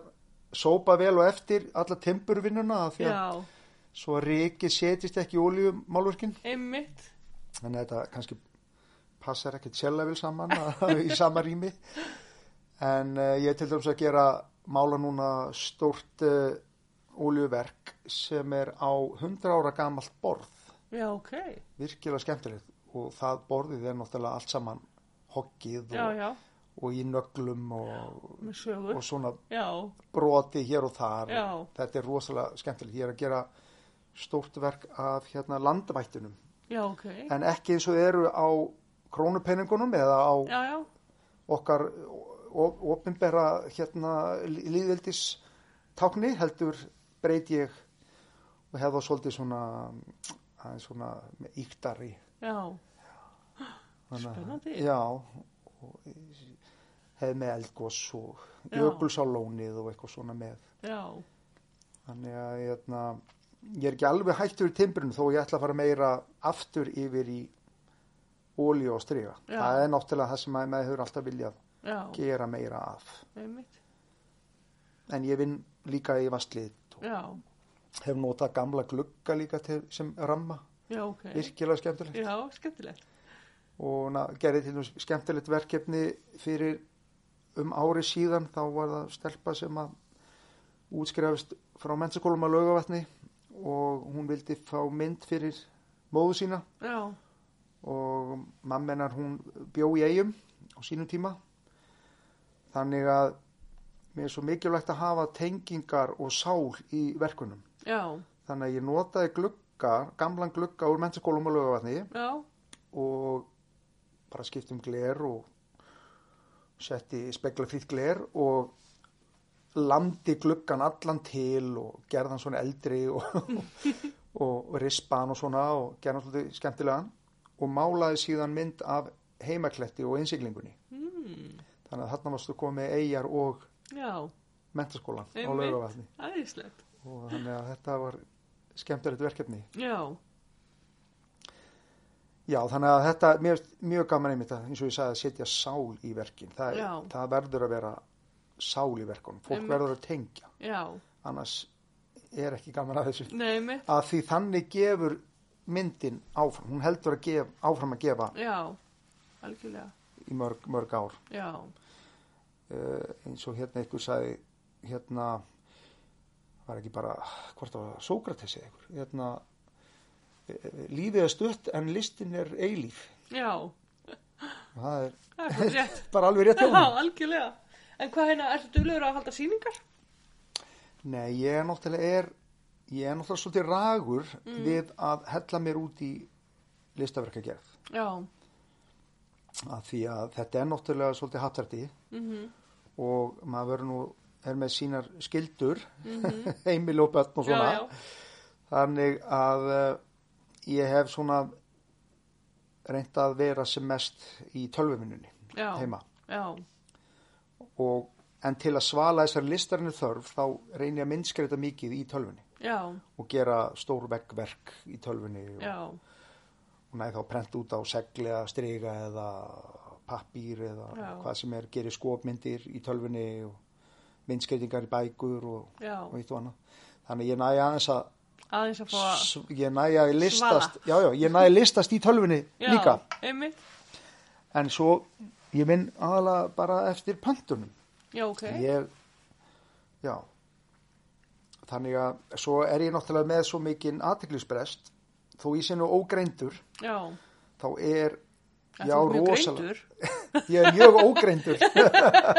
Speaker 2: sópa vel og eftir alla timburvinnuna af því að
Speaker 3: já,
Speaker 2: svo að riki setist ekki í olíumálverkin
Speaker 3: einmitt.
Speaker 2: en þetta kannski passar ekkert sjálf vel saman að- í sama rými en uh, ég er til dæmis að gera mála núna stórt uh, olíuverk sem er á 100 ára gamalt borð
Speaker 3: Já, ok,
Speaker 2: virkilega skemmtilegt og það borðið er náttúrulega allt saman hoggið
Speaker 3: já,
Speaker 2: og,
Speaker 3: já,
Speaker 2: og í nöglum og,
Speaker 3: með sögur.
Speaker 2: og svona
Speaker 3: Já,
Speaker 2: broti hér og þar
Speaker 3: Já.
Speaker 2: þetta er rosalega skemmtilegt ég er að gera stórt verk af hérna, landvættunum
Speaker 3: já, ok,
Speaker 2: en ekki eins og eru á krónupenningunum eða á
Speaker 3: já, já,
Speaker 2: okkar ofinbera hérna, líðveldis tákni heldur breyt ég og hefða svolítið svona aðeins svona íktari
Speaker 3: já,
Speaker 2: Þannig að-
Speaker 3: Spennandi.
Speaker 2: Já, og hefði með eldgós og
Speaker 3: Já.
Speaker 2: jökulsálónið og eitthvað svona með.
Speaker 3: já,
Speaker 2: Þannig að hérna, ég er ekki alveg hættur í timbrinu þó ég ætla að fara meira aftur yfir í ólíu og stryga.
Speaker 3: Já.
Speaker 2: Það er náttúrulega það sem að maður hefur alltaf viljað
Speaker 3: já,
Speaker 2: gera meira af.
Speaker 3: einmitt,
Speaker 2: En ég vinn líka í vastlið og
Speaker 3: já,
Speaker 2: hef notað gamla glugga líka til, sem ramma,
Speaker 3: já, ok,
Speaker 2: virkilega skemmtilegt.
Speaker 3: já, skemmtilegt,
Speaker 2: og na, gerði til dæmis skemmtilegt verkefni fyrir um ári síðan þá var það stelpa sem að útskrefist frá mennskólum að laugavatni og hún vildi fá mynd fyrir móðu sína
Speaker 3: já,
Speaker 2: og mammenar hún bjó í eigum á sínum tíma þannig að mér er svo mikilvægt að hafa tengingar og sál í verkunum
Speaker 3: já,
Speaker 2: þannig að ég notaði glugga, gamlan glugga úr mennskólum að laugavatni
Speaker 3: já,
Speaker 2: og bara skipti um gler og setti spekla frýtt gler og landi gluggan allan til og gerði hann svona eldri og, og rispa hann og svona og gerði hann svolítið skemmtilegan og málaði síðan mynd af heimakletti og innsiglingunni.
Speaker 3: mm,
Speaker 2: Þannig að þarna varstu komið með eigjar og
Speaker 3: já,
Speaker 2: mentaskólan á
Speaker 3: Einmitt.
Speaker 2: laugavalli
Speaker 3: aðeinslegt,
Speaker 2: og þannig að þetta var skemmtilegt verkefni.
Speaker 3: já,
Speaker 2: Já, þannig að þetta, mér finnst mjög gaman einmitt að, eins og ég sagði, að setja sál í verkin. Það,
Speaker 3: Já.
Speaker 2: það verður að vera sál í verkunum. Fólk
Speaker 3: Einmitt.
Speaker 2: verður að tengja,
Speaker 3: já,
Speaker 2: annars er ekki gaman að þessu.
Speaker 3: nei, einmitt,
Speaker 2: Að því þannig gefur myndin áfram, hún heldur að gef, áfram að gefa
Speaker 3: já, algjörlega,
Speaker 2: í mörg, mörg ár.
Speaker 3: já,
Speaker 2: Uh, eins og hérna ykkur sagði, hérna, var ekki bara, hvort það var Sókrates eða ykkur, hérna, eh, lífið er stutt en listin er eilíf.
Speaker 3: já,
Speaker 2: Og Það er
Speaker 3: það er svo rétt,
Speaker 2: bara alveg rétt hjá
Speaker 3: já,
Speaker 2: hún.
Speaker 3: algjörlega, en hvað hérna, ertu duglegur að halda sýningar?
Speaker 2: Nei, ég er náttúrulega er, ég er náttúrulega svolítið ragur
Speaker 3: Mm.
Speaker 2: við að hella mér út í listaverkagerð.
Speaker 3: Já,
Speaker 2: Af því að þetta er náttúrulega svolítið hattverdi
Speaker 3: mhm,
Speaker 2: og maður verður nú, er með sínar skildur, heimil og börn og
Speaker 3: Mhm. já,
Speaker 2: svona.
Speaker 3: já,
Speaker 2: Þannig að uh, ég hef svona reynt að vera sem mest í tölvuminnunni
Speaker 3: já,
Speaker 2: heima.
Speaker 3: já,
Speaker 2: Og, en til að svala þessar listarinu þörf þá reyni ég að myndskreita mikið í tölvunni
Speaker 3: já,
Speaker 2: og gera stór veggverk í tölvunni og
Speaker 3: já,
Speaker 2: hún næði þá prent út á segli eða striga eða pappýr eða
Speaker 3: Já.
Speaker 2: hvað sem er gerir skopmyndir í tölfunni og myndskreitingar í bækur og,
Speaker 3: já,
Speaker 2: og eitt og annað. Þannig að ég næði aðeins að,
Speaker 3: aðeins að fá að
Speaker 2: s- ég næði að listast, já, já, ég næði að listast í tölfunni
Speaker 3: já,
Speaker 2: líka.
Speaker 3: einmitt,
Speaker 2: En svo ég vinn aðalega bara eftir pöntunum.
Speaker 3: já, ok,
Speaker 2: Ég, já, þannig að svo er ég náttúrulega með svo mikinn aðteglisbrest, þó ég sé nú ógreindur,
Speaker 3: já,
Speaker 2: þá er,
Speaker 3: Ertu
Speaker 2: já,
Speaker 3: mjög
Speaker 2: rosalega.
Speaker 3: greindur?
Speaker 2: ég er mjög ógreindur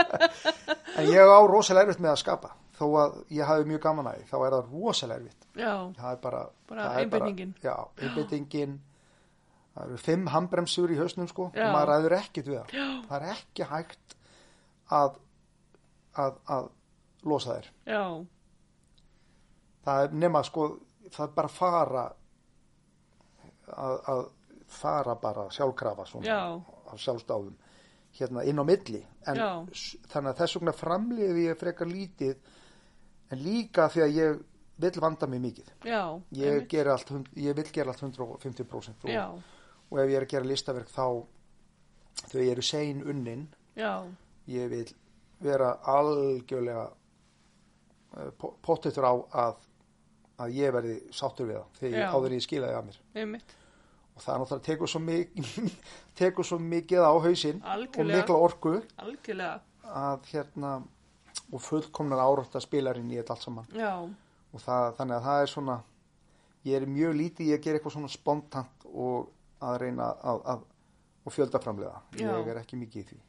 Speaker 2: en ég á rosalega erfitt með að skapa þó að ég hafi mjög gaman að því þá er það rosalega erfitt
Speaker 3: já,
Speaker 2: það er bara,
Speaker 3: Bara
Speaker 2: það er
Speaker 3: einbeitingin.
Speaker 2: já, einbeitingin það eru fimm handbremsur í hausnum sko
Speaker 3: Já.
Speaker 2: og maður ræður ekkert við það já. það er ekki hægt að að, að losa þær
Speaker 3: já,
Speaker 2: það er nema sko það er bara fara að, að fara bara sjálfkrafa svona
Speaker 3: Já.
Speaker 2: á sjálfstáðum hérna inn á milli en
Speaker 3: Já.
Speaker 2: s- þannig að þess vegna framliði ég frekar lítið en líka því að ég vil vanda mig mikið
Speaker 3: já,
Speaker 2: ég,
Speaker 3: einmitt,
Speaker 2: geri allt, hund- ég vil gera allt 150% og,
Speaker 3: já,
Speaker 2: og ef ég er að gera listaverk þá þau eru sein unnin
Speaker 3: já,
Speaker 2: ég vil vera algjörlega eh, po- pottþéttur á að, að ég verði sáttur við það þegar
Speaker 3: Já.
Speaker 2: ég áður en ég skilaði að mér
Speaker 3: einmitt,
Speaker 2: og það er náttúrulega tekur svo, mik tekur svo mikið á hausinn og
Speaker 3: Algjörlega.
Speaker 2: mikla orku
Speaker 3: algjörlega,
Speaker 2: að hérna og fullkomnar árótta spilarinn í þetta allt saman
Speaker 3: já,
Speaker 2: og það, þannig að það er svona ég er mjög lítið, ég ger eitthvað svona spontant og að reyna að, að og fjöldaframlega,
Speaker 3: Já.
Speaker 2: ég er ekki mikið í því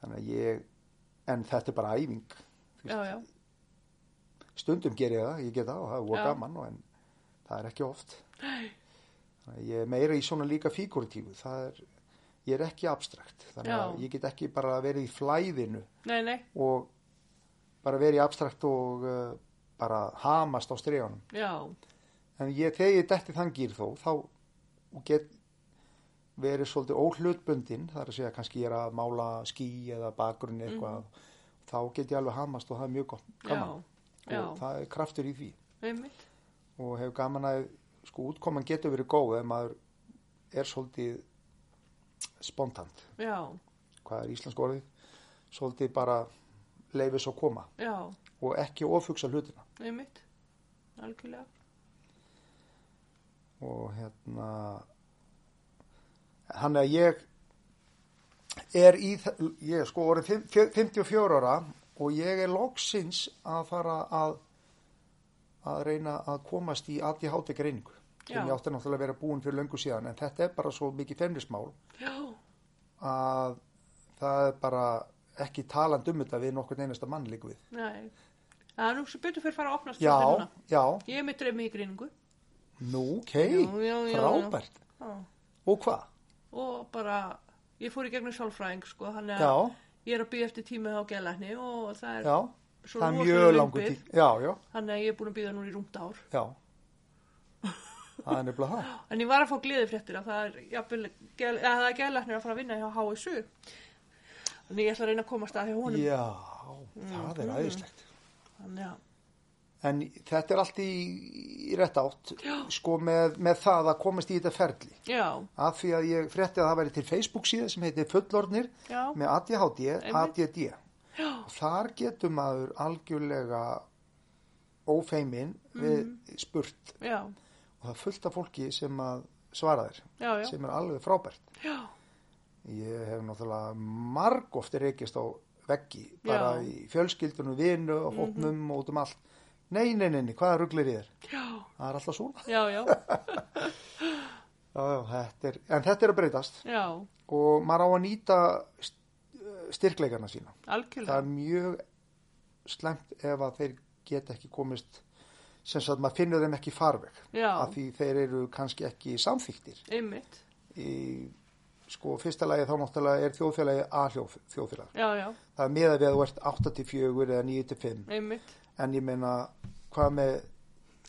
Speaker 2: þannig að ég en þetta er bara æfing
Speaker 3: já, já,
Speaker 2: stundum ger ég það, ég get það og það er voru
Speaker 3: Já.
Speaker 2: gaman og en það er ekki oft þannig að ég er meira í svona líka fíguratífu, það er ég er ekki abstrakt, þannig að
Speaker 3: Já.
Speaker 2: ég get ekki bara verið í flæðinu
Speaker 3: nei, nei,
Speaker 2: og bara verið í abstrakt og uh, bara hamast á strefanum
Speaker 3: já,
Speaker 2: En ég, þegar ég detti þann gýr þó, þá og get verið svolítið óhlutbundin þar að segja kannski ég er að mála ský eða bakgrunni eitthvað þá get ég alveg hamast og það er mjög gott gaman
Speaker 1: Mhm. já, já,
Speaker 2: og það er kraftur í því
Speaker 1: einmitt,
Speaker 2: og hefur gaman að sko útkoman getur verið góð ef maður er svolítið spontant,
Speaker 1: já,
Speaker 2: hvað er íslensk orðið svolítið bara leifis að koma
Speaker 1: já,
Speaker 2: og ekki ofugsa hlutina
Speaker 1: einmitt, algjörlega,
Speaker 2: og hérna hann að ég er í þ- ég er sko orðið fimm- fjö- 54 ára og ég er loksins að fara að að reyna að komast í ADHD greiningu sem
Speaker 1: Já.
Speaker 2: ég átti náttúrulega að vera búin fyrir löngu síðan en þetta er bara svo mikið feimnismál
Speaker 1: já,
Speaker 2: að það er bara ekki taland um þetta við nokkur einasta mann líku við
Speaker 1: nei, það er nú sem betur fyrir að fara að opnast
Speaker 2: já,
Speaker 1: svolítið núna.
Speaker 2: já,
Speaker 1: Ég er mitt dreymið í greiningu
Speaker 2: nú, ok
Speaker 1: Já, já, já, já.
Speaker 2: frábært,
Speaker 1: já.
Speaker 2: og hvað?
Speaker 1: og bara, ég fór í gegnum sálfræðing, sko, hann er,
Speaker 2: Já,
Speaker 1: ég er að býja eftir tími á geðlækni og það er
Speaker 2: já,
Speaker 1: svo
Speaker 2: það er
Speaker 1: rosalega
Speaker 2: mjög
Speaker 1: löng
Speaker 2: langur
Speaker 1: bið.
Speaker 2: tíma já, já,
Speaker 1: Þannig að ég er búin að býða núna í rúmt ár.
Speaker 2: já það er nefnilega það
Speaker 1: En ég var að fá gleðifréttir að það er, jafnvel, geð, að það er geðlæknir að fara að vinna hjá HSU. Þannig ég ætla að reyna að komast að hjá honum. Mhm.
Speaker 2: já, það er æðislegt
Speaker 1: Þannig að,
Speaker 2: en þetta er allt í, í rétt átt sko með, með það að komast í þetta ferli
Speaker 1: já,
Speaker 2: af því að ég frétti að það væri til Facebook síða sem heitir Fullornir
Speaker 1: já,
Speaker 2: með ADHD,
Speaker 1: Einmitt.
Speaker 2: ADD og þar getur maður algjörlega ófeimin
Speaker 1: Mhm.
Speaker 2: við spurt
Speaker 1: já,
Speaker 2: og það er fullt af fólki sem að svara þér
Speaker 1: já, já,
Speaker 2: sem er alveg frábært
Speaker 1: já,
Speaker 2: ég hef náttúrulega marg ofti reykist á veggi bara
Speaker 1: Já. Mhm.
Speaker 2: í fjölskyldunum, vinu og hópnum og út um allt nei, nei, nei, nei hvaða ruglir ég er?
Speaker 1: já,
Speaker 2: það er alltaf svona
Speaker 1: já, já,
Speaker 2: já, já, þetta er, en þetta er að breytast
Speaker 1: já,
Speaker 2: og maður á að nýta st- eh, styrkleikana sína það
Speaker 1: algjörlega,
Speaker 2: er mjög slemt ef að þeir geta ekki komist sem sagt maður finnur þeim ekki í farveg
Speaker 1: já,
Speaker 2: af því þeir eru kannski ekki samþyktir
Speaker 1: einmitt,
Speaker 2: í sko fyrsta lagi þá náttúrulega er þjóðfélagi A-hljóð þjóðfélag
Speaker 1: já, já,
Speaker 2: það er meða við að þú ert 8-4 eða 9-5
Speaker 1: einmitt,
Speaker 2: en ég meina hvað með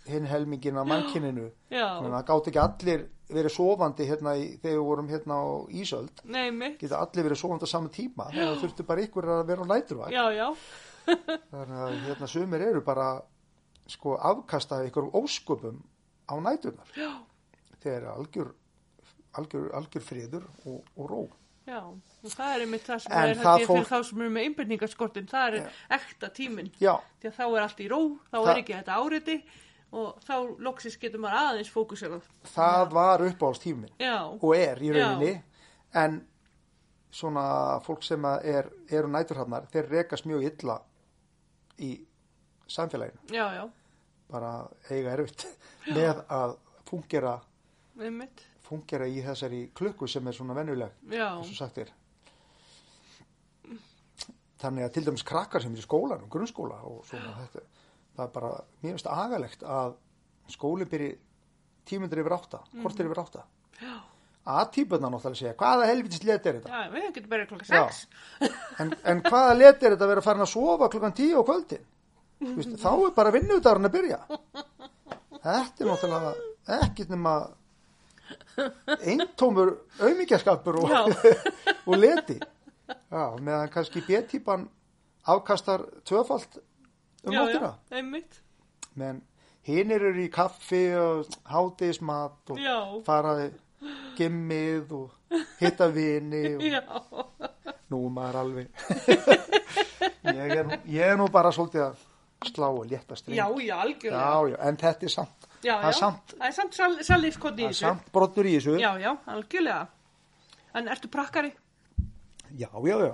Speaker 2: hinn helmingin af mannkininu
Speaker 1: já,
Speaker 2: það gátt ekki allir verið sofandi hérna í, þegar við vorum hérna á Ísöld
Speaker 1: nei, einmitt,
Speaker 2: geta allir verið sofandi á saman tíma það þurfti bara ykkur að vera á næturvakt
Speaker 1: já, já,
Speaker 2: Þannig að hérna sumir eru bara sko afkasta ykkur ósköpum á nætunar. Já. Þegar er algjör, algjör, algjör friður og, og ró.
Speaker 1: já, og það er einmitt það sem
Speaker 2: En
Speaker 1: er
Speaker 2: það
Speaker 1: það fyrir
Speaker 2: fólk-
Speaker 1: þá sem eru með einbyrningaskortin, það er ekta tíminn.
Speaker 2: Já,
Speaker 1: því að þá er allt í ró, þá
Speaker 2: Það-
Speaker 1: er ekki þetta áriti og þá loksins getur maður aðeins fókuserað.
Speaker 2: það var uppáhaldstíminn
Speaker 1: Já,
Speaker 2: og er í
Speaker 1: Já.
Speaker 2: rauninni en svona fólk sem að er, eru næturhafnar, þeir rekast mjög illa í samfélaginu.
Speaker 1: já, já,
Speaker 2: Bara eiga erfitt með að fungera,
Speaker 1: einmitt,
Speaker 2: fungera í þessari klukku sem er svona venjuleg.
Speaker 1: já,
Speaker 2: eins og sagt er þannig að til dæmis krakkar sem er í skólanum, grunnskóla og svona þetta, það er bara mér finnst agalegt að skóli byrji tímundur yfir átta, kortir yfir átta
Speaker 1: Mhm. já,
Speaker 2: að típunna náttúrulega segja, hvaða helvitist let er þetta
Speaker 1: já, við getum bara klokka
Speaker 2: Já.
Speaker 1: sex.
Speaker 2: en, en hvaða let er þetta að vera farin að sofa klukkan tíu á kvöldin Þú veist, þá er bara vinnuðarinn að byrja þetta er náttúrulega ekkit nema eintómur aumingjaskapur og, og leti já, meðan kannski B-típan afkastar tvöfalt um
Speaker 1: já,
Speaker 2: nóttina
Speaker 1: já, einmitt,
Speaker 2: meðan hinn eru í kaffi og hádegismat og
Speaker 1: já,
Speaker 2: faraði gimmið og hitta vini og
Speaker 1: já,
Speaker 2: nú er maður alveg ég, er, nú- ég er nú bara svolítið að slá og létta streng
Speaker 1: já, já, algjörlega.
Speaker 2: já, já, en þetta er samt
Speaker 1: Já,
Speaker 2: það er samt,
Speaker 1: Það er samt sal, salífskotni í
Speaker 2: það er
Speaker 1: þessu.
Speaker 2: samt brottur í þessu
Speaker 1: Já, já, algjörlega. En ertu prakkari?
Speaker 2: já, já, já,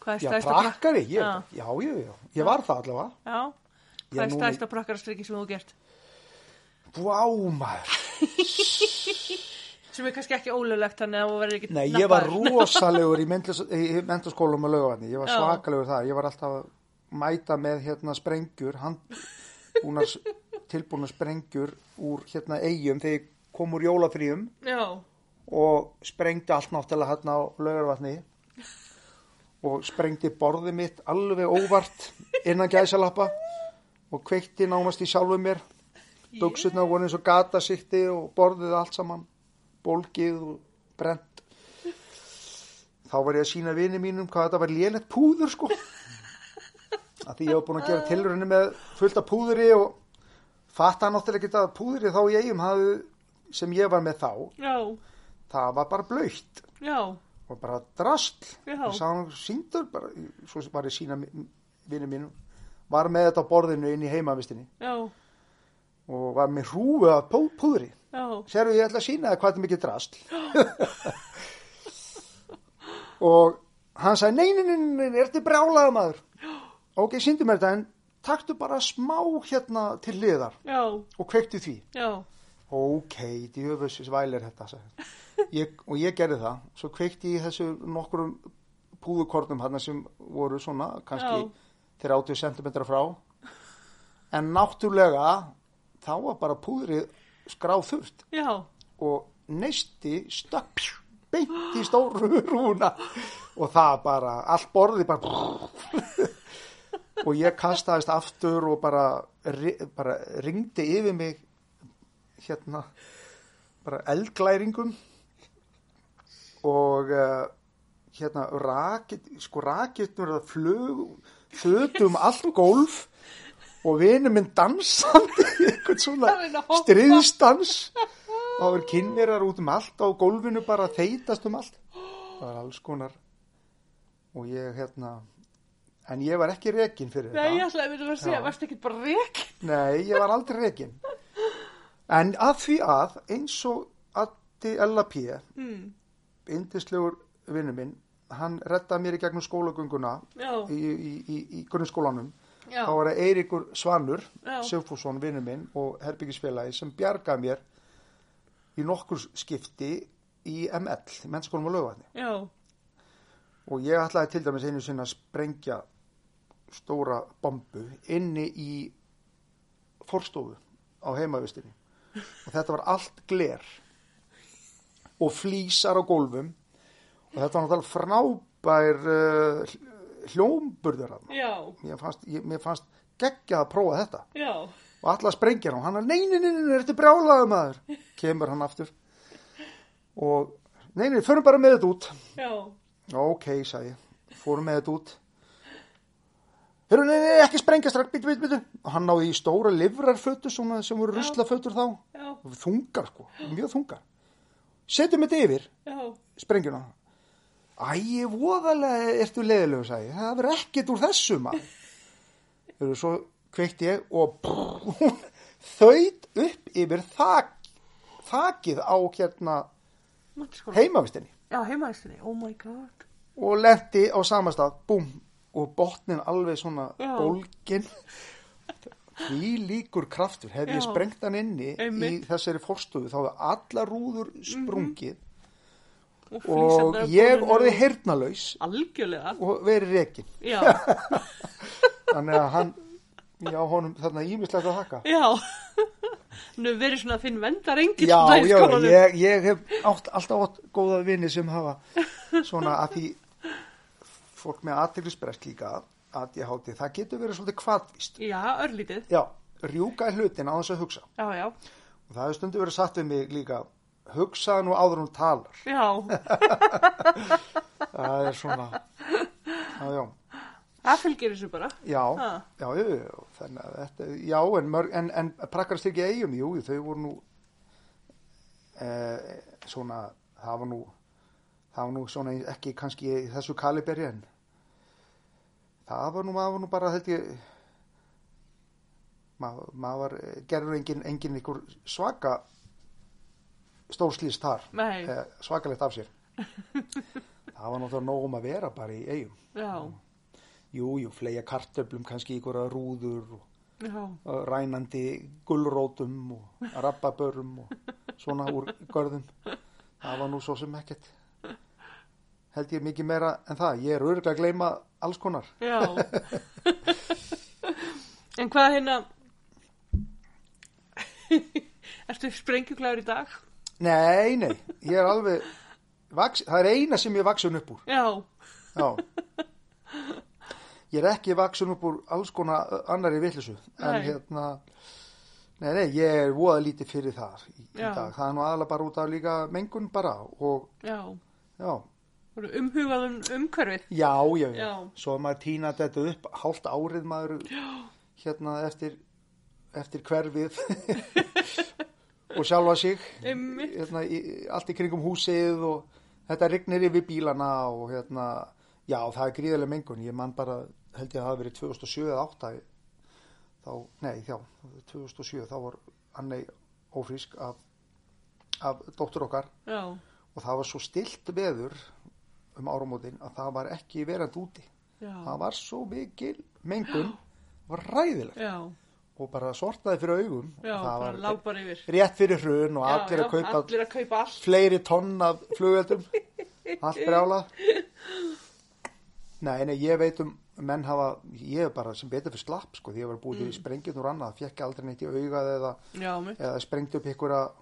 Speaker 1: Hvað er
Speaker 2: já
Speaker 1: stæðsta
Speaker 2: prakkari ég,
Speaker 1: Já.
Speaker 2: já, já, já, ég var það allavega
Speaker 1: Já,
Speaker 2: Ég
Speaker 1: hvað er
Speaker 2: núna-
Speaker 1: stæðsta prakkarastriki sem þú hefur gert?
Speaker 2: vá maður,
Speaker 1: Sem er kannski ekki ólulegt þannig að þú verður ekki
Speaker 2: nei, ég var
Speaker 1: nappaður.
Speaker 2: rosalegur í myndlis- í mentaskólum og lögavarni ég var
Speaker 1: Já.
Speaker 2: svakalegur þar, ég var alltaf að mæta með hérna sprengjur handbúnar tilbúnar sprengjur úr hérna eigum þegar ég kom úr jólafríum
Speaker 1: Já,
Speaker 2: og sprengdi allt náttúrulega hérna á laugarvatni og sprengdi borðið mitt alveg óvart innan gæsalappa og kveikti nánast í sjálfu mér Dögsutna voru eins og gatasíkti og borðið allt saman, bólgið og brent. Þá var ég að sína vini mínum hvað þetta var lélegt púður sko. Að því ég var búin að gera tilrunni með fullt af púðri og fatta náttúrulega ekki að púðri þá ég um hafði sem ég var með þá,
Speaker 3: já,
Speaker 2: það var bara blöytt
Speaker 3: já,
Speaker 2: og bara drastl.
Speaker 3: Já.
Speaker 2: Ég sá hann síndur, bara, svo var ég að sína vini mínum, var með þetta á borðinu inn í heimavistinni
Speaker 3: já,
Speaker 2: og var með hrúið af pú- púðri.
Speaker 3: já,
Speaker 2: Sérðu, ég ætla að sína það hvað þetta er mikið drasl. og hann sagði, nei, nei, nei, nei, nei, er þetta brjálaða maður? ok, síndi mér þetta, en taktu bara smá hérna til hliðar
Speaker 3: já,
Speaker 2: og kveiktu því.
Speaker 3: já,
Speaker 2: Ok, djöfus væl er þetta, sagði. hann. Ég, og ég gerði það, svo kveikti ég þessu nokkrum púðukornum hann sem voru svona, kannski
Speaker 3: Já.
Speaker 2: 30 cm frá. En náttúrulega, þá var bara púðrið skráð þurft
Speaker 3: já,
Speaker 2: og neisti stökk beint í stóru rúna og það bara, allt borði bara og ég kastaðist aftur og bara, ri- bara ringdi yfir mig hérna bara eldglæringum og uh, hérna rakit, sko rakitnur að flug þötu um allt gólf og vinur minn dansandi einhvern
Speaker 3: Það er
Speaker 2: svona
Speaker 3: að hoppa.
Speaker 2: stríðstans og það er kynverar út um allt á gólfinu bara að þeitast um allt það var alls konar og ég hérna en ég var ekki rekin fyrir
Speaker 3: nei, ég
Speaker 2: þetta
Speaker 3: ætlaði að mynda að segja,
Speaker 2: Já.
Speaker 3: varstu ekki bara rek?
Speaker 2: nei, ég var aldrei rekin en að því að eins og Addi Ella P
Speaker 3: Mm,
Speaker 2: yndislegur vinnu minn hann rettaði mér í gegnum skólagönguna
Speaker 3: já,
Speaker 2: í, í, í, í grunnskólanum
Speaker 3: já,
Speaker 2: þá var það Eiríkur Svanur
Speaker 3: Já.
Speaker 2: Sigfússon vinnu minn og herbyggisfélagi sem bjargaði mér í nokkur skipti í ML, í mennskólum og lögvæðni
Speaker 3: já,
Speaker 2: og ég ætlaði til dæmis einu sinna að sprengja stóra bombu inni í forstofu á heimavistinni og þetta var allt gler og flísar á gólfum og þetta var náttúrulega frábær uh, hljómburður af
Speaker 3: já,
Speaker 2: mér fannst, ég, mér fannst geggjað að prófa þetta
Speaker 3: já,
Speaker 2: og allar sprengja hann, hann er nei, nei, nei, nei, þetta er brjálaðu maður kemur hann aftur og nei, nei, förum bara með þetta út
Speaker 3: já,
Speaker 2: Ok, sagði ég, fórum með þetta út. Hörru, nei, nei, ekki sprengja strax, bitu, bitu, bitu. Og hann náði í stóra livrarfötur svona sem voru ruslafötur þá.
Speaker 3: já,
Speaker 2: Þungar, sko, mjög þungar. Setjum þetta yfir,
Speaker 3: já,
Speaker 2: sprengjuna. Æ, voðalega ertu leiðilegu, sagði ég. Það verður ekkert úr þessu, maður. Hörru, svo kveikt ég og brrr, hún þaut upp yfir þak, þakið á hérna
Speaker 3: mannskóla,
Speaker 2: heimavistinni
Speaker 3: já, heimaðistinni, oh my god,
Speaker 2: og lendi á sama stað búm, og botnin alveg svona
Speaker 3: Já.
Speaker 2: bólgin því líkur kraftur hefði ég
Speaker 3: Já.
Speaker 2: sprengt hann inni
Speaker 3: Einmitt. Mhm.
Speaker 2: í þessari forstöðu þá hefði alla rúður sprungið
Speaker 3: og
Speaker 2: og
Speaker 3: flýsandar
Speaker 2: ég orði heyrnalaus
Speaker 3: algjörlega,
Speaker 2: og verið rekin
Speaker 3: já,
Speaker 2: þannig að hann já, honum þarna ímislegt að þakka
Speaker 3: já, nú verið svona að finn vendar engin
Speaker 2: já, já, ég, ég hef átt, alltaf átt góða vini sem hafa svona að því fólk með aðteglisbrest líka að ég háti, það getur verið svolítið kvartvist
Speaker 3: já, örlítið,
Speaker 2: Já, rjúka í hlutin á þess að hugsa.
Speaker 3: já, já,
Speaker 2: Og það hefur stundu verið satt við mig líka, hugsa nú áður en hún talar.
Speaker 3: já,
Speaker 2: Það er svona, já, já,
Speaker 3: það fylgir þessu bara,
Speaker 2: já,
Speaker 3: Ha.
Speaker 2: já, já, já, þannig að þetta, já, en, mörg, en, en prakkarist ekki eigum, jú, þau voru nú, e, svona, það var nú, það var nú svona ekki kannski í þessu kaliberi en það var nú, maður var nú bara, held ég, maður, maður var, gerður engin, engin ykkur svaka stórslýst þar.
Speaker 3: nei,
Speaker 2: eh, svakalegt af sér það var náttúrulega nóg um að vera bara í eigum
Speaker 3: já,
Speaker 2: jú, jú, fleja kartöflum kannski í hverja rúður og
Speaker 3: já,
Speaker 2: eh, rænandi gullrótum og rabbabörum og svona úr görðum það var nú svo sem ekkert held ég mikið meira en það ég er örgulega að gleyma alls konar
Speaker 3: já, en hvað hérna, ertu sprengjuglæður í dag,
Speaker 2: nei, nei, ég er alveg vaks, það er eina sem ég er vaksin upp úr
Speaker 3: já,
Speaker 2: Já. Ég er ekki vaksin upp úr alls konar annari villisu. En
Speaker 3: Nei.
Speaker 2: hérna, Nei, nei, ég er voða lítið fyrir það í, í
Speaker 3: Já.
Speaker 2: dag. Það er nú aðalega bara út af líka mengun bara og
Speaker 3: Já,
Speaker 2: já,
Speaker 3: voru umhugað um umhverfið.
Speaker 2: já, já, já.
Speaker 3: Já.
Speaker 2: Svo er maður tína þetta upp hálft árið maður hérna eftir, eftir hverfið og sjálfa sig
Speaker 3: Einmitt.
Speaker 2: hérna, í, allt í kringum húsið og þetta rignir yfir bílana og hérna, já, það er gríðilega mengun. Ég man bara, held ég að það hafi verið 2007 eða 2008 þá, nei, já, 2007 þá var Annei ófrísk af, af dóttur okkar
Speaker 3: Já,
Speaker 2: og það var svo stilt veður um áramótin að það var ekki verand úti
Speaker 3: já,
Speaker 2: það var svo mikil mengun var ræðileg
Speaker 3: já,
Speaker 2: og bara sortaði fyrir augum
Speaker 3: já,
Speaker 2: og það
Speaker 3: bara
Speaker 2: var
Speaker 3: lág bara yfir.
Speaker 2: rétt fyrir hrun og
Speaker 3: Já,
Speaker 2: allir
Speaker 3: já,
Speaker 2: að kaupa
Speaker 3: Allir að kaupa allt.
Speaker 2: fleiri tonn af flugveldum allt brjála Nei, nei, ég veit um menn hafa, ég er bara sem betur fyrir slapp sko, því ég var búið
Speaker 3: Mm.
Speaker 2: í sprengjum úr annað fekk aldrei neitt í augað eða
Speaker 3: Já, mitt.
Speaker 2: eða sprengt upp ykkur að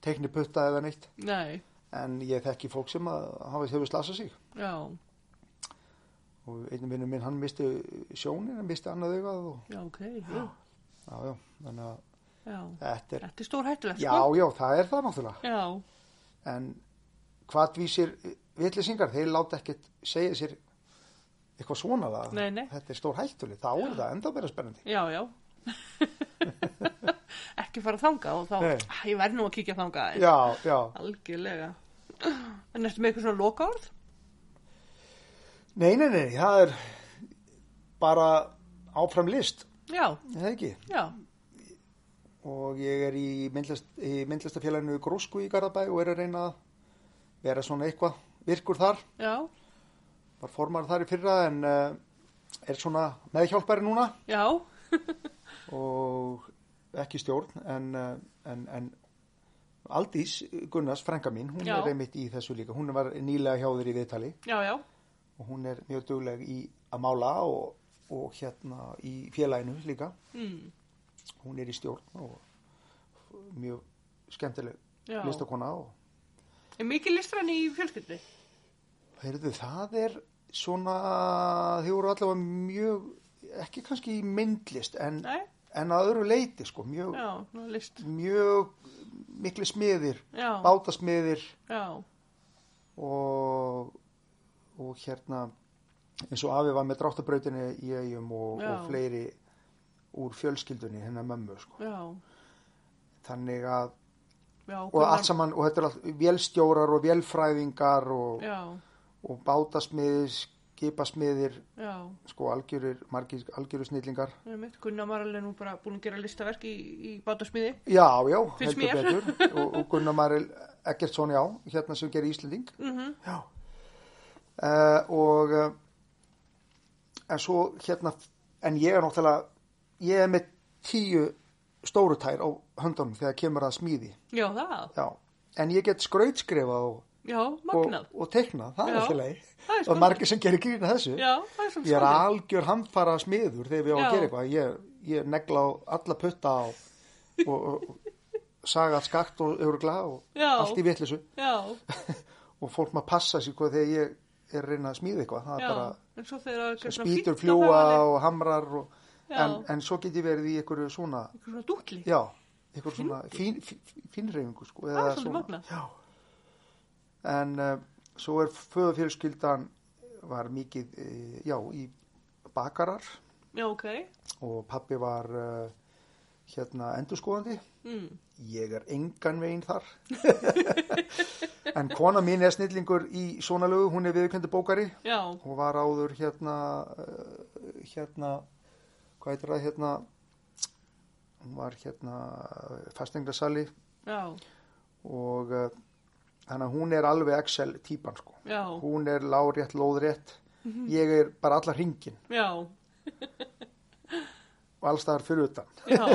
Speaker 2: teikni putta eða neitt
Speaker 3: Nei,
Speaker 2: en ég þekki fólk sem að hafa hefur slasað sig
Speaker 3: já,
Speaker 2: og einu vinnum minn hann misti sjónin en misti annað augað og
Speaker 3: já, ok. Já,
Speaker 2: já, já, þannig að
Speaker 3: já.
Speaker 2: þetta er
Speaker 3: Þetta er stór hættulegt,
Speaker 2: já,
Speaker 3: sko.
Speaker 2: já, það er það náttúrulega
Speaker 3: Já,
Speaker 2: en hvað vísir vitlisingar, þeir láta ekkert segja sér eitthvað svona það
Speaker 3: Nei, nei.
Speaker 2: þetta er stór hættuleg, þá er það enda meira spennandi
Speaker 3: já, já. Ekki fara þangað og þá,
Speaker 2: Nei.
Speaker 3: Ah, ég verð nú að kíkja þangað.
Speaker 2: já, já,
Speaker 3: Algjörlega. En ertu með eitthvað svona lokaorð?
Speaker 2: nei, nei, nei það er bara áfram list,
Speaker 3: Já,
Speaker 2: er það ekki
Speaker 3: já,
Speaker 2: og ég er í, myndlist, í myndlistafélaginu Grósku í Garðabæ og er að reyna að vera svona eitthvað virkur þar,
Speaker 3: já,
Speaker 2: var formar þar í fyrra en uh, er svona meðhjálpari núna
Speaker 3: já,
Speaker 2: og ekki stjórn en, uh, en, en Aldís Gunnars, frænka mín, hún
Speaker 3: Já.
Speaker 2: er einmitt í þessu líka, hún var nýlega hjá þér í viðtali
Speaker 3: já, já,
Speaker 2: og hún er mjög dugleg í að mála og, og hérna í félaginu líka,
Speaker 3: mm,
Speaker 2: hún er í stjórn og mjög skemmtileg
Speaker 3: já.
Speaker 2: listakona og
Speaker 3: Er mikið listræn í fjölskyldni?
Speaker 2: Heyrðu, það er svona, þið voru allavega mjög, ekki kannski í myndlist, en,
Speaker 3: Nei,
Speaker 2: en að öðru leiti, sko, mjög,
Speaker 3: já, nú list.
Speaker 2: mjög mikli smiðir,
Speaker 3: Já,
Speaker 2: bátasmiðir
Speaker 3: já,
Speaker 2: og, og hérna, eins og afi var með dráttabrautinni í eigum og,
Speaker 3: Já.
Speaker 2: og fleiri úr fjölskyldunni, hennar mömmu, sko.
Speaker 3: já,
Speaker 2: Þannig að,
Speaker 3: já.
Speaker 2: og allt saman, og þetta er allt, vélstjórar og vélfræðingar og,
Speaker 3: Já,
Speaker 2: og bátasmiðir, skipasmiðir,
Speaker 3: já,
Speaker 2: sko algjörir, margir algjörir snillingar
Speaker 3: ég mitt, Gunnar Marl er nú bara búin að gera listaverk í, í bátasmiði.
Speaker 2: já, já,
Speaker 3: Finnst
Speaker 2: heldur
Speaker 3: mér.
Speaker 2: betur og, og Gunnar Maril Eggertsson, já hérna sem gerir Íslending
Speaker 3: Mm
Speaker 2: já uh, og uh, en svo hérna en ég er náttúrulega ég er með tíu stóru tær á höndunum þegar kemur að smíði
Speaker 3: Já, það,
Speaker 2: já, en ég get skrautskrifað og,
Speaker 3: já,
Speaker 2: og,
Speaker 3: magnað.
Speaker 2: og teknað, það er
Speaker 3: Já.
Speaker 2: alltaf leið
Speaker 3: það er
Speaker 2: og
Speaker 3: sko,
Speaker 2: margir sem gerir grína þessu
Speaker 3: já, það er svona
Speaker 2: Ég er
Speaker 3: skoðið.
Speaker 2: algjör handfara smiður þegar við á
Speaker 3: Já.
Speaker 2: að gera eitthvað. Ég, ég negla á alla putta á og, og, og saga skakt og örgla og
Speaker 3: Já.
Speaker 2: allt í vitlisu
Speaker 3: Já,
Speaker 2: og fólk maður passa sér hvað þegar ég er að reyna að smíða eitthvað. Það
Speaker 3: já,
Speaker 2: er bara
Speaker 3: en svo þegar það er
Speaker 2: sem
Speaker 3: svona fínt
Speaker 2: spýtur
Speaker 3: á
Speaker 2: fljúa
Speaker 3: höfðinu,
Speaker 2: og hamrar og,
Speaker 3: Já.
Speaker 2: en, en svo get ég verið í einhverju svona,
Speaker 3: einhver svona dútli.
Speaker 2: já, einhverju svona fín, fín, fínreifingu sko.
Speaker 3: Það er Ah, svolítið magnað.
Speaker 2: Já. En uh, svo er föðufjölskyldan var mikið, uh, já, í bakarar
Speaker 3: Já, ok,
Speaker 2: og pappi var uh, hérna endurskoðandi
Speaker 3: mm,
Speaker 2: ég er engan veginn þar en kona mín er snillingur í svona lögu, hún er viðkjöndi bókari
Speaker 3: já,
Speaker 2: og var áður hérna uh, hérna hvað heitir það hérna hún var hérna fastenglasali
Speaker 3: já,
Speaker 2: og uh, þannig að hún er alveg Excel típan sko
Speaker 3: já,
Speaker 2: hún er lárétt, lóðrétt ég er bara allar hringin
Speaker 3: já,
Speaker 2: og allstaðar fyrir utan
Speaker 3: já,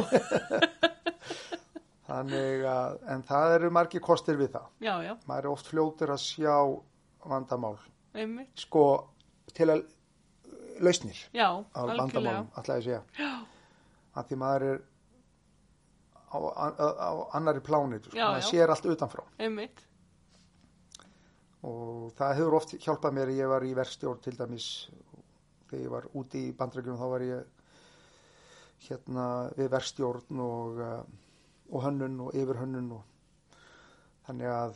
Speaker 2: Þannig að, en það eru margir kostir við það.
Speaker 3: já, já,
Speaker 2: Maður er oft fljótur að sjá vandamál,
Speaker 3: einmitt,
Speaker 2: sko, til að eh, lausnir
Speaker 3: já,
Speaker 2: á vandamálum, alltaf ég segja.
Speaker 3: Já,
Speaker 2: Að því maður er á, á, á annari plánit, sko,
Speaker 3: Já,
Speaker 2: maður
Speaker 3: já.
Speaker 2: sér allt utanfrá.
Speaker 3: einmitt,
Speaker 2: Og það hefur oft hjálpað mér, ég var í verkstjórn til dæmis, þegar ég var úti í bandrækjum þá var ég hérna við verkstjórn og uh, og hönnun og yfirhönnun og þannig að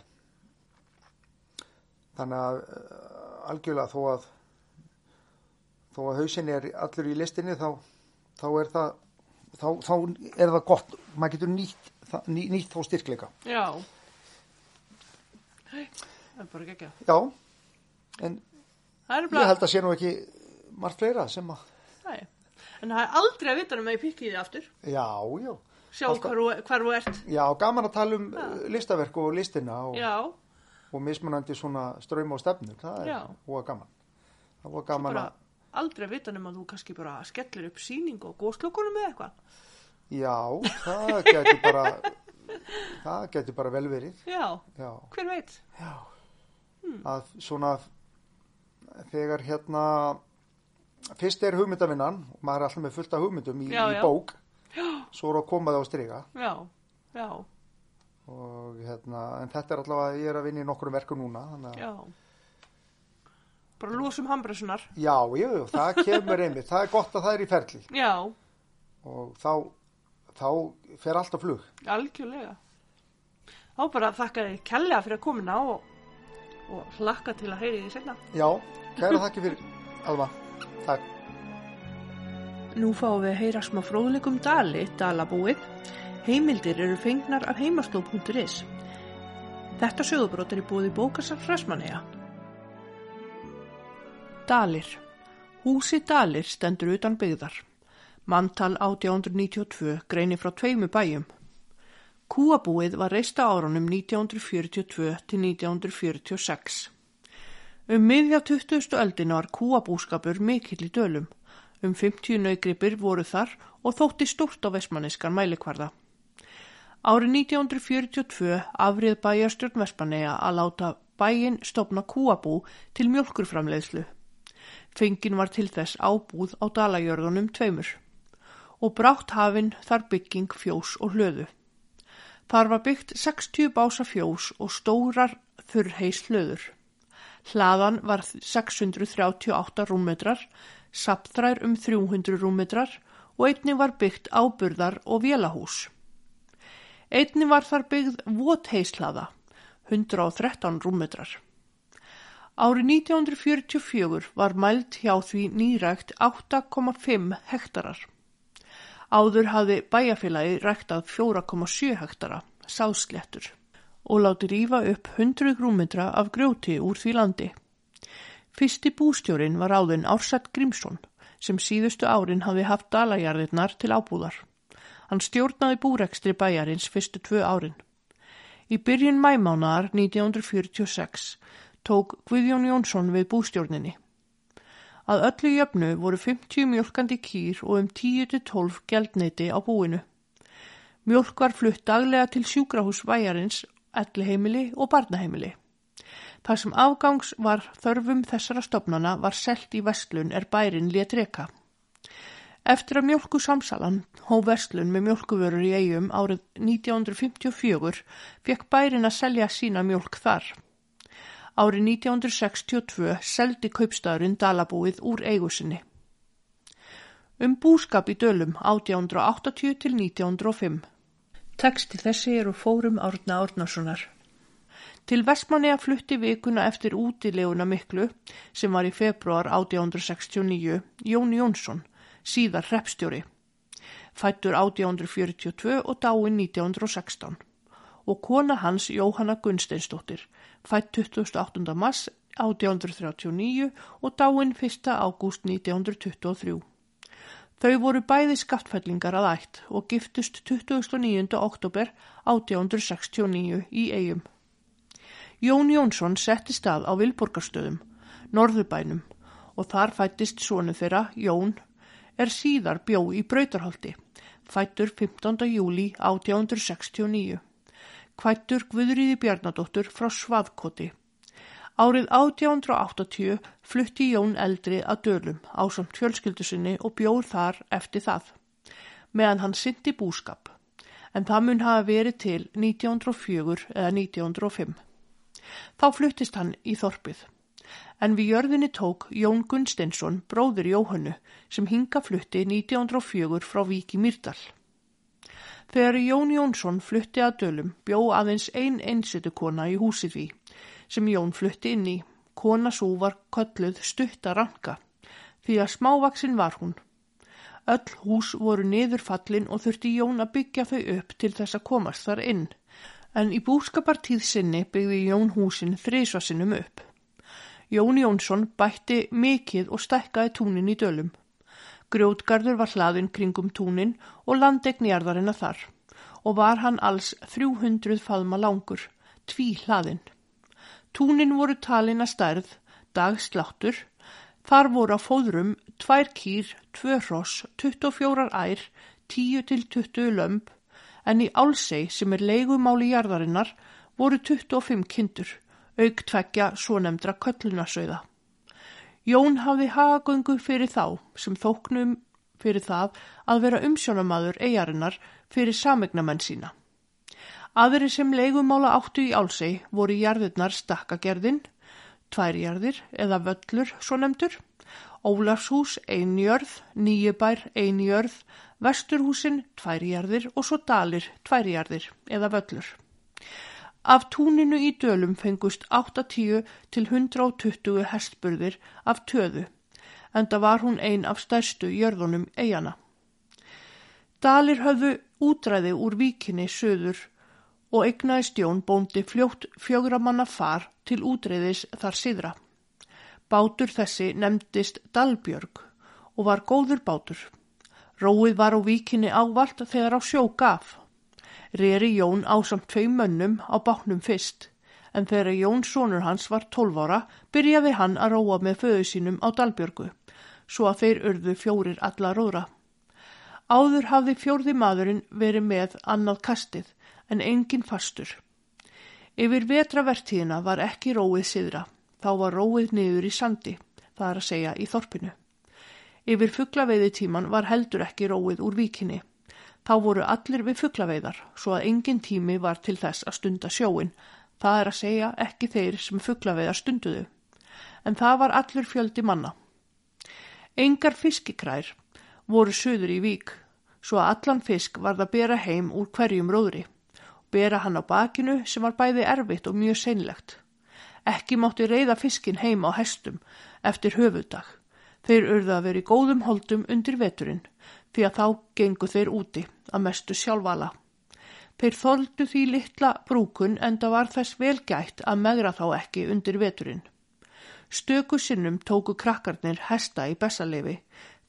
Speaker 2: þannig að eh, algjörlega þó að þó að hausin er allur í listinni þá, þá er það þá, þá er það gott maður getur nýtt, það- ný, nýtt þá styrkleika
Speaker 3: Já. Hei, það er bara gekkja.
Speaker 2: já, en
Speaker 3: Það er
Speaker 2: ég
Speaker 3: bara,
Speaker 2: held að sé nú ekki margt fleira sem að
Speaker 3: nei. En það er aldrei að vita um að ég pikki þið aftur.
Speaker 2: já, já,
Speaker 3: Sjá
Speaker 2: Alltaf.
Speaker 3: hvar, þú- hvar þú ert.
Speaker 2: já, gaman að tala um já. listaverk og listina og,
Speaker 3: Já,
Speaker 2: og mismunandi svona ströym og stefnur það
Speaker 3: Já.
Speaker 2: er voða gaman það var gaman
Speaker 3: bara
Speaker 2: að
Speaker 3: aldrei að vita um að þú kannski bara skellir upp sýningu og góðslokkunum eða eitthvað.
Speaker 2: Já, það gæti bara það gæti bara vel verið
Speaker 3: Já,
Speaker 2: já,
Speaker 3: hver veit? Hmm.
Speaker 2: að svona þegar hérna fyrst er hugmyndavinnan og maður er alltaf með fullt af hugmyndum í,
Speaker 3: Já,
Speaker 2: í
Speaker 3: já.
Speaker 2: bók svo er að koma það á striga
Speaker 3: Já, já,
Speaker 2: og hérna, en þetta er allavega ég er að vinna í nokkrum verkum núna þannig að
Speaker 3: já. Bara losum hambresunar.
Speaker 2: Já, jú, jú, það kemur einmitt, það er gott að það er í ferli
Speaker 3: Já,
Speaker 2: og þá, þá fer allt á flug.
Speaker 3: algjörlega. Þá bara þakka þið kærlega fyrir að komina og, og hlakka til að heyri því segna.
Speaker 2: Já, kæra þakki fyrir, Alma, takk.
Speaker 1: Nú fáum við að heyra smá fróðleikum Dali, Dalabúið. Heimildir eru fengnar af heimasló.is. Þetta sögubrót er í búið í bókasar Frasmanega. Dalir. Húsi Dalir stendur utan byggðar. Mantal 1892 greinir frá tveimu bæjum. Kúabúið var reista árunum 1942 til 1946. Um miðja 20. öldina var kúabúskapur mikill í dölum. Um 50 naugripir voru þar og þótti stórt á vestmanniskan mælikvarða. Árið 1942 afrið bæjarstjórn Vestmanneia að láta bæin stopna kúabú til mjölkurframleiðslu. Fengin var til þess ábúð á dalajörðunum tveimur og brátt hafin þar bygging fjós og hlöðu. Þar var byggt 60 bása fjós og stórar þurrheis hlöður. Hlaðan var 638 rúmmetrar, sapþrær um 300 rúmmetrar og einni var byggt áburðar og vélahús. Einni var þar byggð vótheislaða, 113 rúmmetrar. Árið 1944 var mælt hjá því nýrækt 8,5 hektarar. Áður hafði bæjarfélagi ræktað 4,7 hektara, sáðslettur, og láti rífa upp 100 grúmmetra af grjóti úr því landi. Fyrsti bústjórin var áðin Ársætt Grímsson, sem síðustu árin hafði haft dalajarðirnar til ábúðar. Hann stjórnaði búrekstri bæjarins fyrstu tvö árin. Í byrjun mæmánaðar 1946 tók Guðjón Jónsson við bústjórninni. Að öllu jöfnu voru 50 mjölkandi kýr og um 10-12 geldneiti á búinu. Mjölk var flutt daglega til sjúkrahús væjarins, elliheimili og barnaheimili. Það sem afgangs var þörfum þessara stofnana var selt í vestlun er bærin lét reka. Eftir að mjölku samsalan hó vestlun með mjölkuvörur í eigum árið 1954 fekk bærin að selja sína mjölk þar. Árið 1962 seldi kaupstæðurinn Dalabúið úr eigusinni. Um búskap í Dölum 1880 til 1905. Teksti þessi eru fórum Árna Árnasonar. Til Vestmanneja flutti vikuna eftir útileguna miklu sem var í februar 1869 Jón Jónsson, síðar hreppstjóri. Fættur 1842 og dáinn 1916 og kona hans Jóhanna Gunnsteinsdóttir, fætt 28. mars 1839 og dáinn 1. ágúst 1923. Þau voru bæði skattfellingar að ætt og giftust 29. oktober 1869 í eigum. Jón Jónsson setti stað á Vilborgarstöðum, Norðurbænum og þar fættist sonu þeirra, Jón, er síðar bjó í Brautarholti, fættur 15. júli 1869, kvættur Guðriði Bjarnadóttur frá Svaðkoti. Árið 1880 flutti Jón eldri að Dölum á samt fjölskyldusinni og bjóð þar eftir það, meðan hann syndi búskap, en það mun hafa verið til 1904 eða 1905. Þá fluttist hann í þorpið. En við jörðinni tók Jón Gunnsteinsson, bróðir Jóhannu, sem hinga flutti 1904 frá Vík í Mýrdal. Þegar Jón Jónsson flutti að dölum bjó aðeins ein einsetu kona í húsi því sem Jón flutti inn í. Kona svo var kölluð stutta ranka því að smávaksin var hún. Öll hús voru niður fallin og þurfti Jón að byggja þau upp til þess að komast þar inn. En í búskapartíð sinni byggði Jón húsin þrísvarsinum upp. Jón Jónsson bætti mikið og stækkaði túnin í dölum. Grjótgarður var hlaðinn kringum túnin og landegn jarðarina þar og var hann alls 300 faðma langur, tví hlaðinn. Túnin voru talin að stærð, dagsláttur, þar voru á fóðrum tvær kýr, tvö hross, 24 ær, 10-20 lömb, en í Álsei sem er leigumáli jarðarinnar voru 25 kindur, auk tveggja svo nefndra köllunasauða. Jón hafði hagagöngu fyrir þá sem þóknum fyrir það að vera umsjónamaður eigarinnar fyrir samegnamenn sína. Aðri sem leigumála áttu í Álsei voru jarðirnar stakkagerðin, tværjarðir eða völlur svo nefndur, Ólafshús einjörð, nýjubær einjörð, vesturhúsin tværjarðir og svo dalir tværjarðir eða völlur. Af túninu í dölum fengust 80 til 120 hestburðir af töðu, en það var hún ein af stærstu jörðunum eigana. Dalir höfðu útræði úr víkinni söður og eignaðist Jón bóndi fljótt fjögramanna far til útræðis þar síðra. Bátur þessi nefndist Dalbjörg og var góður bátur. Róið var á víkinni ávalt þegar á sjó gaf. Reri Jón ásamt tvei mönnum á bátnum fyrst, en þegar Jón sonur hans var 12 ára byrjaði hann að róa með föðu sínum á Dalbjörgu, svo að þeir urðu fjórir alla róðra. Áður hafði fjórði maðurinn verið með annað kastið, en engin fastur. Yfir vetravertíðina var ekki róið siðra, þá var róið niður í sandi, það er að segja í þorpinu. Yfir fugglaveiðitíman var heldur ekki róið úr víkinni. Þá voru allir við fugglaveiðar, svo að engin tími var til þess að stunda sjóin. Það er að segja ekki þeir sem fugglaveiðar stunduðu. En það var allur fjöldi manna. Engar fiskikrær voru söður í vík, svo að allan fisk varð að bera heim úr hverjum róðri. Bera hann á bakinu sem var bæði erfitt og mjög seinlegt. Ekki mátti reyða fiskin heim á hestum eftir höfudag. Þeir urðu að vera í góðum holdum undir veturinn, því að þá gengu þeir úti, að mestu sjálfala. Þeir þóldu því litla brúkun en það var þess vel gætt að megra þá ekki undir veturinn. Stöku sinnum tóku krakkarnir hesta í bessaleifi,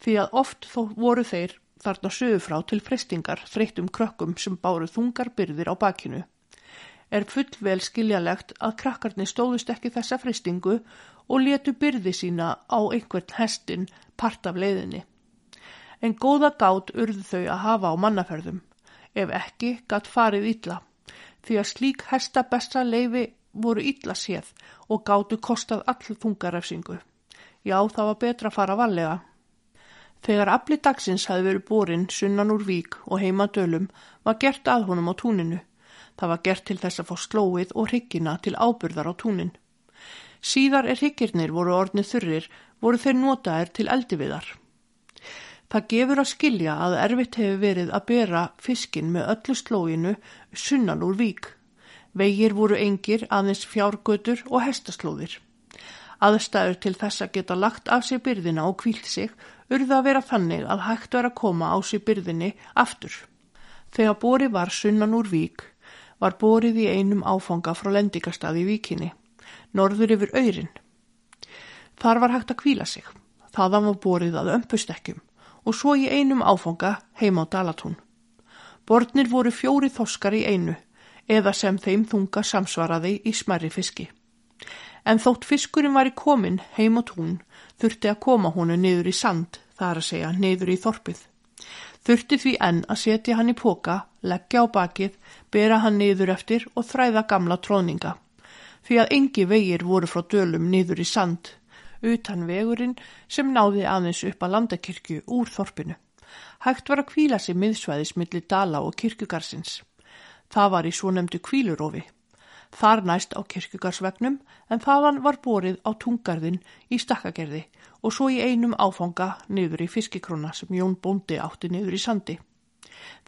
Speaker 1: því að oft þó voru þeir þarna sögu frá til fristingar þreytum krökkum sem báru þungar byrðir á bakinu. Er fullvel skiljalegt að krakkarnir stóðust ekki þessa fristingu og letu byrði sína á einhvern hestin part af leiðinni. En góða gát urðu þau að hafa á mannaferðum, ef ekki gatt farið illa, því að slík hesta besta leifi voru illa séð og gátu kostað all þungarefsingu. Já, það var betra að fara varlega. Þegar afli dagsins hafði verið borinn sunnan úr vík og heima dölum var gert að honum á túninu. Það var gert til þess að fá slóið og hryggina til ábyrðar á túnin. Síðar er hryggirnir voru orðnið þurrir, voru þeir notaðir til eldiviðar. Það gefur að skilja að erfitt hefur verið að bera fiskin með öllu slóinu sunnan úr vík. Vegir voru engir, aðeins fjárgötur og hestaslóðir. Aðstæður til þess að geta lagt af sér byrðina og kvílt sig urða að vera þannig að hægt vera að koma á sér byrðinni aftur. Þegar bori var sunnan úr vík var borið í einum áfanga frá lendingastaði í víkinni, norður yfir öyrin. Þar var hægt að kvíla sig. Þaðan var borið að ömpustekkjum og svo í einum áfanga heim á Dalatún. Borðnir voru fjóri þoskar í einu eða sem þeim þunga samsvaraði í smerri fiski. En þótt fiskurinn var í komin heim á tún þurfti að koma honu niður í sand, þar að segja niður í þorpið. Þurfti því enn að setja hann í póka, leggja á bakið, bera hann niður eftir og þræða gamla tróninga. Því að engi vegir voru frá dölum niður í sand, utan vegurinn sem náði aðeins upp að landakirkju úr þorpinu. Hægt var að kvíla sig miðsvæðis milli dala og kirkjugarsins. Það var í svo nefndu kvílurofi. Þar næst á kirkjugarsvegnum en þaðan var borið á tungarðin í stakkagerði og svo í einum áfanga niður í fiskikrona sem Jón Bóndi átti niður í sandi.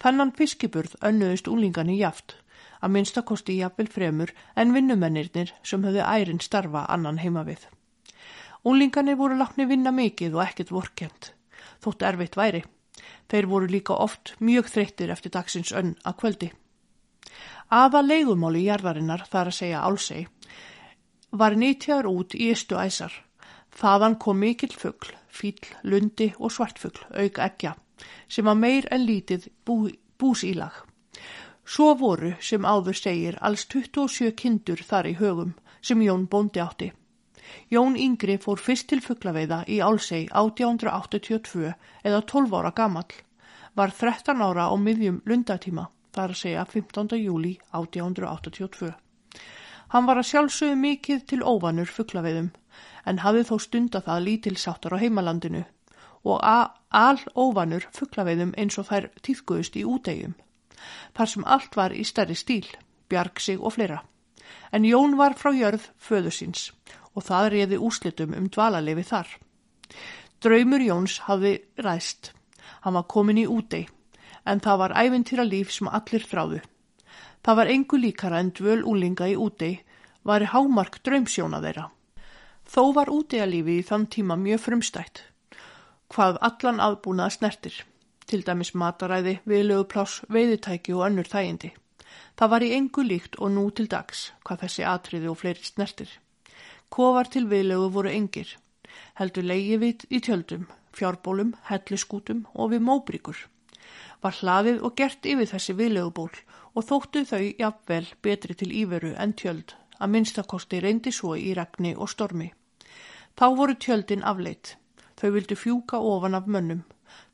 Speaker 1: Þannan fiskiburð önnuðust úlingan í jaft, að minnsta kosti jafnvel fremur en vinnumennirnir sem höfðu ærin starfa annan heima við. Úlinganir voru lakni vinna mikið og ekkert vorkjönd, þótt erfitt væri. Þeir voru líka oft mjög þreyttir eftir dagsins önn að kvöldi. Afa leigumáli jarðarinnar, þar að segja álsei, var nýtjaður út í ystu æsar. Þaðan kom mikill fugl, fýll, lundi og svartfugl, auk ekja, sem var meir en lítið bú, búsílag. Svo voru, sem áður segir, alls 27 kindur þar í högum, sem Jón bóndi átti. Jón Yngri fór fyrst til fuglaveiða í Álsei 1882 eða 12 ára gamall, var 13 ára á miðjum lundatíma, þar að segja 15. júli 1882. Hann var að sjálfsögðu mikið til óvanur fuglaveiðum, en hafði þó stunda það lítilsáttar á heimalandinu og a- al óvanur fuglaveiðum eins og þær týðguðust í útegjum, þar sem allt var í stærri stíl, bjarg sig og fleira. En Jón var frá jörð föður síns og það reyði úslitum um dvalalefi þar. Draumur Jóns hafði ræst. Hann var komin í útei, en það var ævintýra líf sem allir þráðu. Það var engu líkara en dvöl úlinga í útei, var hámark draumsjóna þeirra. Þó var útegalífið í þann tíma mjög frumstætt, hvað allan aðbúnað snertir, til dæmis mataræði, viðlegupláss, veiðutæki og önnur þægindi. Það var í engu líkt og nú til dags, hvað þessi atriði og fleiri snertir. Kofar til viðlegu voru engir, heldur leiðið í tjöldum, fjárbólum, helliskútum og við móbríkur. Var hlaðið og gert yfir þessi viðleguból og þóttu þau jafnvel betri til íveru en tjöld, að minnstakosti reyndi svo í regni og stormi. Þá voru tjöldin afleitt. Þau vildu fjúka ofan af mönnum,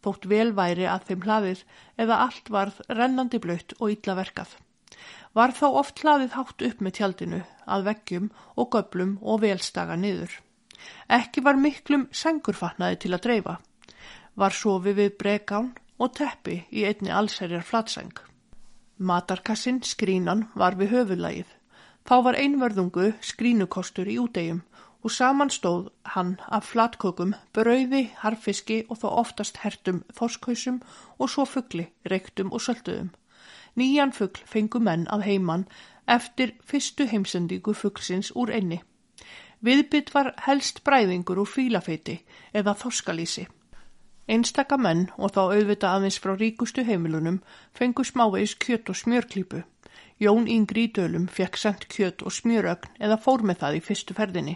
Speaker 1: þótt vel væri að þeim hlaðið eða allt varð rennandi blöytt og illa verkað. Var þá oft hlaðið hátt upp með tjaldinu, að veggjum og göblum og velstaga niður. Ekki var miklum sengurfatnaði til að dreifa. Var sofi við bregán og teppi í einni allserjar flatseng. Matarkassin, skrínan, var við höfulægið. Þá var einverðungu skrínukostur í útegjum og saman stóð hann af flatkökum, brauði, harfiski og þá oftast hertum þorskhausum og svo fugli, reyktum og sölduðum. Nýjan fugl fengu menn að heiman eftir fyrstu heimsendingu fuglsins úr enni. Viðbytt var helst bræðingur úr fílafeiti eða þorskalísi. Einstaka menn og þá auðvita aðeins frá ríkustu heimilunum fengu smávegis kjöt og smjörklípu. Jón Yngri í Dölum fekk sendt kjöt og smjörögn eða fór með það í fyrstu ferðinni.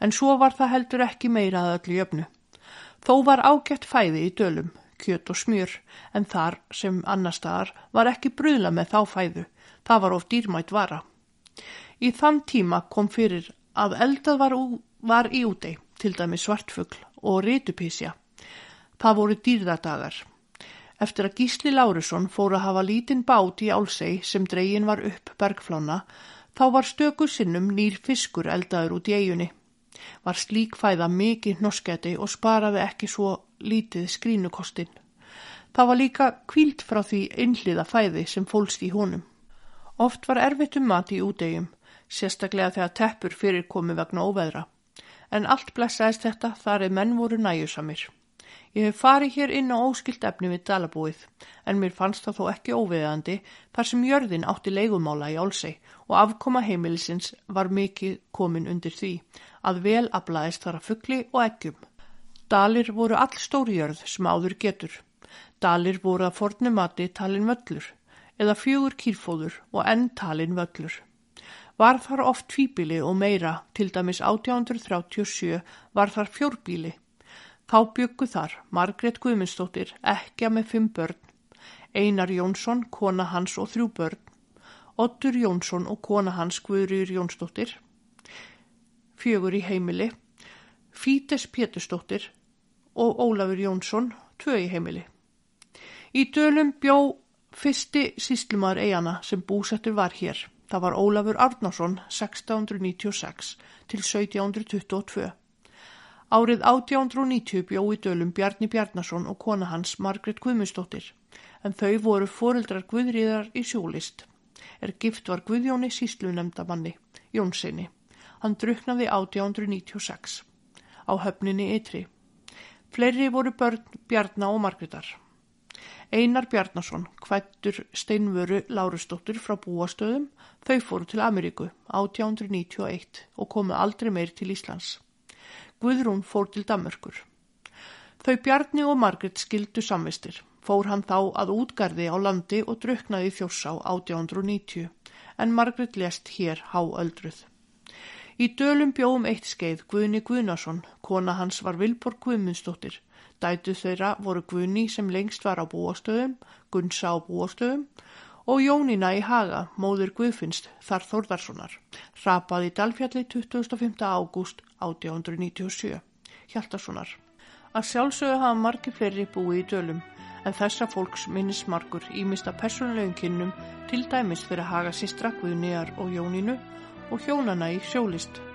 Speaker 1: En svo var það heldur ekki meira að öllu jöfnu. Þó var ágætt fæði í Dölum, kjöt og smjör, en þar sem annar staðar var ekki brúðla með þá fæðu. Það var of dýrmætt vara. Í þann tíma kom fyrir að eldað var, ú- var í útei, til dæmi svartfugl og rítupísja. Það voru dýrðardagar. Eftir að Gísli Lárusson fór að hafa lítinn bát í Álsei sem dregin var upp bergflána, þá var stöku sinnum nýr fiskur eldaður út í eigunni. Var slík fæða mikið hnoskæti og sparaði ekki svo lítið skrínukostin. Það var líka kvíld frá því innliða fæði sem fólst í honum. Oft var erfitt um mat í útegjum, sérstaklega þegar teppur fyrir komi vegna óveðra. En allt blessaðist þetta þar eð menn voru næjusamir. Ég hef farið hér inn á óskilt efni við dalabúið, en mér fannst það þó ekki óveðandi þar sem jörðin átti leigumála í Álsei og afkoma heimilisins var mikið komin undir því að vel aflaðist þar að fugli og eggjum. Dalir voru all stórjörð sem áður getur. Dalir voru að fornu mati talin völlur eða fjögur kýrfóður og enn talin völlur. Var þar oft tvíbili og meira, til dæmis 1837 var þar fjórbíli. Þá byggu þar Margrét Guðmundsdóttir ekki með fimm börn, Einar Jónsson, kona hans og þrjú börn, Ottur Jónsson og kona hans Guðrýr Jónsdóttir, fjögur í heimili, Fítes Pétursdóttir og Ólafur Jónsson, tvö í heimili. Í dölum bjó fyrsti síslumar eigana sem búsettur var hér. Það var Ólafur Arnason 1696 til 1722. Árið 1890 bjó í dölum Bjarni Bjarnason og kona hans Margrét Guðmundsdóttir, en þau voru foreldrar Guðriðar í sjólist. Er gift var Guðjóni síslunemndamanni, Jónsinni. Hann druknaði 1896 á höfninni ytri. Fleiri voru börn Bjarna og Margrétar. Einar Bjarnason, kvættur steinvöru Lárusdóttur frá búastöðum, þau fóru til Ameríku 1891 og komu aldrei meir til Íslands. Guðrún fór til Danmörkur. Þau Bjarni og Margrét skildu samvistir. Fór hann þá að útgarði á landi og druknaði í þjórsá 1890, en Margrét lest hér háöldruð. Í dölum bjóum eitt skeið Guðni Guðnason, kona hans var Vilborg Guðmundsdóttir. Dætu þeirra voru Guðni sem lengst var á búastöðum, Gunnsa á búastöðum og Jónína í Haga, móður Guðfinnst, þar Þórðarssonar, rapaði í Dalfjalli 25. ágúst 1897, Hjaltarssonar. Að sjálfsögðu hafa margir fleiri búið í dölum, en þessa fólks minnist margur ímista persónulegum kynnum til dæmis fyrir Haga sýstra Guðniðar og Jónínu og hjónana í sjólist